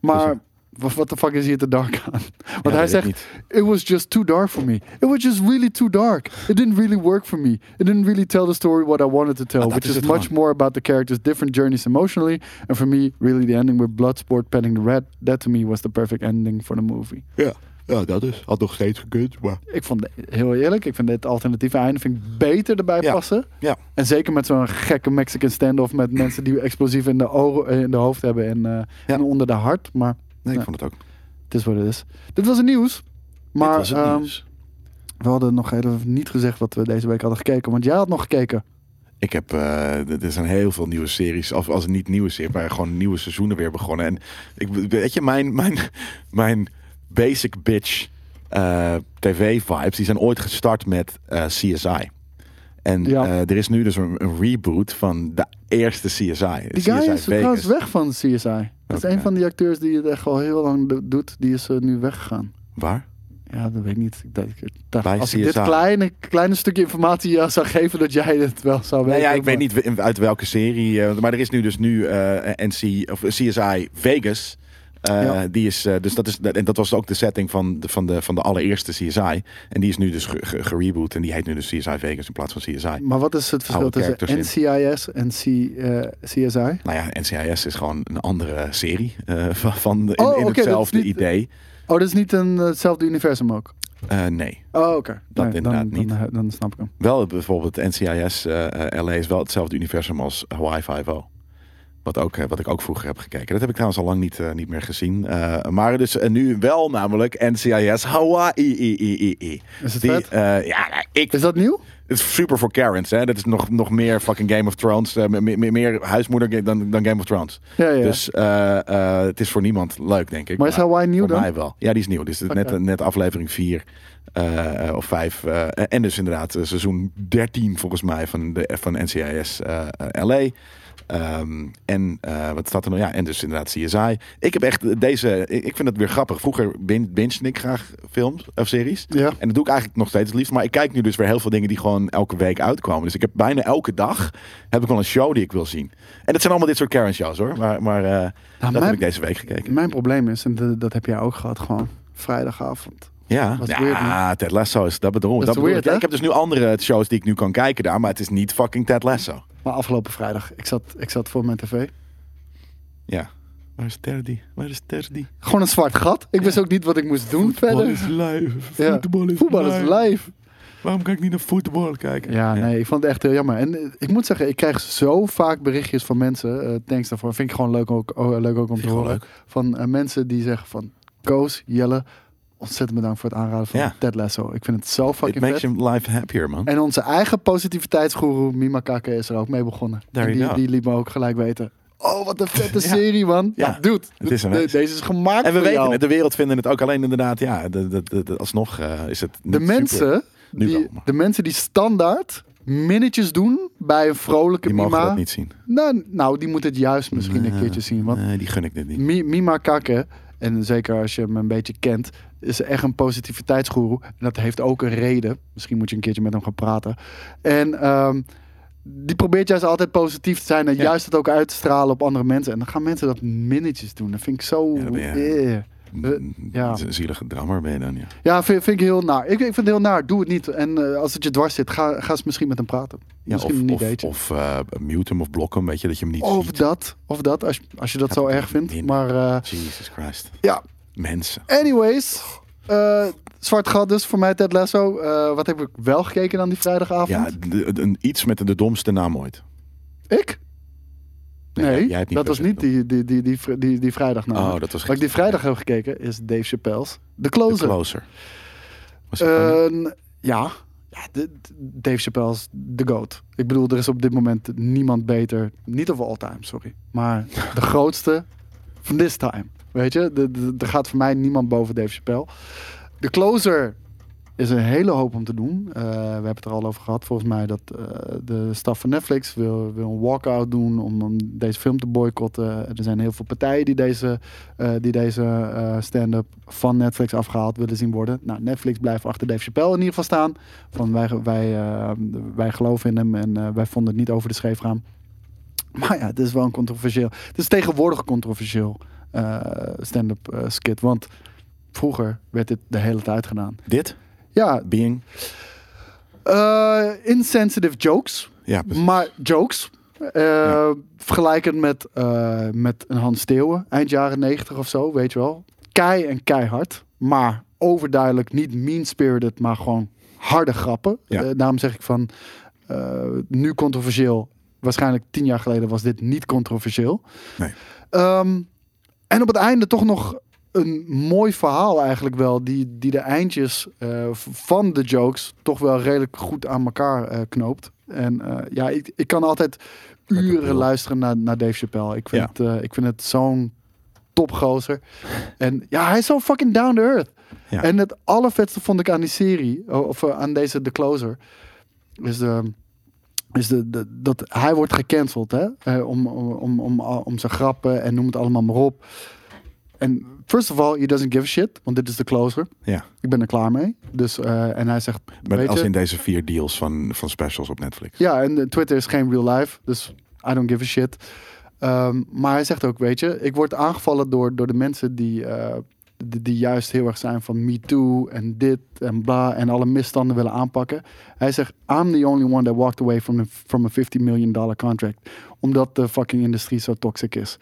Speaker 3: maar wa- wat de fuck is hier te dark aan? Want hij
Speaker 2: weet ik
Speaker 3: zegt, it was just too dark for me. It was just really too dark. It didn't really work for me. It didn't really tell the story what I wanted to tell.
Speaker 2: Ah, dat
Speaker 3: which
Speaker 2: is
Speaker 3: is,
Speaker 2: het
Speaker 3: much
Speaker 2: gewoon.
Speaker 3: more about the characters' different journeys emotionally. And for me, really the ending with Bloodsport petting the rat. That to me was the perfect ending for the movie.
Speaker 4: Ja. ja, dat is. Had nog steeds gekund, maar...
Speaker 3: Ik vond, heel eerlijk, ik vind dit alternatieve einde vind ik beter erbij
Speaker 2: Ja.
Speaker 3: passen.
Speaker 2: Ja,
Speaker 3: En zeker met zo'n gekke Mexican standoff met mensen die explosieven in de, ogen, in de hoofd hebben en, eh, en onder de hart. Maar
Speaker 2: nee, ik
Speaker 3: Ja.
Speaker 2: vond het ook.
Speaker 3: het is wat het is. Dit was het nieuws. Maar
Speaker 4: Dit was het
Speaker 3: ehm,
Speaker 4: nieuws.
Speaker 3: we hadden nog heel even niet gezegd wat we deze week hadden gekeken. Want jij had nog gekeken.
Speaker 2: Ik heb, eh, er er zijn heel veel nieuwe series, of als niet nieuwe series, maar gewoon nieuwe seizoenen weer begonnen. En ik, weet je, mijn, mijn, mijn basic bitch eh, tv-vibes, die zijn ooit gestart met eh, CSI. En
Speaker 3: Ja.
Speaker 2: eh, er is nu dus een, een reboot van de eerste CSI.
Speaker 3: Die guy is trouwens weg van CSI. Dat is
Speaker 2: Oké.
Speaker 3: een van die acteurs die het echt al heel lang do- doet. Die is eh, nu weggegaan.
Speaker 2: Waar?
Speaker 3: Ja, dat weet ik niet. Ik dacht, ik dacht,
Speaker 2: Bij
Speaker 3: als ik dit
Speaker 2: CSI.
Speaker 3: kleine, kleine stukje informatie jou zou geven, dat jij het wel zou weten.
Speaker 2: Nou ja, ik
Speaker 3: maar-
Speaker 2: weet niet we- uit welke serie. eh, maar er is nu dus nu eh, NC, of CSI Vegas. Eh,
Speaker 3: Ja.
Speaker 2: Die is, eh, dus dat is, dat- en dat was ook de setting van de, van de, van de allereerste CSI. En die is nu dus ge- ge- gereboot. En die heet nu dus CSI Vegas in plaats van CSI.
Speaker 3: Maar wat is het verschil
Speaker 2: Oude
Speaker 3: tussen
Speaker 2: characters
Speaker 3: NCIS en C, eh, CSI?
Speaker 2: Nou ja, NCIS is gewoon een andere serie eh, [laughs] van, van de- in,
Speaker 3: Oh,
Speaker 2: in
Speaker 3: oké, dat is
Speaker 2: hetzelfde
Speaker 3: niet-
Speaker 2: idee.
Speaker 3: Oh, dat is niet een, eh, hetzelfde universum ook?
Speaker 2: Eh, nee,
Speaker 3: Oh, oké.
Speaker 2: Dat inderdaad
Speaker 3: dan,
Speaker 2: niet.
Speaker 3: Dan, dan snap ik hem.
Speaker 2: wel bijvoorbeeld NCIS eh, eh, LA is wel hetzelfde universum als Hawaii Five-O. Wat, ook, eh, wat ik ook vroeger heb gekeken. Dat heb ik trouwens al lang niet, eh, niet meer gezien. Eh, maar dus eh, nu wel namelijk NCIS Hawaii. i, i, i, i.
Speaker 3: Is het
Speaker 2: Die,
Speaker 3: vet?
Speaker 2: eh, ja, nou, ik,
Speaker 3: Is dat nieuw?
Speaker 2: het is super voor Karens. Hè? Dat is nog, nog meer fucking Game of Thrones. eh, me- me- meer, huismoeder ga- dan, dan Game of Thrones.
Speaker 3: Ja, ja.
Speaker 2: Dus eh, eh, het is voor niemand leuk, denk ik.
Speaker 3: Maar is Hawaii nieuw
Speaker 2: Voor
Speaker 3: dan?
Speaker 2: mij wel. Ja, die is nieuw. Dus het is net,
Speaker 3: Oké.
Speaker 2: net aflevering 4 eh, of 5. en dus inderdaad eh, seizoen 13 volgens mij van, de, van NCIS eh, eh, LA. Ehm, en eh, wat staat er nog? Ja, en dus inderdaad CSI. Ik heb echt deze... Ik ik vind het weer grappig. Vroeger bin- bingede ik graag films of series.
Speaker 3: Ja.
Speaker 2: En dat doe ik eigenlijk nog steeds het liefst. Maar ik kijk nu dus weer heel veel dingen die gewoon elke week uitkomen. Dus ik heb bijna elke dag heb ik wel een show die ik wil zien. En dat zijn allemaal dit soort Karen shows hoor. Maar, maar eh, dat
Speaker 3: mijn-
Speaker 2: heb ik deze week gekeken.
Speaker 3: Mijn probleem is, en de- dat heb jij ook gehad, gewoon vrijdagavond.
Speaker 2: Ja,
Speaker 3: Wat weird,
Speaker 2: ja Ted Lasso is dat bedoel, dat
Speaker 3: is
Speaker 2: bedoel
Speaker 3: weird,
Speaker 2: ik. Ja,
Speaker 3: hè?
Speaker 2: Ik heb dus nu andere shows die ik nu kan kijken daar. Maar het is niet fucking Ted Lasso.
Speaker 3: Maar afgelopen vrijdag, ik zat, ik zat voor mijn tv.
Speaker 2: Ja. Waar is Terdy? Waar is Terdy?
Speaker 3: Gewoon een zwart gat. Ik wist ook niet wat ik moest doen verder.
Speaker 2: live.
Speaker 3: Ja. Voetbal is live.
Speaker 2: Waarom kan ik niet naar voetbal kijken?
Speaker 3: Ja, nee, ik vond het echt heel jammer. En eh, ik moet zeggen, ik krijg zo vaak berichtjes van mensen. eh thanks daarvoor. Vind ik gewoon leuk, ook, oh, eh, leuk ook om te
Speaker 2: gewoon
Speaker 3: horen. Van eh, mensen die zeggen van... Koos, Jelle, ontzettend bedankt voor het aanraden van
Speaker 2: Ja.
Speaker 3: Ted Lasso. Ik vind het zo
Speaker 2: It
Speaker 3: fucking
Speaker 2: makes
Speaker 3: vet.
Speaker 2: your life happier, man.
Speaker 3: En onze eigen positiviteitsgoeroe Mima Kake is er ook mee begonnen.
Speaker 2: There
Speaker 3: En
Speaker 2: you
Speaker 3: die,
Speaker 2: go.
Speaker 3: die liet me ook gelijk weten. Oh, wat een vette serie, man.
Speaker 2: [laughs]
Speaker 3: Ja,
Speaker 2: Ja,
Speaker 3: dude.
Speaker 2: het is
Speaker 3: de-
Speaker 2: amazing.
Speaker 3: deze is gemaakt
Speaker 2: En we
Speaker 3: voor
Speaker 2: weten
Speaker 3: jou.
Speaker 2: het, de wereld vinden het ook. Alleen inderdaad, ja, de, de, de- de- alsnog eh, is het niet
Speaker 3: de
Speaker 2: super.
Speaker 3: mensen,
Speaker 2: Nu
Speaker 3: die,
Speaker 2: wel, maar-
Speaker 3: de mensen die standaard minnetjes doen bij een vrolijke
Speaker 2: die
Speaker 3: Mima.
Speaker 2: mogen dat niet zien.
Speaker 3: Nou, nou, die moet het juist misschien een
Speaker 2: Nee.
Speaker 3: keertje zien. Want
Speaker 2: Nee, die gun ik dit niet.
Speaker 3: Mi- Mima Kakke, en zeker als je hem een beetje kent, is echt een positiviteitsgoeroe. En dat heeft ook een reden. Misschien moet je een keertje met hem gaan praten. En ehm, die probeert juist altijd positief te zijn en
Speaker 2: Ja.
Speaker 3: juist het ook uit te stralen op andere mensen. En dan gaan mensen dat minnetjes doen. Dat vind ik zo...
Speaker 2: Ja,
Speaker 3: Ja,
Speaker 2: dan ben
Speaker 3: ja.
Speaker 2: je- Mm.
Speaker 3: ja.
Speaker 2: ja. Zielige drammer ben je dan, ja.
Speaker 3: vind, vind ik heel naar. Ik, ik vind het heel naar. Doe het niet. En eh, als het je dwars zit, ga, ga eens misschien met hem praten.
Speaker 2: ja
Speaker 3: misschien
Speaker 2: of
Speaker 3: een
Speaker 2: of,
Speaker 3: ideetje.
Speaker 2: of eh, mute hem of blok hem, weet je, dat je hem niet
Speaker 3: Of
Speaker 2: ziet.
Speaker 3: dat, of dat, als, als je dat zo
Speaker 2: dat
Speaker 3: erg vindt.
Speaker 2: minder.
Speaker 3: Maar eh,
Speaker 2: Jesus Christ.
Speaker 3: ja,
Speaker 2: Mensen.
Speaker 3: anyways. eh, zwart gat dus voor mij, Ted Lasso. Eh, wat heb ik wel gekeken dan die
Speaker 2: Ja,
Speaker 3: vrijdagavond?
Speaker 2: de- de- een- iets met de domste naam ooit.
Speaker 3: Ik? Nee,
Speaker 2: jij- jij hebt niet
Speaker 3: dat was
Speaker 2: gezien,
Speaker 3: niet die, die, die, die, vri- die, die vrijdag namelijk.
Speaker 2: Oh, dat was
Speaker 3: Wat ik die
Speaker 2: gisteren.
Speaker 3: vrijdag heb gekeken is Dave Chappelle's The
Speaker 2: The
Speaker 3: Closer.
Speaker 2: Closer. Was het funny?
Speaker 3: Eh, ja, ja de- de- Dave Chappelle is de GOAT. Ik bedoel, er is op dit moment niemand beter. Niet of all time, sorry. Maar
Speaker 2: [laughs]
Speaker 3: de grootste van this time. Weet je, De- de- er gaat voor mij niemand boven Dave Chappelle. De closer is een hele hoop om te doen. Eh, we hebben het er al over gehad, volgens mij, dat eh, de staf van Netflix wil, wil een walkout doen om, om deze film te boycotten. Er zijn heel veel partijen die deze, eh, die deze eh, stand-up van Netflix afgehaald willen zien worden. Nou, Netflix blijft achter Dave Chappelle in ieder geval staan. Van wij, wij, eh, wij geloven in hem en eh, wij vonden het niet over de scheef gaan. Maar ja, het is wel een controversieel. Het is tegenwoordig een controversieel eh, stand-up eh, skit. Want vroeger werd dit de hele tijd gedaan.
Speaker 2: Dit?
Speaker 3: Ja,
Speaker 2: Being?
Speaker 3: eh, insensitive jokes.
Speaker 2: Ja, precies.
Speaker 3: Maar jokes. Eh,
Speaker 2: Ja.
Speaker 3: Vergelijkend met, eh, met een Hans Steeuwen, eind jaren 90 of zo, weet je wel. Kei en keihard, maar overduidelijk niet mean-spirited, maar gewoon harde grappen.
Speaker 2: Ja.
Speaker 3: Eh, daarom zeg ik van, eh, nu controversieel. Waarschijnlijk tien jaar geleden was dit niet controversieel.
Speaker 2: Nee.
Speaker 3: Ehm, en op het einde toch nog een mooi verhaal eigenlijk wel. Die, die de eindjes eh, v- van de jokes toch wel redelijk goed aan elkaar eh, knoopt. En eh, ja, ik, ik kan altijd uren
Speaker 2: bril.
Speaker 3: luisteren naar, naar Dave Chappelle. Ik vind,
Speaker 2: Ja.
Speaker 3: het, eh, ik vind het zo'n topgozer. en ja, hij is zo fucking down to earth.
Speaker 2: Ja.
Speaker 3: En het allervetste vond ik aan die serie, of eh, aan deze The Closer, is de is de, de- dat hij wordt gecanceld hè? Eh, om, om, om, om zijn grappen en noem het allemaal maar op. En first of all, he doesn't give a shit, want dit is de closer.
Speaker 2: Ja.
Speaker 3: Ik ben er klaar mee. Dus, eh, en hij zegt,
Speaker 2: Maar
Speaker 3: weet
Speaker 2: als
Speaker 3: je,
Speaker 2: in deze vier deals van, van specials op Netflix.
Speaker 3: ja, en eh, Twitter is geen real life, dus I don't give a shit. Ehm, maar hij zegt ook, weet je, ik word aangevallen door, door de mensen die, eh, die, die juist heel erg zijn van me too en dit en bla en alle misstanden willen aanpakken. Hij zegt, I'm the only one that walked away from, a- from a 50 million dollar contract. Omdat de fucking industrie zo toxic is.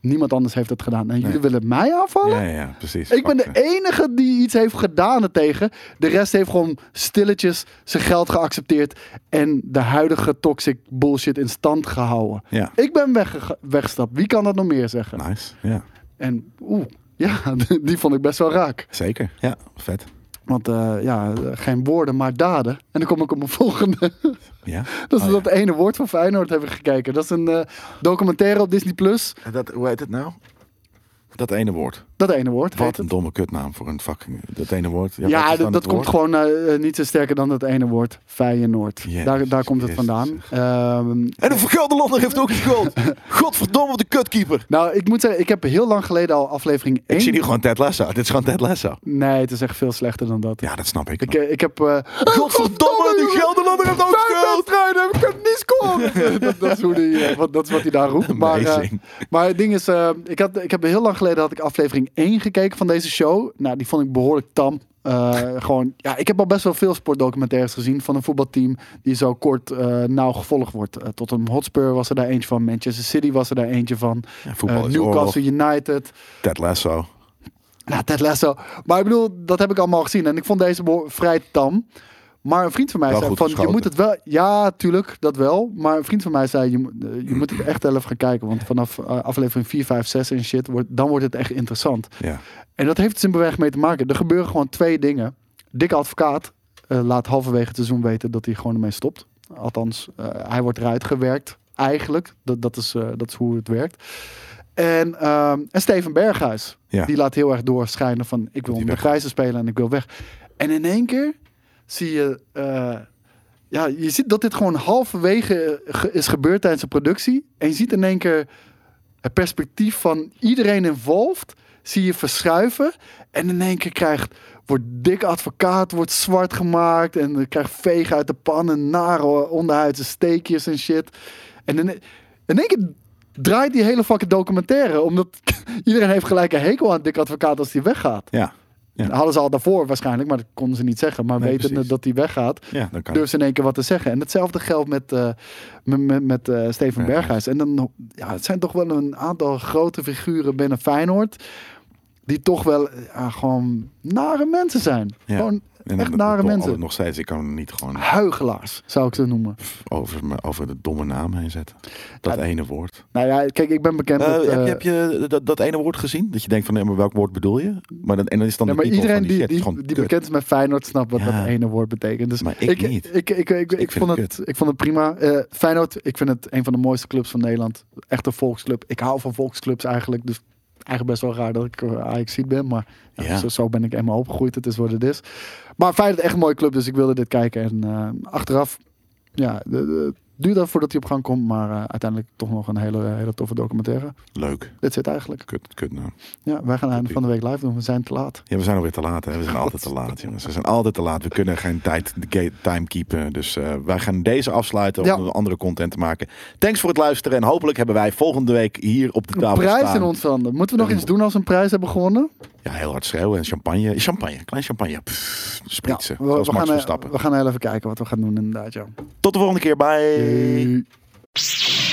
Speaker 3: Niemand anders heeft dat gedaan. En jullie willen mij aanvallen?
Speaker 2: Ja, ja, ja, precies.
Speaker 3: Ik ben de
Speaker 2: Fuck, eh.
Speaker 3: enige die iets heeft gedaan er tegen. De rest heeft gewoon stilletjes zijn geld geaccepteerd. En de huidige toxic bullshit in stand gehouden.
Speaker 2: eh, Ja. Nou.
Speaker 3: Ik ben wegge- weggestapt. Wie kan dat nog meer zeggen?
Speaker 2: Nice, ja.
Speaker 3: En oeh, ja, [laughs] die vond ik best wel raak.
Speaker 2: Zeker. Ja, vet.
Speaker 3: Want eh, ja, geen woorden, maar daden. En dan kom ik op mijn volgende. [laughs]
Speaker 2: Ja.
Speaker 3: dat is
Speaker 2: Oh,
Speaker 3: dat ene woord van Feyenoord hebben gekeken. Dat is een eh, documentaire op Disney+. Plus.
Speaker 2: ja. Dat, hoe heet het nou? Dat ene woord.
Speaker 3: Dat ene woord. heet
Speaker 2: Wat
Speaker 3: het.
Speaker 2: een domme kutnaam voor een fucking... Dat ene woord.
Speaker 3: Ja,
Speaker 2: wat is dan
Speaker 3: dat, dat
Speaker 2: het
Speaker 3: komt
Speaker 2: woord?
Speaker 3: gewoon eh, eh, niet zo sterker dan dat ene woord, Feyenoord.
Speaker 2: Jezus
Speaker 3: daar, daar komt het
Speaker 2: Christus,
Speaker 3: vandaan. Ehm,
Speaker 2: En de Gelderlander heeft ook gescoord. [laughs] Godverdomme, de kutkeeper.
Speaker 3: nou, ik moet zeggen, ik heb heel lang geleden al aflevering 1...
Speaker 2: Ik zie nu gewoon Ted Lasso. Dit is gewoon Ted Lasso.
Speaker 3: Nee, het is echt veel slechter dan dat.
Speaker 2: Ja, dat snap ik.
Speaker 3: Ik, eh, ik heb... eh
Speaker 2: Godverdomme, die Gelderlander heeft ook
Speaker 3: Vijf
Speaker 2: gescoord.
Speaker 3: wedstrijden, ik heb niet scoren. [laughs] dat, dat, is hoe die, eh, wat, dat is wat hij daar roept. Maar, eh,
Speaker 2: Amazing.
Speaker 3: maar het ding is, eh, ik, had, ik heb heel lang geleden had ik aflevering 1 gekeken van deze show. Nou, die vond ik behoorlijk tam. Eh, gewoon, ja, ik heb al best wel veel sportdocumentaires gezien van een voetbalteam die zo kort eh, nauw gevolgd wordt. Eh, tot een Hotspur was er daar eentje van, Manchester City was er daar eentje van,
Speaker 2: Ja, voetbal
Speaker 3: eh,
Speaker 2: is
Speaker 3: Newcastle United.
Speaker 2: Ted Lasso.
Speaker 3: Nou, Ted Lasso. Maar ik bedoel, dat heb ik allemaal gezien. En ik vond deze beho- vrij tam. Maar een vriend van mij
Speaker 2: Wel
Speaker 3: zei
Speaker 2: goed
Speaker 3: van, je
Speaker 2: geschoten.
Speaker 3: moet het wel... Ja, tuurlijk, dat wel. Maar een vriend van mij zei, je, moet-
Speaker 2: [clears throat]
Speaker 3: eh, je moet het echt wel even gaan kijken. Want vanaf eh, aflevering 4, 5, 6 en shit, wordt, dan wordt het echt interessant.
Speaker 2: Ja.
Speaker 3: En dat heeft simpelweg mee te maken. Er gebeuren gewoon twee dingen. Dikke advocaat eh, laat halverwege het seizoen weten dat hij gewoon ermee stopt. Althans, eh, hij wordt eruit gewerkt. Eigenlijk, dat, dat, is, eh, dat is hoe het werkt. En, ehm, en Steven Berghuis,
Speaker 2: Ja.
Speaker 3: die laat heel erg doorschijnen van... ik
Speaker 2: die
Speaker 3: wil om de
Speaker 2: weg.
Speaker 3: prijzen spelen en ik wil weg. En in één keer zie je... eh, ja, je ziet dat dit gewoon halverwege ge- is gebeurd tijdens de productie. En je ziet in één keer het perspectief van iedereen involved zie je verschuiven. En in één keer krijgt, wordt dik advocaat, wordt zwart gemaakt. En dan krijgt veeg uit de pan en nare onderhuidse steekjes en shit. En in, in één keer draait die hele fucking documentaire. Omdat [laughs] iedereen heeft gelijk een hekel aan dik advocaat als die weggaat.
Speaker 2: Ja. Ja.
Speaker 3: Dat hadden ze al daarvoor waarschijnlijk, maar dat konden ze niet zeggen. Maar
Speaker 2: Nee,
Speaker 3: wetende
Speaker 2: precies.
Speaker 3: dat die weggaat,
Speaker 2: Ja, dan kan
Speaker 3: durf ze in één keer wat te zeggen. En hetzelfde geldt met, eh, met, met, met, eh, Steven
Speaker 2: Berghuis.
Speaker 3: Berghuis. En dan ja, het zijn toch wel een aantal grote figuren binnen Feyenoord. Die toch wel eh, ja, gewoon nare mensen zijn.
Speaker 2: Ja.
Speaker 3: Gewoon
Speaker 2: En
Speaker 3: echt
Speaker 2: dat-
Speaker 3: nare
Speaker 2: dat-
Speaker 3: mensen.
Speaker 2: Nog steeds, ik kan niet gewoon
Speaker 3: huigelaars, zou ik ze noemen.
Speaker 2: over, me, over de domme naam heen zetten. Dat ene woord.
Speaker 3: Nou ja, kijk, ik ben bekend met...
Speaker 2: heb
Speaker 3: eh,
Speaker 2: je, heb je dat, dat ene woord gezien? Dat je denkt van, nee, maar welk woord bedoel je? Maar dan, en dan is dan
Speaker 3: ja,
Speaker 2: de
Speaker 3: maar
Speaker 2: titel
Speaker 3: iedereen
Speaker 2: van die,
Speaker 3: die,
Speaker 2: shit is
Speaker 3: die,
Speaker 2: gewoon
Speaker 3: die
Speaker 2: kut.
Speaker 3: bekend is met Feyenoord snapt wat
Speaker 2: Ja.
Speaker 3: dat ene woord betekent. Dus
Speaker 2: Maar ik niet.
Speaker 3: Ik, ik, ik, ik,
Speaker 2: vind
Speaker 3: vond
Speaker 2: het
Speaker 3: het, ik vond het prima. Eh, Feyenoord, ik vind het een van de mooiste clubs van Nederland. Echt een volksclub. Ik hou van volksclubs eigenlijk. Dus Eigenlijk best wel raar dat ik eh, Ajaxiet ben, maar ja,
Speaker 2: Ja.
Speaker 3: Zo, zo ben ik eenmaal opgegroeid. Het is wat het is. Maar Feyenoord echt een mooie club, dus ik wilde dit kijken. En eh, achteraf, ja, de, de, duurt dat voordat hij op gang komt, maar eh, uiteindelijk toch nog een hele, hele toffe documentaire.
Speaker 2: Leuk.
Speaker 3: Dit zit eigenlijk.
Speaker 2: Kut, kut nou.
Speaker 3: Ja, wij gaan einde van de week live doen. We zijn te laat.
Speaker 2: Ja, we zijn alweer te laat. Hè? We zijn altijd te laat, jongens. We zijn altijd te laat. We kunnen geen tijd, ge- time keepen. Dus eh, wij gaan deze afsluiten om
Speaker 3: Ja.
Speaker 2: andere content te maken. Thanks voor het luisteren. En hopelijk hebben wij volgende week hier op de
Speaker 3: Een
Speaker 2: tafel
Speaker 3: prijs
Speaker 2: staan.
Speaker 3: in ons handen. Moeten we nog iets doen als we een prijs hebben gewonnen?
Speaker 2: Ja, heel hard schreeuwen. En champagne. Champagne. Klein champagne. Pff, spritsen.
Speaker 3: we,
Speaker 2: zoals
Speaker 3: we
Speaker 2: Max
Speaker 3: gaan, eh,
Speaker 2: Verstappen.
Speaker 3: we gaan heel even kijken wat we gaan doen inderdaad, ja.
Speaker 2: Tot de volgende keer. Bye.
Speaker 3: Hey.